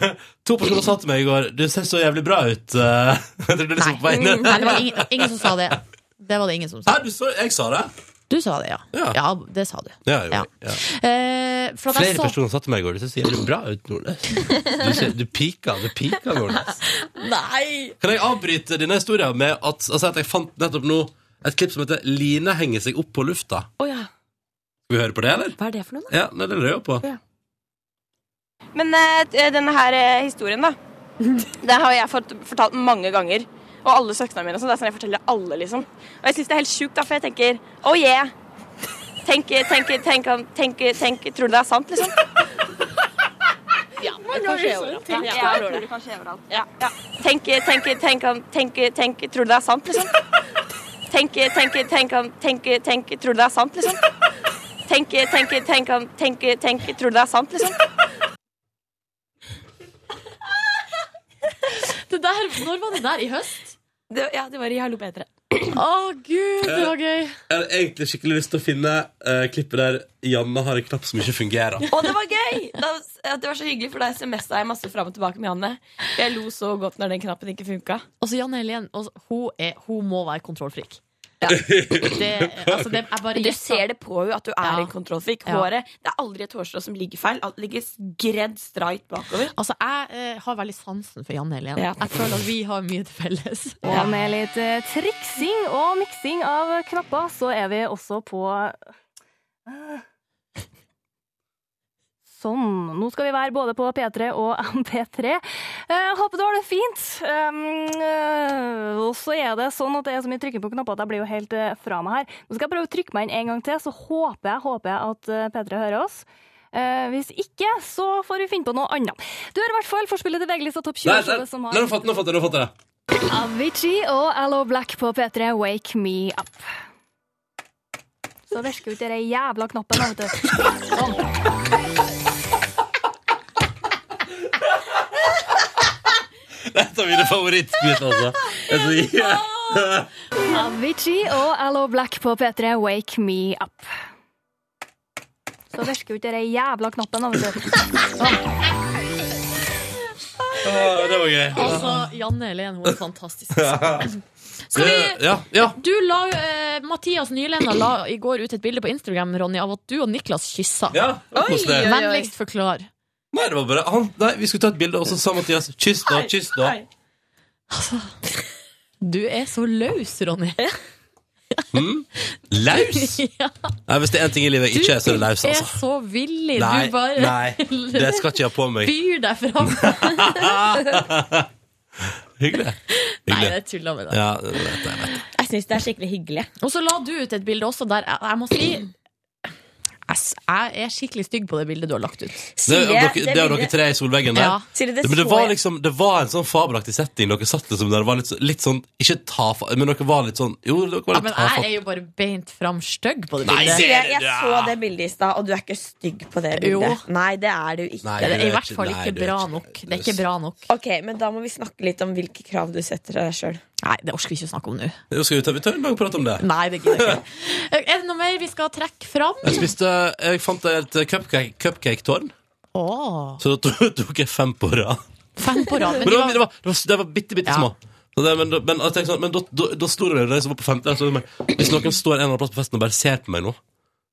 sånn [laughs] To personer sa til meg i går 'Du ser så jævlig bra ut'. eh.» [laughs] Jeg trodde liksom på
Mm. Nei,
vegne
det var ingen, ingen som sa det. Det var det ingen som sa.
Jeg sa det.
Du sa det, ja. Ja, det sa du.
Ja, jo, ja.
Eh, for at jeg
Flere
så
personer sa til meg i går 'Du ser så jævlig bra ut, Nordnes'. Du, ser- du pika, du pika, Nordnes.
Nei!
Kan jeg avbryte denne historien med at, altså at jeg fant nettopp nå et klipp som heter 'Line henger seg opp på lufta'?
Å ja.
Skal vi høre på det, eller?
Hva er det for noe, da?
Ja, nei, det lurer jeg på.
Men eh, denne her eh, historien,
[laughs]
da. Det har jeg fått fortalt mange ganger. Og alle søknadene mine. og sånn, Det er sånn jeg forteller alle, liksom. Og jeg syns det er helt sjukt, da, for jeg tenker oh yeah. Tenk, tenk, tenk, tenk, tenk Tror du det er sant, liksom?
Ja,
men kanskje jeg gjorde det. Ja, jeg tror det.
Kanskje jeg gjorde det.
Ja. ja. Tenk, tenk, tenk, tenk, tenk Tror du det er sant, liksom? Tenk, tenk, tenk, tenk, tenk Tror du det er sant, liksom? Tenk, tenk, tenk, tenk, tenk Tror du det er sant, liksom?
det der, Når var det der? I høst?
ja, det var i Hallo P3.
Å, gud, det var gøy.
Jeg har egentlig skikkelig lyst til å finne eh, klippet der Janne har en knapp som ikke fungerer.
Og det var gøy! Da, at det var så hyggelig, for da smsa jeg masse fram og tilbake med Janne. Jeg lo så godt når den knappen ikke funka.
Altså, Janne Helen, altså, hun, er, hun må være kontrollfrik. [laughs] Det, altså, det er bare
Du ser det på henne at du er en kontrollfrik.
Ja.
Håret Det er aldri et hårstrå som ligger feil. Alt ligger gredd streit bakover.
Altså, jeg eh, har veldig sansen for Janne Helen.
Ja.
Jeg føler at vi har mye til felles.
Og med litt eh, triksing og miksing av knapper, så er vi også på eh, Sånn. Nå skal vi være både på P3 og [laughs] MP3. Eh, håper du har det fint. Um, eh, og så er det sånn at det er så mye trykking på knapper at jeg blir jo helt eh, fra meg her. Nå skal jeg prøve å trykke meg inn en gang til, så håper jeg, håper jeg at eh, P3 hører oss. Eh, hvis ikke, så får vi finne på noe annet. Du hører i hvert fall forspillet til VG-lista Topp 20.
Nei,
så
der,
det som
nå
har-
har jeg fått det, nå har jeg fått det, nå har jeg fått det.
Avicii og Allo Black på P3 Wake Me Up. Så virker jo ikke den jævla knappen, da, vet du.
Dette er mine favorittskritt, altså. Det er så [laughs] jævlig.
Avicii og Allo Black på P3 Wake Me Up. Så virker jo ikke den jævla knappen, da, vet du.
Å, det var gøy.
Altså, Janne Helen, hun er fantastisk.
[laughs] Skal vi Ja. ja.
Du la, jo, eh, Mathias Nylenda la i går ut et bilde på Instagram Ronny, av at du og Niklas kyssa.
Ja, det var Oi, koselig. oi, oi.
Vennligst forklar.
Nei, det var bare han. Nei, vi skulle ta et bilde, og så sa Mathias 'kyss, da', 'kyss, da'.
Du er så løs, Ronny.
Mm. Laus?
[laughs] Ja.
Nei, hvis det er én ting i livet jeg ikke er, så er det laus,
Du er
altså.
så villig.
Nei,
du bare
nei, det skal ikke jeg ha på meg.
Byr deg fram.
[laughs] Hyggelig.
nei, jeg tulla med det.
Ja, det vet jeg.
Jeg syns det er skikkelig hyggelig. Og så la du ut et bilde også der jeg, jeg må si Ass, jeg er skikkelig stygg på det bildet du har lagt ut.
Det, er dere, det er dere tre i solveggen der.
Ja. Silje, det
det, men det
så
var
jeg.
liksom Det var en sånn fabelaktig setting. Dere satt liksom der. Det var litt, så- litt sånn Ikke ta fa... Men dere var litt sånn Jo, dere var
Ja,
litt
men
tafatt.
jeg er jo bare beint fram stygg på det
Nei,
bildet.
ser du
Jeg, jeg
det?
så det bildet i stad, og du er ikke stygg på det bildet. Nei, det er du ikke.
Nei, Det er du er i hvert ikke- fall nei, ikke du er bra ikke-
nok. Det er ikke bra nok.
Ok, Men da må vi snakke litt om hvilke krav du setter av deg sjøl.
Nei, det orker vi ikke å snakke om nå.
Jo, skal vi ta vi tar en lang prat om det?
Nei, det gidder jeg ikke. Er det noe mer vi skal trekke fram?
[laughs] Jeg spiste Jeg fant et cupcake- cupcake-tårn,
Åh,
så da to- [laughs] tok jeg fem på rad.
fem på rad.
Men det
Men de
var,
var,
det var, det var, det var bitte, bitte små. Så det, men da- men, jeg tenkte sånn, men da, da, da sto det jo de som var på femte der, så var det meg, Hvis noen står en eller annen plass på festen og bare ser på meg nå,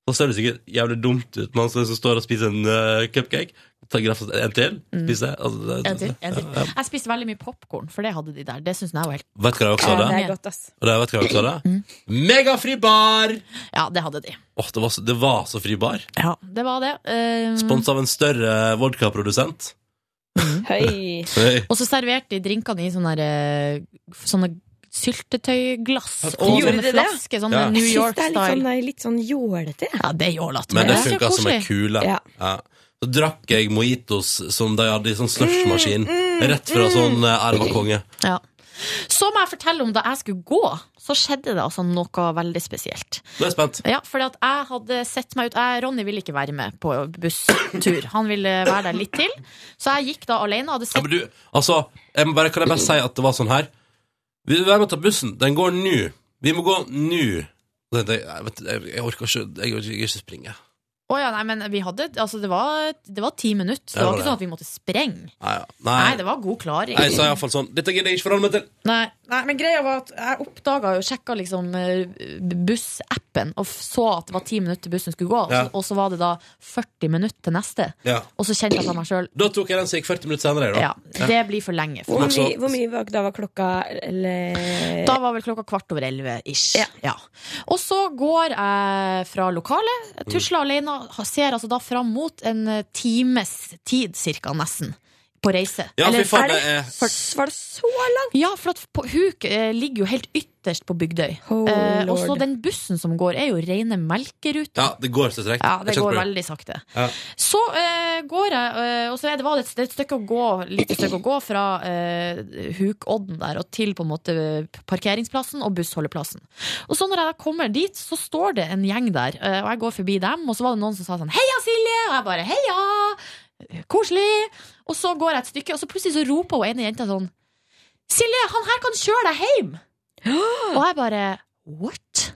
så ser det sikkert jævlig dumt ut med han som som står og spiser en eh, cupcake. Tar grafset en til,
Mm.
spiser jeg. Altså, det-
en til, en til.
Ja, ja.
Jeg spiste veldig mye popkorn, for det hadde de der. Det synes jeg var helt
Vet du hva jeg også hadde? Og det, vet du hva jeg også hadde?
Mm.
Megafri bar!
Ja, det hadde de.
Åh, det, var så, det var så fri bar.
Det var det. Eh,
Sponsa av en større vodkaprodusent.
Høy.
Høy.
Og så serverte de drinkene i sånne, der, eh, sånne syltetøyglass og
Gjorde
sånne
de det?
flasker. Sånn
Ja.
New
Jeg synes det er litt
York-style.
sånn, litt sånn jålete.
Ja, det er jålete.
Men det
er så
funka som ei
koselig.
kule. Ja. Så drakk jeg mojitos som de hadde i sånn
Mm,
slushmaskin. Rett fra sånn eh, Erva Konge.
Ja. Så må jeg fortelle om da jeg skulle gå, så skjedde det altså noe veldig spesielt.
Nå er jeg spent.
Ja, fordi at jeg hadde sett meg ut jeg, Ronny ville ikke være med på busstur. Han ville være der litt til. Så jeg gikk da alene. Hadde
Ja,
sett
men du, altså, jeg må bare, kan jeg bare si at det var sånn her Vi vi må ta bussen, den går nå Vi må gå nå Og tenkte jeg, jeg, vet, jeg, jeg orker ikke, jeg orker ikke springe
Å ja, nei, men vi hadde Altså, det var, det var ti minutter. Det
Ja,
var
det var
ikke sånn at vi måtte sprenge.
Nei, ja.
Nei,
nei,
det var god klaring.
nei jeg sa i hvert fall sånn Dette gidder jeg ikke forholde meg til
Nei, nei, men greia var at jeg oppdaga jo, sjekka liksom eh, bussappen, og f- så at det var ti minutter til bussen skulle gå, og så,
Ja.
og så var det da 40 minutter til neste.
ja.
Og så kjente jeg på meg sjøl
Da tok jeg den som gikk 40 minutter senere da.
ja, det blir for lenge.
Hvor
meg.
mye- hvor
mye var, da var klokka eller...
Da var vel klokka kvart over elleve ish. Ja. Og så går jeg fra lokalet,
Mm.
tusler alene, ha- ser altså da fram mot en eh, times tid cirka, nesten, på reise.
Ja, fy faen, det er-
Var det så langt?
Ja, for at på, Huk eh, ligger jo helt ytterst på Bygdøy. Eh, og så
lord.
den bussen som går, er jo rene melkeruta.
ja, det går så trekt
Ja, det
Jeg kjente
går
på
veldig sakte.
ja.
Så eh, går jeg, eh, og så er det, var det, et, det er et stykke å gå, lite stykke å gå fra eh, Hukodden der og til på en måte eh, parkeringsplassen og bussholdeplassen. Og så når jeg da kommer dit, så står det en gjeng der, eh, og jeg går forbi dem, og så var det noen som sa sånn Heia, Silje! Og jeg bare Heia! Koselig! Og så går jeg et stykke, og så plutselig så roper hun ene jenta sånn Silje, han her kan kjøre deg hjem! Og jeg bare What?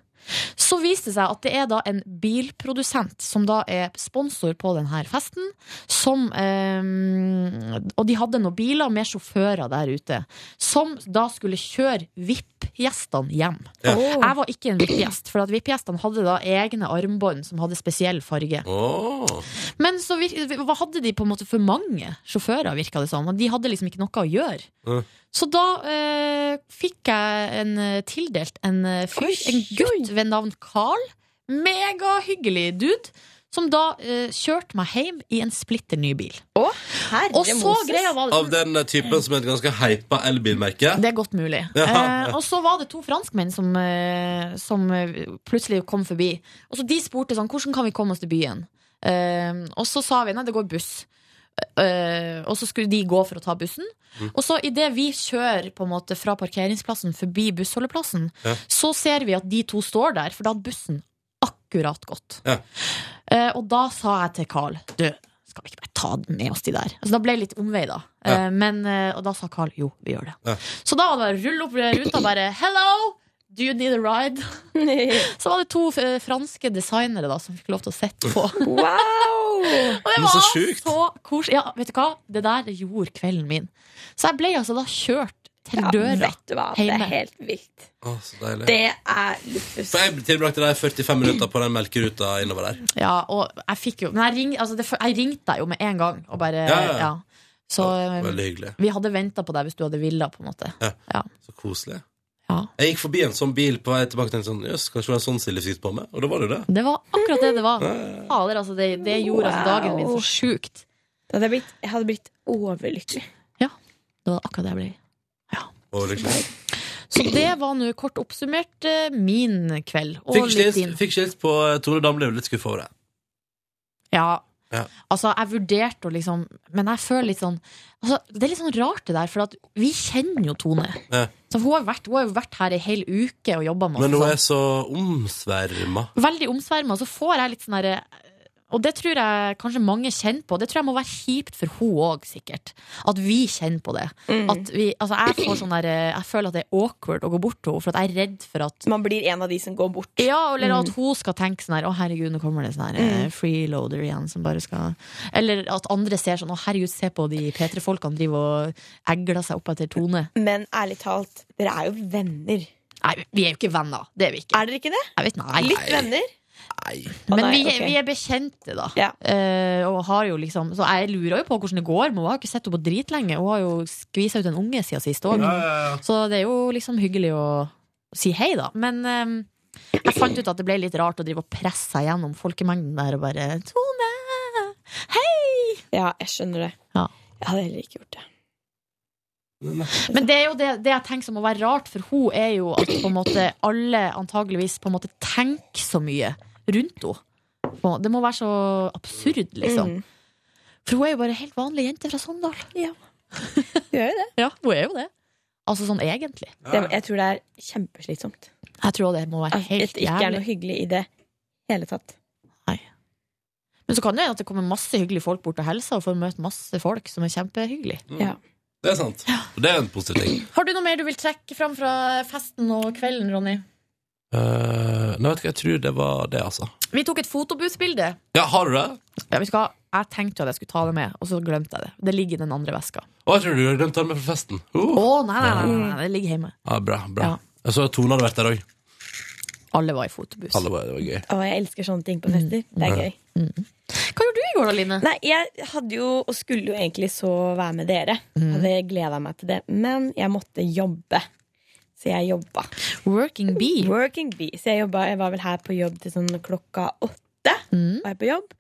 Så viste det seg at det er da en bilprodusent som da er sponsor på denne festen. Som, eh, og de hadde noen biler med sjåfører der ute. Som da skulle kjøre VIP-gjestene hjem.
Ja.
Jeg var ikke en VIP-gjest, for at VIP-gjestene hadde da egne armbånd som hadde spesiell farge. [laughs] Men så vir hva hadde de på en måte for mange sjåfører, virka det som. og De hadde liksom ikke noe å gjøre. Så da eh, fikk jeg en, eh, tildelt en eh, fyr, en gutt ved navn Carl. Megahyggelig dude. Som da eh, kjørte meg hjem i en splitter ny bil. og så
Moses.
greia var
Av den eh, typen som er et ganske heipa elbilmerke.
det er godt mulig.
Ja.
Eh, og så var det to franskmenn som, eh, som eh, plutselig kom forbi. Og så De spurte sånn, hvordan kan vi komme oss til byen. Eh, og så sa vi nei, det går buss. Eh, og så skulle de gå for å ta bussen.
Mm.
Og så idet vi kjører på en måte fra parkeringsplassen forbi bussholdeplassen,
Ja.
så ser vi at de to står der, for da hadde bussen akkurat gått. Eh, og da sa jeg til Carl Du, skal vi ikke bare ta den med oss de der? Altså, da ble det litt omvei, da. Eh, men, eh, og da sa Carl jo, vi gjør det. Så da var det bare å rulle opp ruta og bare Hello! Do you need a
[laughs]
ride? så var det to eh, franske designere da som fikk lov til å sitte på.
Wow!
[laughs] og det
Men
var
så
så,
sjukt.
koselig. Ja, vet du hva? Det der det gjorde kvelden min. Så jeg ble altså da kjørt til
Ja,
døra
vet du hva? Det er helt vilt.
Å, så deilig.
Det er luksus.
For jeg tilbrakte deg 45 minutter på den melkeruta innover der.
Ja, og jeg fikk jo Men jeg, ring, altså det, jeg ringte deg jo med en gang og bare
Ja, ja, ja.
ja. Så eh,
Veldig hyggelig.
vi hadde venta på deg hvis du hadde villet, på en måte.
Ja. Så koselig. Jeg gikk forbi en sånn bil på vei tilbake og tenkte sånn Jøss, kanskje det var en sånn Silje fikk på meg? Og da var det jo det.
Det var akkurat det det var.
Ja, ja,
Fader, altså, det, det gjorde altså dagen min så sjukt.
Det hadde blitt, jeg hadde blitt overlykkelig.
Det var akkurat det jeg ble.
Og liksom, lykkelig.
Så det var nå kort oppsummert eh, min kveld. Og
Fikk ikke
litt
hilst-
din.
Fikk ikke hilst på eh, Tore Dam, ble jo litt skuffa over det.
Ja,
Ja.
altså, jeg vurderte å liksom Men jeg føler litt sånn altså, Det er litt sånn rart, det der, for at vi kjenner jo Tone.
Ja.
Så hun, har vært, hun har jo vært her ei hel uke og jobba masse.
Men hun
sånn.
er så omsverma.
Veldig omsverma. Så får jeg litt sånn derre og det tror jeg kanskje mange kjenner på. Det tror jeg må være kjipt for hun òg, sikkert. At vi kjenner på det.
Mm.
At vi, altså jeg, får sånn der, jeg føler at det er awkward å gå bort til henne, for at jeg er redd for at
Man blir en av de som går bort.
Ja, eller
Mm.
at hun skal tenke sånn her Å herregud, nå kommer det sånn her eh,
Mm.
freeloader igjen som bare skal Eller at andre ser sånn Å herregud, se på de P3-folkene driver og egler seg opp etter Tone.
Men ærlig talt, dere er jo venner.
Nei, vi er jo ikke venner. Det er vi ikke.
Er dere ikke det?
Jeg vet, nei.
Litt venner?
Men
Å, nei,
vi, er-
ok.
vi er bekjente, da. Eh, og har jo liksom Så jeg lurer jo på hvordan det går, men hun har ikke sett henne på dritlenge. Hun har jo skvisa ut en unge siden sist òg.
Ja, ja, ja.
Så det er jo liksom hyggelig å si hei, da. Men eh, jeg fant ut at det ble litt rart å drive og presse seg gjennom folkemengden der og bare Tone! Hei!
Ja, jeg skjønner det. Jeg hadde heller ikke gjort det.
Men det er jo det, det jeg tenker som må være rart for hun er jo at på en måte alle antageligvis på en måte tenker så mye rundt henne. Og Det må være så absurd, liksom.
Mm.
For hun er jo bare en helt vanlig jente fra Sogndal.
Ja. Hun er jo det.
[laughs] Ja, hun er jo det. Altså sånn egentlig.
det. Jeg tror det er kjempeslitsomt.
Jeg tror det må være
At det
helt
ikke er noe
jævlig.
hyggelig i det hele tatt.
Men så kan det hende at det kommer masse hyggelige folk bort og hilser og får møte masse folk som er kjempehyggelige.
Mm. Det er sant. Og det er en positiv ting.
Har du noe mer du vil trekke fram fra festen og kvelden, Ronny?
Eh, nei, vet du hva, jeg tror det var det, altså.
Vi tok et fotobusbilde.
Ja, har du det?
Ja, vi skal, jeg tenkte jo at jeg skulle ta det med, og så glemte jeg det. Det ligger i den andre veska.
Å, jeg tror du har glemt å ta den med fra festen.
Å,
Uh.
nei, nei, nei, nei,
Mm.
nei, det ligger hjemme.
Ja, bra, bra. Jeg så at Tone hadde vært der òg.
Alle var i fotobuss.
Alle var, det var gøy.
Og jeg elsker sånne ting på fester. Det er
Ja.
gøy.
Mm. Hva gjorde du i går da, Line?
Nei, jeg hadde jo, og skulle jo egentlig så være med dere. Hadde gleda meg til det. Men jeg måtte jobbe. Så jeg jobba.
Working bee.
Working bee. Så jeg, jobba, jeg var vel her på jobb til sånn klokka åtte. Var jeg på jobb.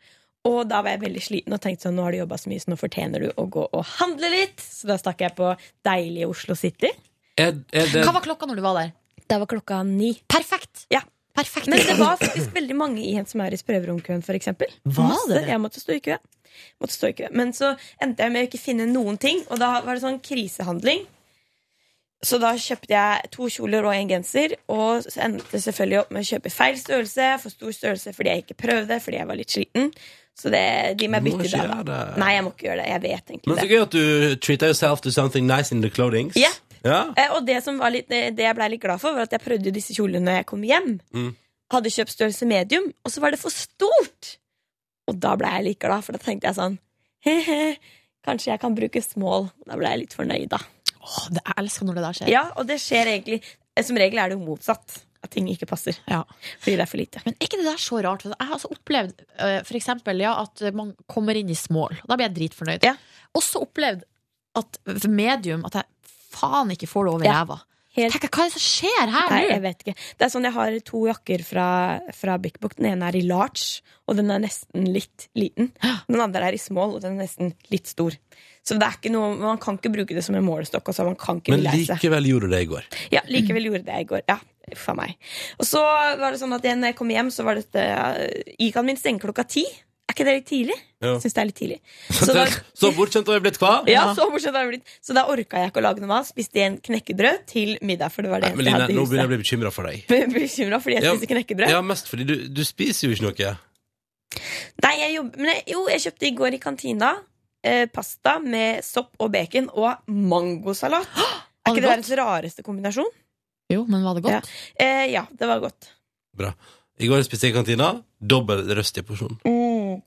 Og da var jeg veldig sliten og tenkte sånn, nå har du jobba så mye, så nå fortjener du å gå og handle litt. Så da stakk jeg på deilige Oslo City.
Er, er Eh, det
Hva var klokka når du var der?
Da var klokka ni.
Perfekt!
Ja.
Perfekt.
Men det var faktisk veldig mange i en som er i sprøveromkøen, for eksempel.
Var
Masse.
det det?
Jeg måtte stå i kø. Måtte stå i kø. Men så endte jeg med å ikke finne noen ting, og da var det sånn krisehandling. Så da kjøpte jeg to kjoler og en genser, og så endte jeg selvfølgelig opp med å kjøpe feil størrelse, for stor størrelse fordi jeg ikke prøvde, fordi jeg var litt sliten. Så det, de må jeg
Du må
bytte
ikke
der,
gjøre
da.
det.
Nei, jeg må ikke gjøre det. Jeg vet egentlig
Men så
det.
gøy at du treater yourself to something nice in the clothing.
Jepp.
Ja.
Eh, og det, som var litt, eh, det jeg blei litt glad for, var at jeg prøvde jo disse kjolene når jeg kom hjem.
Mm.
Hadde kjøpt størrelse medium, og så var det for stort! Og da blei jeg litt glad, for da tenkte jeg sånn He-he, kanskje jeg kan bruke small. Da blei jeg litt fornøyd, da.
jeg elsker når det der skjer.
Ja, og det skjer egentlig eh, Som regel er det jo motsatt. At ting ikke passer. Fordi det er for lite.
Men
Er ikke det der så rart? For Jeg har altså opplevd eh, for eksempel, ja, at man kommer inn i small. Da blir jeg dritfornøyd. Også opplevd at medium At jeg faen ikke får det over
Ja.
ræva. Tenk, hva er det som skjer her
Nei,
nå?
jeg vet ikke. Det er sånn Jeg har to jakker fra, fra Big Book. Den ene er i large, og den er nesten litt liten. Den andre er i small, og den er nesten litt stor. Så det er ikke noe, man kan ikke bruke det som en målestokk. Altså, man kan ikke
Men
bli lei seg.
likevel gjorde du det i går.
Ja, likevel gjorde det jeg i går. Ja, for meg. Og så var det sånn at når jeg kom hjem, så var dette Ikan min stenger klokka ti. Er ikke det litt tidlig?
Jo.
Synes det er litt tidlig.
[laughs] Så,
da-
bortskjemt har jeg blitt, hva?
ja, så morsomt har det blitt. Så da orka jeg ikke å lage noe mat. Spiste en knekkebrød til middag, for det var det
Nei, men
eneste jeg
Line,
hadde i
nå begynner jeg å
huset.
bli bekymra for deg.
Jeg ble bekymra fordi jeg
Ja,
spiser knekkebrød.
Ja, mest fordi du, du spiser jo ikke noe.
Nei, jeg jobber men jeg, Jo, jeg kjøpte i går i kantina eh, pasta med sopp og bacon og mangosalat. Er ikke det verdens rareste kombinasjon?
Jo, men var det godt?
Ja, eh, ja det var godt.
Bra. I går spiste jeg i kantina. Dobbel røstig porsjon. Mm.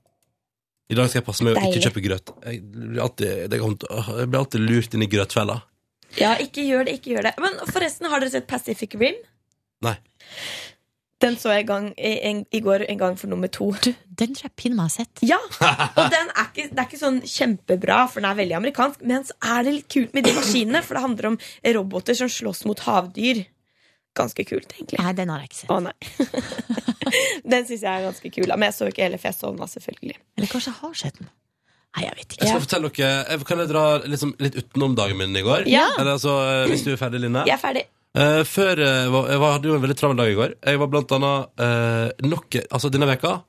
I dag skal jeg passe meg å ikke
Deilig.
kjøpe grøt. Jeg blir alltid, det kommer til- åh, jeg blir alltid lurt inn i grøtfella.
Ja, ikke gjør det, ikke gjør det. Men forresten, har dere sett Pacific Rim?
Nei.
Den så jeg i gang, i, en, i går en gang for nummer to.
den tror jeg pinne meg har sett.
Ja, og den er ikke, det er ikke sånn kjempebra, for den er veldig amerikansk. Men så er det litt kult med de maskinene, for det handler om roboter som slåss mot havdyr. Ganske kult, egentlig.
Nei, den har jeg ikke sett.
Å nei. [laughs] den syns jeg er ganske kul. da. Men jeg så ikke hele, for jeg sovna selvfølgelig.
Eller kanskje jeg har sett den. Nei, jeg vet
Jeg skal fortelle dere, jeg- Kan jeg dra liksom, litt utenom dagen min i går?
Ja.
Eller altså, eh, Hvis du er ferdig, Line?
Jeg er ferdig.
Eh, før, eh, var, jeg var- hadde jo en veldig travel dag i går. Jeg var blant annet eh, nok, Altså Denne veka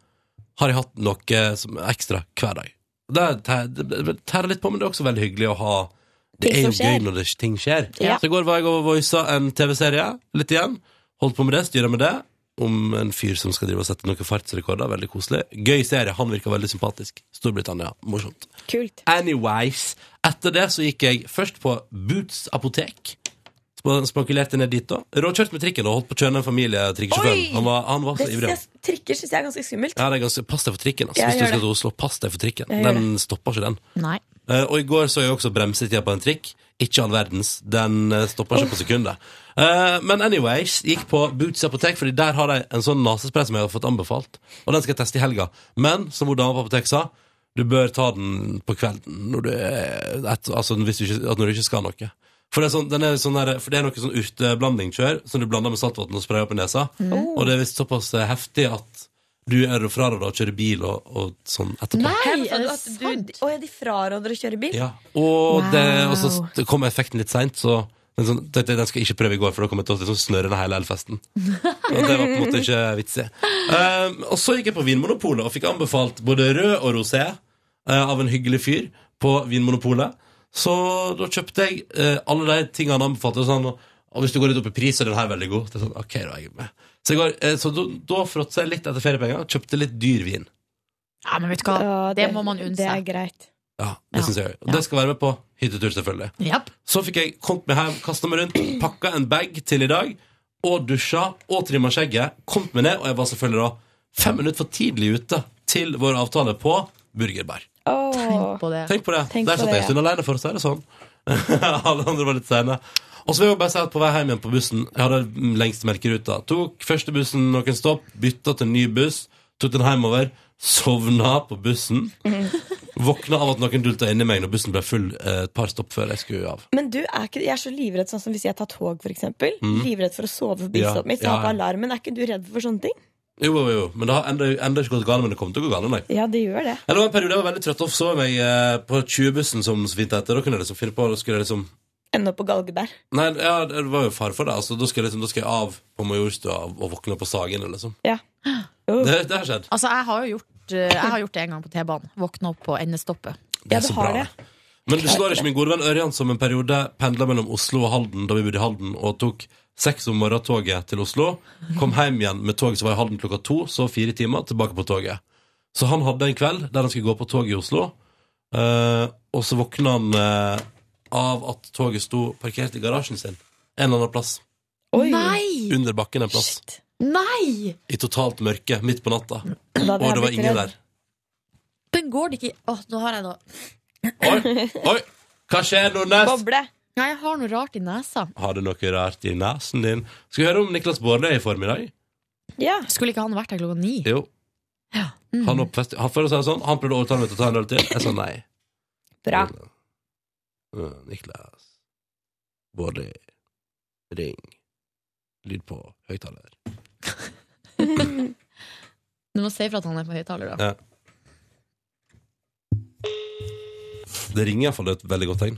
har jeg hatt noe som er ekstra hver dag. Det tæ- det- det tærer litt på, men det er også veldig hyggelig å ha Det
Ting
er jo
som skjer.
gøy når det, ting skjer.
Ja.
Så i går var jeg og voisa en TV-serie litt igjen. Holdt på med det, styra med det. Om en fyr som skal drive og sette noen fartsrekorder. Veldig koselig. Gøy serie. Han virker veldig sympatisk. Storbritannia. Morsomt.
Kult.
Anyways, etter det så gikk jeg først på Boots apotek. Sp- Spankulerte ned dit, da. Råkjørt med trikken og holdt på å kjøre ned en familie.
Oi!
trikkesjåføren. Han var, han var så
Det synes
ivrig.
jeg, trikker syns jeg er ganske skummelt.
Ja, det er ganske, pass deg for trikken. Altså.
Jeg
Hvis du
gjør
skal
det.
til Oslo, pass deg for trikken.
Jeg gjør
Den stopper ikke, den.
Nei.
Eh, og i går så jeg også bremsetida på en trikk. Ikke all verdens. Den eh, stopper ikke på sekundet. Eh, men anyways, gikk på Boots apotek, Fordi der har de en sånn nesespray som jeg har fått anbefalt. Og den skal jeg teste i helga. Men som hun dama på apoteket sa, du bør ta den på kvelden når du, er- et, altså, hvis du, ikke, at når du ikke skal noe. For det er, sånn, den er sånn der, for det er noe sånn urteblanding kjør, som du blander med saltvann og sprayer opp i nesa.
Mm.
Og det er visst såpass eh, heftig at du er fraråda å kjøre bil og, og sånn etterpå.
Hæ, sa du at du- Å ja, de fraråder å kjøre bil?
Ja. Og,
Wow.
det, og så st- kom effekten litt seint, så men sånn, det, det, den skal jeg ikke prøve i går, for da kommer jeg til å liksom snørre ned hele elfesten. Og det var på en måte ikke [laughs] vitsig. Um, og så gikk jeg på Vinmonopolet og fikk anbefalt både rød og rosé eh, av en hyggelig fyr på Vinmonopolet. Så da kjøpte jeg eh, alle de tingene han anbefalte. Og, sånn, og hvis du går litt opp i pris, så er den her veldig god. Det er sånn, ok, da er jeg med. Så, jeg går, eh, så da, da fråtsa jeg litt etter feriepenger, kjøpte litt dyr vin.
Ja, men vet du hva? det, må man unne
det er
seg.
greit.
Ja, det synes jeg. Og det skal være med på hyttetur, selvfølgelig.
Japp.
Så fikk jeg kommet meg hjem, kasta meg rundt, pakka en bag til i dag, og dusja og trimma skjegget. Kommet meg ned, og jeg var selvfølgelig da fem minutter for tidlig ute til vår avtale på burgerbar.
Tenk på det.
Tenk på det.
Tenk
Der
på
satt
det,
jeg en stund alene for å si det sånn. [laughs] Alle andre var litt seine. Og så vil jeg bare si at på vei hjem igjen på bussen Jeg hadde den lengste melkeruta. Tok første bussen noen stopp, bytta til en ny buss, tok den hjemover. Sovna på
[laughs]
bussen. Våkna av at noen dulta inni meg når bussen ble full eh, et par stopp før jeg skulle av.
Men du er ikke, jeg er så livredd sånn som hvis jeg tar tog, for eksempel.
Mm.
Livredd for å sove forbi
Ja,
stoppet mitt. Så
ja,
har på
ja.
alarmen. Er ikke du redd for sånne ting?
Jo, jo, jo, men det har enda, enda ikke gått galt, men det kommer til å gå galt en dag.
Ja, det gjør det.
Eller det var en periode jeg var veldig trøtt og sov meg eh, på 20-bussen som så fint heter. Da kunne jeg liksom finne på, da skulle jeg liksom
Ennå på galgebær.
Nei, ja, det var jo fare for det. Altså, da skal jeg liksom, da skal jeg av på Majorstua og våkne på Sagene, liksom.
Ja.
Det, det har skjedd.
Altså, jeg har jo gjort, eh, jeg har gjort det en gang på T-banen. Våkna opp på endestoppet.
Det er så bra. Men du slår ikke min gode venn Ørjan, som en periode pendla mellom Oslo og Halden da vi bodde i Halden, og tok seks om morgentoget til Oslo. Kom hjem igjen med tog som var i Halden klokka to, så fire timer, tilbake på toget. Så han hadde en kveld der han skulle gå på toget i Oslo, eh, og så våkna han eh, av at toget sto parkert i garasjen sin en eller annen plass.
Nei!
Under bakken en plass.
Nei!
I totalt mørke midt på natta.
Da hadde
Og det
jeg
var
blitt
ingen
redd.
der.
Men går det ikke Åh, nå har jeg noe.
Oi! Hva skjer, Nordnes?
Nei, jeg har noe rart i nesa.
Har du noe rart i nesen din? Skal vi høre om Niklas Baarli i formiddag?
Skulle ikke han vært her klokka ni? Mm.
Jo. Han, oppfest, han, for å si det sånn, han prøvde å overtale meg til å ta en øl til. Jeg sa nei.
Bra.
Uh, Niklas Baarli, ring. Lyd på høyttaler.
[laughs] Du må si ifra at han er på høyttaler, da.
Ja. Det ringer iallfall et veldig godt tegn.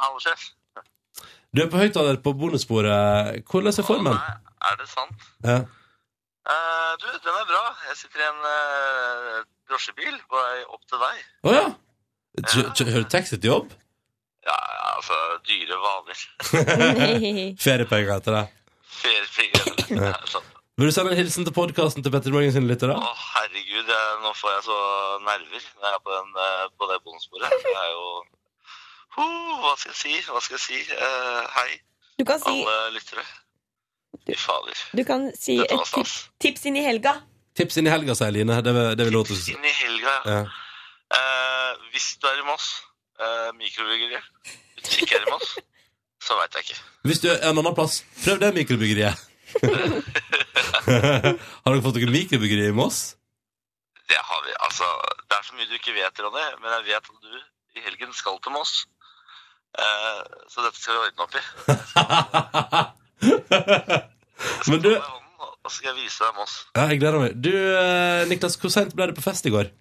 Hallo, sjef.
Du er på høyttaler på bonussporet. Hvordan er formen?
Er det sant?
Ja.
Eh, du, den er bra. Jeg sitter i en eh, drosjebil på vei opp til deg.
Å ja! Kjø- kjø- Hører du taxi til jobb?
Ja, ja, altså, dyre vaner.
Feriepenger heter det.
Feriepenger.
Ja. Vil du sende en hilsen til podkasten til Petter Morgen sine lyttere?
Å, herregud, jeg, nå får jeg så nerver når jeg er på, den, eh, på det bonusbordet. Det er jo Ho, Hva skal jeg si? Hva skal jeg si? Eh, hei,
Du kan si,
alle lyttere. Fy fader.
du kan si
Dette var
et tips, tips inn i helga.
Tips inn i helga, sier Line. Det vil, det vil låte
Inn i helga, ja.
ja.
Eh, hvis du er i Moss, uh, mikrobryggeriet. Hvis du ikke er i Moss, så veit jeg ikke.
Hvis du er en annen plass, prøv det [laughs] mikrobyggeriet. Har dere fått noe mikrobyggeri i Moss? [laughs]
Det har vi. Altså, det er så mye du ikke vet, Ronny, men jeg vet at du i helgen skal til Moss. Eh, så dette skal vi ordne opp i.
Men du
Og så skal jeg vise deg Moss.
ja, Jeg gleder meg. Du, eh, Niklas, hvor seint ble det på fest i går? [laughs]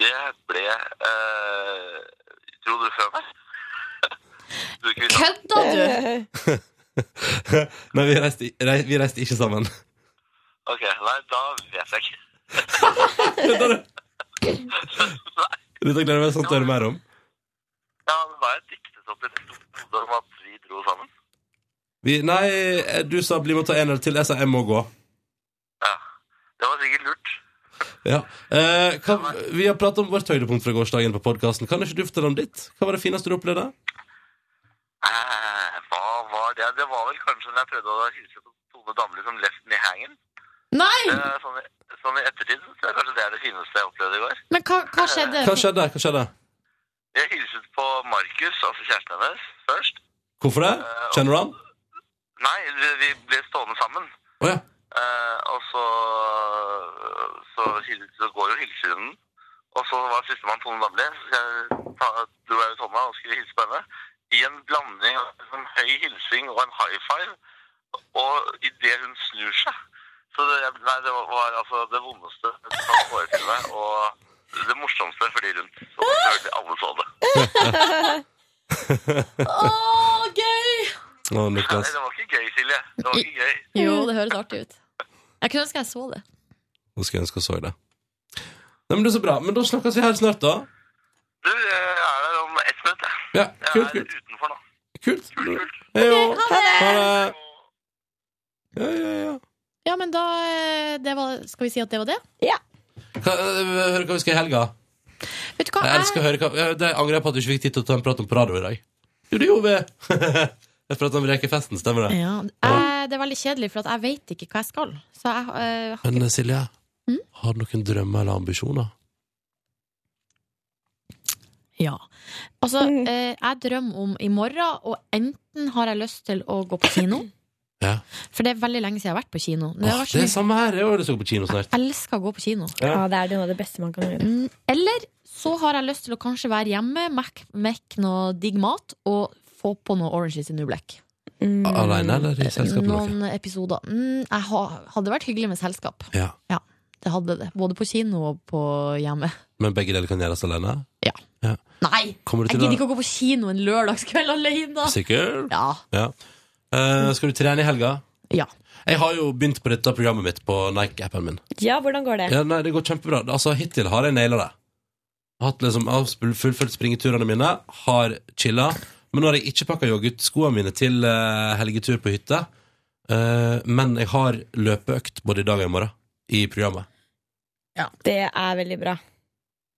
Det ble eh, Tror du fem?
Kødda du?!
Nei, vi reiste, rei, vi reiste ikke sammen. [laughs]
OK. Nei, da vet jeg ikke.
Dette gleder jeg meg sånn til å høre mer om.
[laughs] Ja, det var et diktet opp et stort hode om at vi dro sammen.
Vi, nei, eh, du sa 'bli med og ta en eller til'. Jeg sa 'jeg må gå'.
Det var sikkert lurt.
Ja. Eh, hva, vi har pratet om vårt høydepunkt fra gårsdagen på podkasten. Kan ikke du fortelle om ditt? Hva var det fineste du opplevde?
Eh, hva var det? Det var vel kanskje når jeg prøvde å hilse på Tone Damli som left me hanging.
Nei!
Eh, sånn, i- sånn i ettertid så tror jeg kanskje det er det fineste jeg opplevde i går.
Men hva, hva skjedde?
Hva skjedde? Hva skjedde?
Jeg hilset på Markus, altså kjæresten hennes, først.
Hvorfor det? Kjenner du han?
Nei, vi, vi ble stående sammen.
Å ja.
Eh, og så, så, hil- så går jo hilserunden. Og så var sistemann Tone Damli. Så jeg ta, dro jeg ut hånda og skulle hilse på henne. I en blanding av en høy hilsing og en high five. Og idet hun snur seg Så det, jeg- nei, det var, var altså det vondeste jeg kan forestille meg. Og det morsomste for de rundt. Så selvfølgelig alle så det.
[laughs] Eh, Åh, gøy!
[laughs] Å, Niklas.
Nei, det var ikke gøy, Silje. Det var ikke gøy.
Jo, det høres artig ut. Jeg kunne ønske jeg så det.
Nå skulle jeg ønske jeg så det. Nei, men det er så bra. Men da snakkes vi her snart, da.
Du, jeg er der om ett minutt, jeg.
Ja, kult,
Jeg er
kult.
utenfor nå.
Kult. Hei, jo.
Ok, ha det.
Ja, ja, ja.
Ja, men da eh, det var, Skal vi si at det var det? Ja.
Hva, øh, hør hva vi skal i helga.
Vet du hva,
Jeg elsker å høre hva ja, Det angrer jeg på at du ikke fikk tid til å ta en prat om på radio i dag. Jo, det gjorde vi! [laughs] jeg pratet om rekefesten, stemmer det?
Ja. Jeg, det er veldig kjedelig, for at jeg vet ikke hva jeg skal. Så jeg, eh, har
Men Silje,
Mm?
har du noen drømmer eller ambisjoner?
Ja. Altså, eh, jeg drømmer om i morgen, og enten har jeg lyst til å gå på kino.
Ja.
For det er veldig lenge siden jeg har vært på kino. Det har
Åh,
vært så
det er
mye-
samme her. Jeg har lyst til å gå på kino snart.
Jeg elsker å gå på kino.
Ja. Ja,
det er noe av det beste man kan gjøre. Eller så har jeg lyst til å kanskje være hjemme, mekke mek noe digg mat og få på noe Orange is the New Black. Mm.
Alene eller i selskap med noen?
Noen episoder. Mm, jeg ha- hadde vært hyggelig med selskap.
Ja.
Det hadde det. Både på kino og på hjemme.
Men begge deler kan gjøres alene?
Ja. Nei!
Kommer du
Jeg
til
gidder ikke å gå på kino en lørdagskveld alene!
Sikker?
Ja.
Eh, skal du trene i helga?
Ja.
Jeg har jo begynt på dette programmet mitt på Nike-appen min.
Ja, hvordan går det?
Ja, nei, det går kjempebra. Altså, hittil har jeg naila det. Hatt liksom, jeg har sp- fullført springeturene mine, har chilla. Men nå har jeg ikke pakka joggeskoene mine til eh, helgetur på hytte. Eh, men jeg har løpeøkt både i dag og i morgen i programmet.
Det er veldig bra.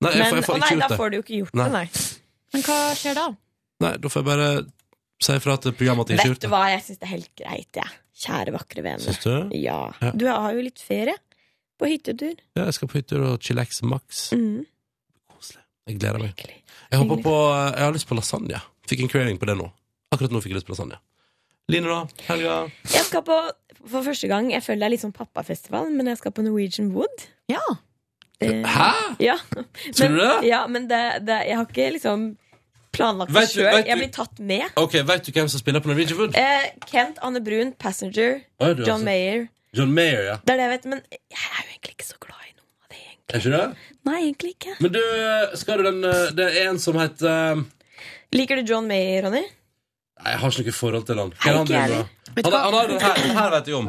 Nei, jeg,
Men-
får- jeg får
å
ikke
nei,
gjort
da
det.
får du jo ikke gjort det, nei.
Men hva skjer da?
Nei, da får jeg bare si ifra til programmet at jeg ikke har
Vet
gjort
du
det.
hva, jeg syns det er helt greit, jeg. Kjære, vakre vene.
Syns du?
Ja.
Ja.
Du har jo litt ferie på hyttetur.
Ja, jeg skal på hytter og chillax max.
Mm.
Jeg gleder meg. Jeg, håper på, jeg har lyst på lasagne. Fikk en craving på det nå. Akkurat nå fikk jeg lyst på lasagne. Line, da? Helga?
Jeg skal på, for første gang, jeg føler det er litt sånn pappafestival, men jeg skal på Norwegian Wood. Ja.
Hæ?
Ja.
Tror du det?
Ja, men det, det, jeg har ikke liksom planlagt det
Vet du-
sjøl.
vet
Jeg
du-
blir tatt med.
Ok, Vet du hvem som spiller på Norwegian Wood?
Eh, Kent, Anne Brun, Passenger,
Oi, du, altså.
John Mayer.
John Mayer, ja.
Det er det jeg vet, men jeg er jo egentlig ikke så glad i noe.
Er ikke det?
Nei, egentlig ikke.
Men du, skal du den eh, Det er en som heter eh,
Liker du John Mayer, Ronny?
Nei, jeg har ikke noe forhold til han. Hva er
Nei,
han
ikke
driver
jeg
med?
heller. Vet du
Han,
hva?
han har den her, den her vet jeg om.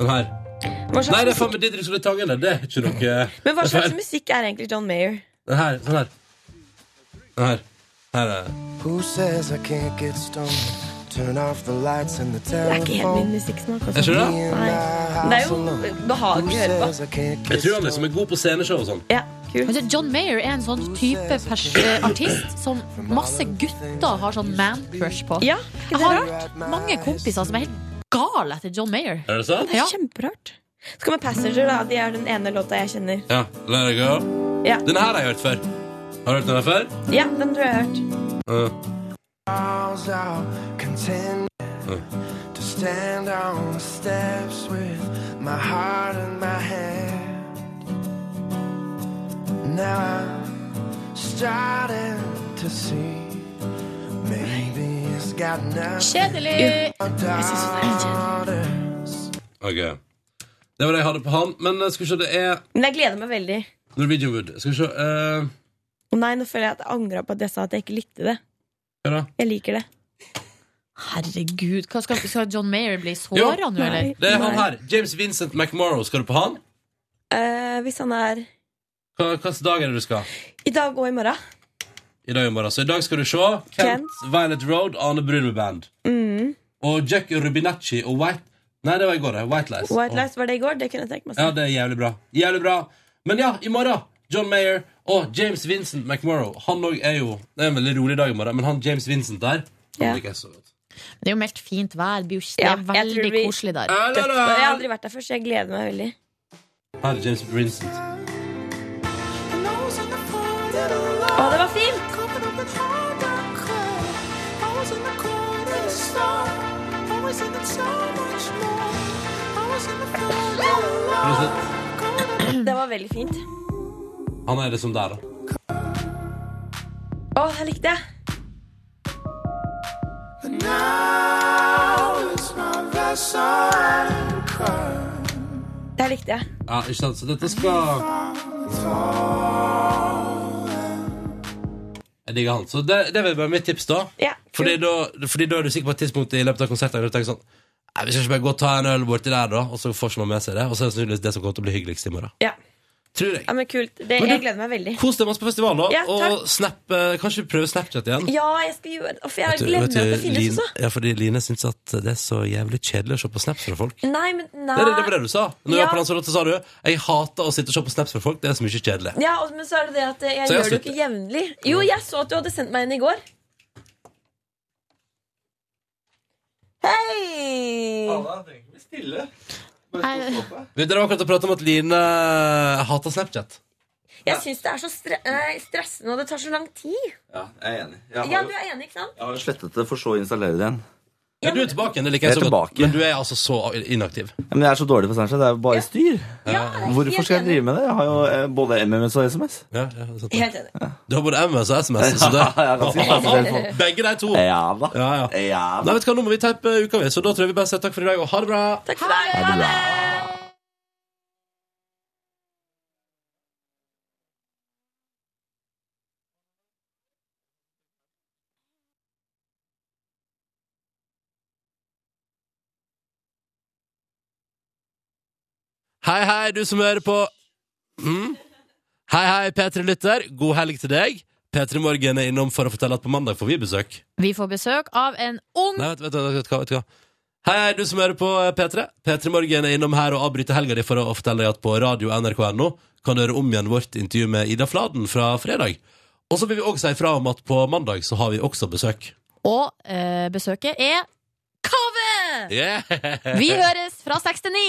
Den her.
Hva slags
Nei, det er faen meg Didrik Solli Tangen, det. Det er ikke noe
Men hva
det er
slags
feil.
musikk er egentlig John Mayer?
Den her. Sånn her. Den her. Her er
Who says I can't get stoned? Turn off the lights and the
Det er ikke helt min
telephone.
musikksmak. altså.
Er ikke det?
Nei. Det er jo behagelig å høre på.
Jeg tror han liksom er god på sceneshow og sånn.
Ja, kult.
Men du, John Mayer er en sånn type pers eh, artist som masse gutter har sånn man-crush på.
Ja,
jeg har hørt mange kompiser som er helt gale etter John Mayer.
Er det sant?
Det er kjemperart. Så kommer Passenger, da. De er den ene låta jeg kjenner.
Ja. Let it go.
Ja.
Den her har jeg hørt før. Har du hørt den her før?
Ja, den tror jeg jeg har hørt.
Ja.
Miles out, content to stand on the steps with my heart in my hand. Now I'm starting to see. Maybe it's got nothing.
Kjedelig!
Ok. Det var det jeg hadde på han. Men eh, skal vi se, det er
Men jeg gleder meg veldig.
Norwegian Wood. Skal vi se eh,
Å nei, nå føler jeg at jeg angra på at jeg sa at jeg ikke likte det.
Hva da?
Jeg liker det.
Herregud, hva skal, skal John Mayer bli såra nå, eller?
det er han her. James Vincent McMorrow. Skal du på han?
Eh, hvis han er
Hva- Hvilken dag er det du skal?
i dag og i morgen.
I dag, i morgen. Så i dag skal du se Kent,
Kent.
Violet Road, Ane Brun med band.
Mm.
Og Jack Rubinacci og White Nei, det var i går, det. White Lies.
White altså.
Og-
Lights var det i går. Det kunne jeg tenkt meg.
Ja, det er jævlig bra. Jævlig bra. Men ja, i morgen John Mayer og James Vincent McMorrow. Han òg er jo Det er en veldig rolig dag i morgen, men han James Vincent der han
Ja.
liker jeg så godt.
Det er jo meldt fint vær. Det blir jo det er
Ja, jeg tror
veldig
det blir-
koselig der.
Ja,
Jeg har aldri vært der før, så jeg gleder meg veldig.
Her er James Vincent.
Å, det var fint! Det var veldig fint.
Han er liksom der, da.
Å, jeg likte det. Det her likte jeg.
Ja, ikke sant? Så dette skal Jeg digger han. Så det, det vil være mitt tips, da. fordi, da fordi da er du sikker på et tidspunkt i løpet av konserten der du tenker sånn Nei, vi skal ikke bare gå og ta en øl borti der, da, og så får ikke noen med seg det. Og så er det sannsynligvis det som kommer til å bli hyggeligst i morgen.
Ja.
Tror jeg.
Ja, men kult. Det,
Men du-
jeg gleder meg veldig.
Kos deg masse på festival, da.
Ja, takk.
og snap, eh, kanskje prøve Snapchat igjen.
[laughs] Ja, jeg skal gjøre det. For jeg
Vet du-
glemmer
vet du,
at det finnes
Line,
også.
ja, fordi Line syns at det er så jævlig kjedelig å se på snaps fra folk.
Nei, men nei.
Det, det, det var det du sa. Når
Ja.
jeg var på Lanzarote, sa du Jeg hater å sitte og se på snaps fra folk. Det er så mye kjedelig.
Ja, og- men så er det det at
Så jeg
jeg, gjør det jo
slutter.
ikke jevnlig. Jo, jeg så at du hadde sendt meg en i går. Hei!
Vet Dere var akkurat å prate om at Line eh, hater Snapchat.
Jeg syns det er så stre nei, stressende, og det tar så lang tid.
Ja, jeg er enig. Jeg
Ja, du
har, jo-
er enig, ikke sant?
jeg har jo slettet det, for så å installere det igjen.
Ja, du er tilbake igjen. Det liker
Jeg
jeg
er
så godt.
tilbake.
Men du er altså så inaktiv.
Ja, Men jeg er så dårlig på Snapchat. Det er jo bare styr. Hvorfor skal jeg drive med det? Jeg har jo eh, både MMS og SMS.
Ja, ja, det er sant.
Helt enig.
Du har både MS og SMS. Så det,
[laughs] Ja, jeg er ganske interessert på.
Begge de to.
Ja da.
Ja, ja. Nei, vet du hva, Nå må vi teipe uka, vi, så da tror jeg vi bare sier takk for i dag, og ha det bra.
Takk for deg.
Ha det bra.
Hei, hei, du som hører på mm? Hei, hei, P3-lytter. God helg til deg. P3 Morgen er innom for å fortelle at på mandag får vi besøk.
Vi får besøk av en ung
Nei, vet, vet, vet, vet, du hva, vet du hva. Hei, hei, du som hører på eh, P3. P3 Morgen er innom her og avbryter helga di for å fortelle deg at på radio nrk.no kan du høre om igjen vårt intervju med Ida Fladen fra fredag. Og så vil vi også si fra om at på mandag så har vi også besøk.
Og eh, besøket er Kave!
Yeah.
Vi
eh.
høres fra seks til ni!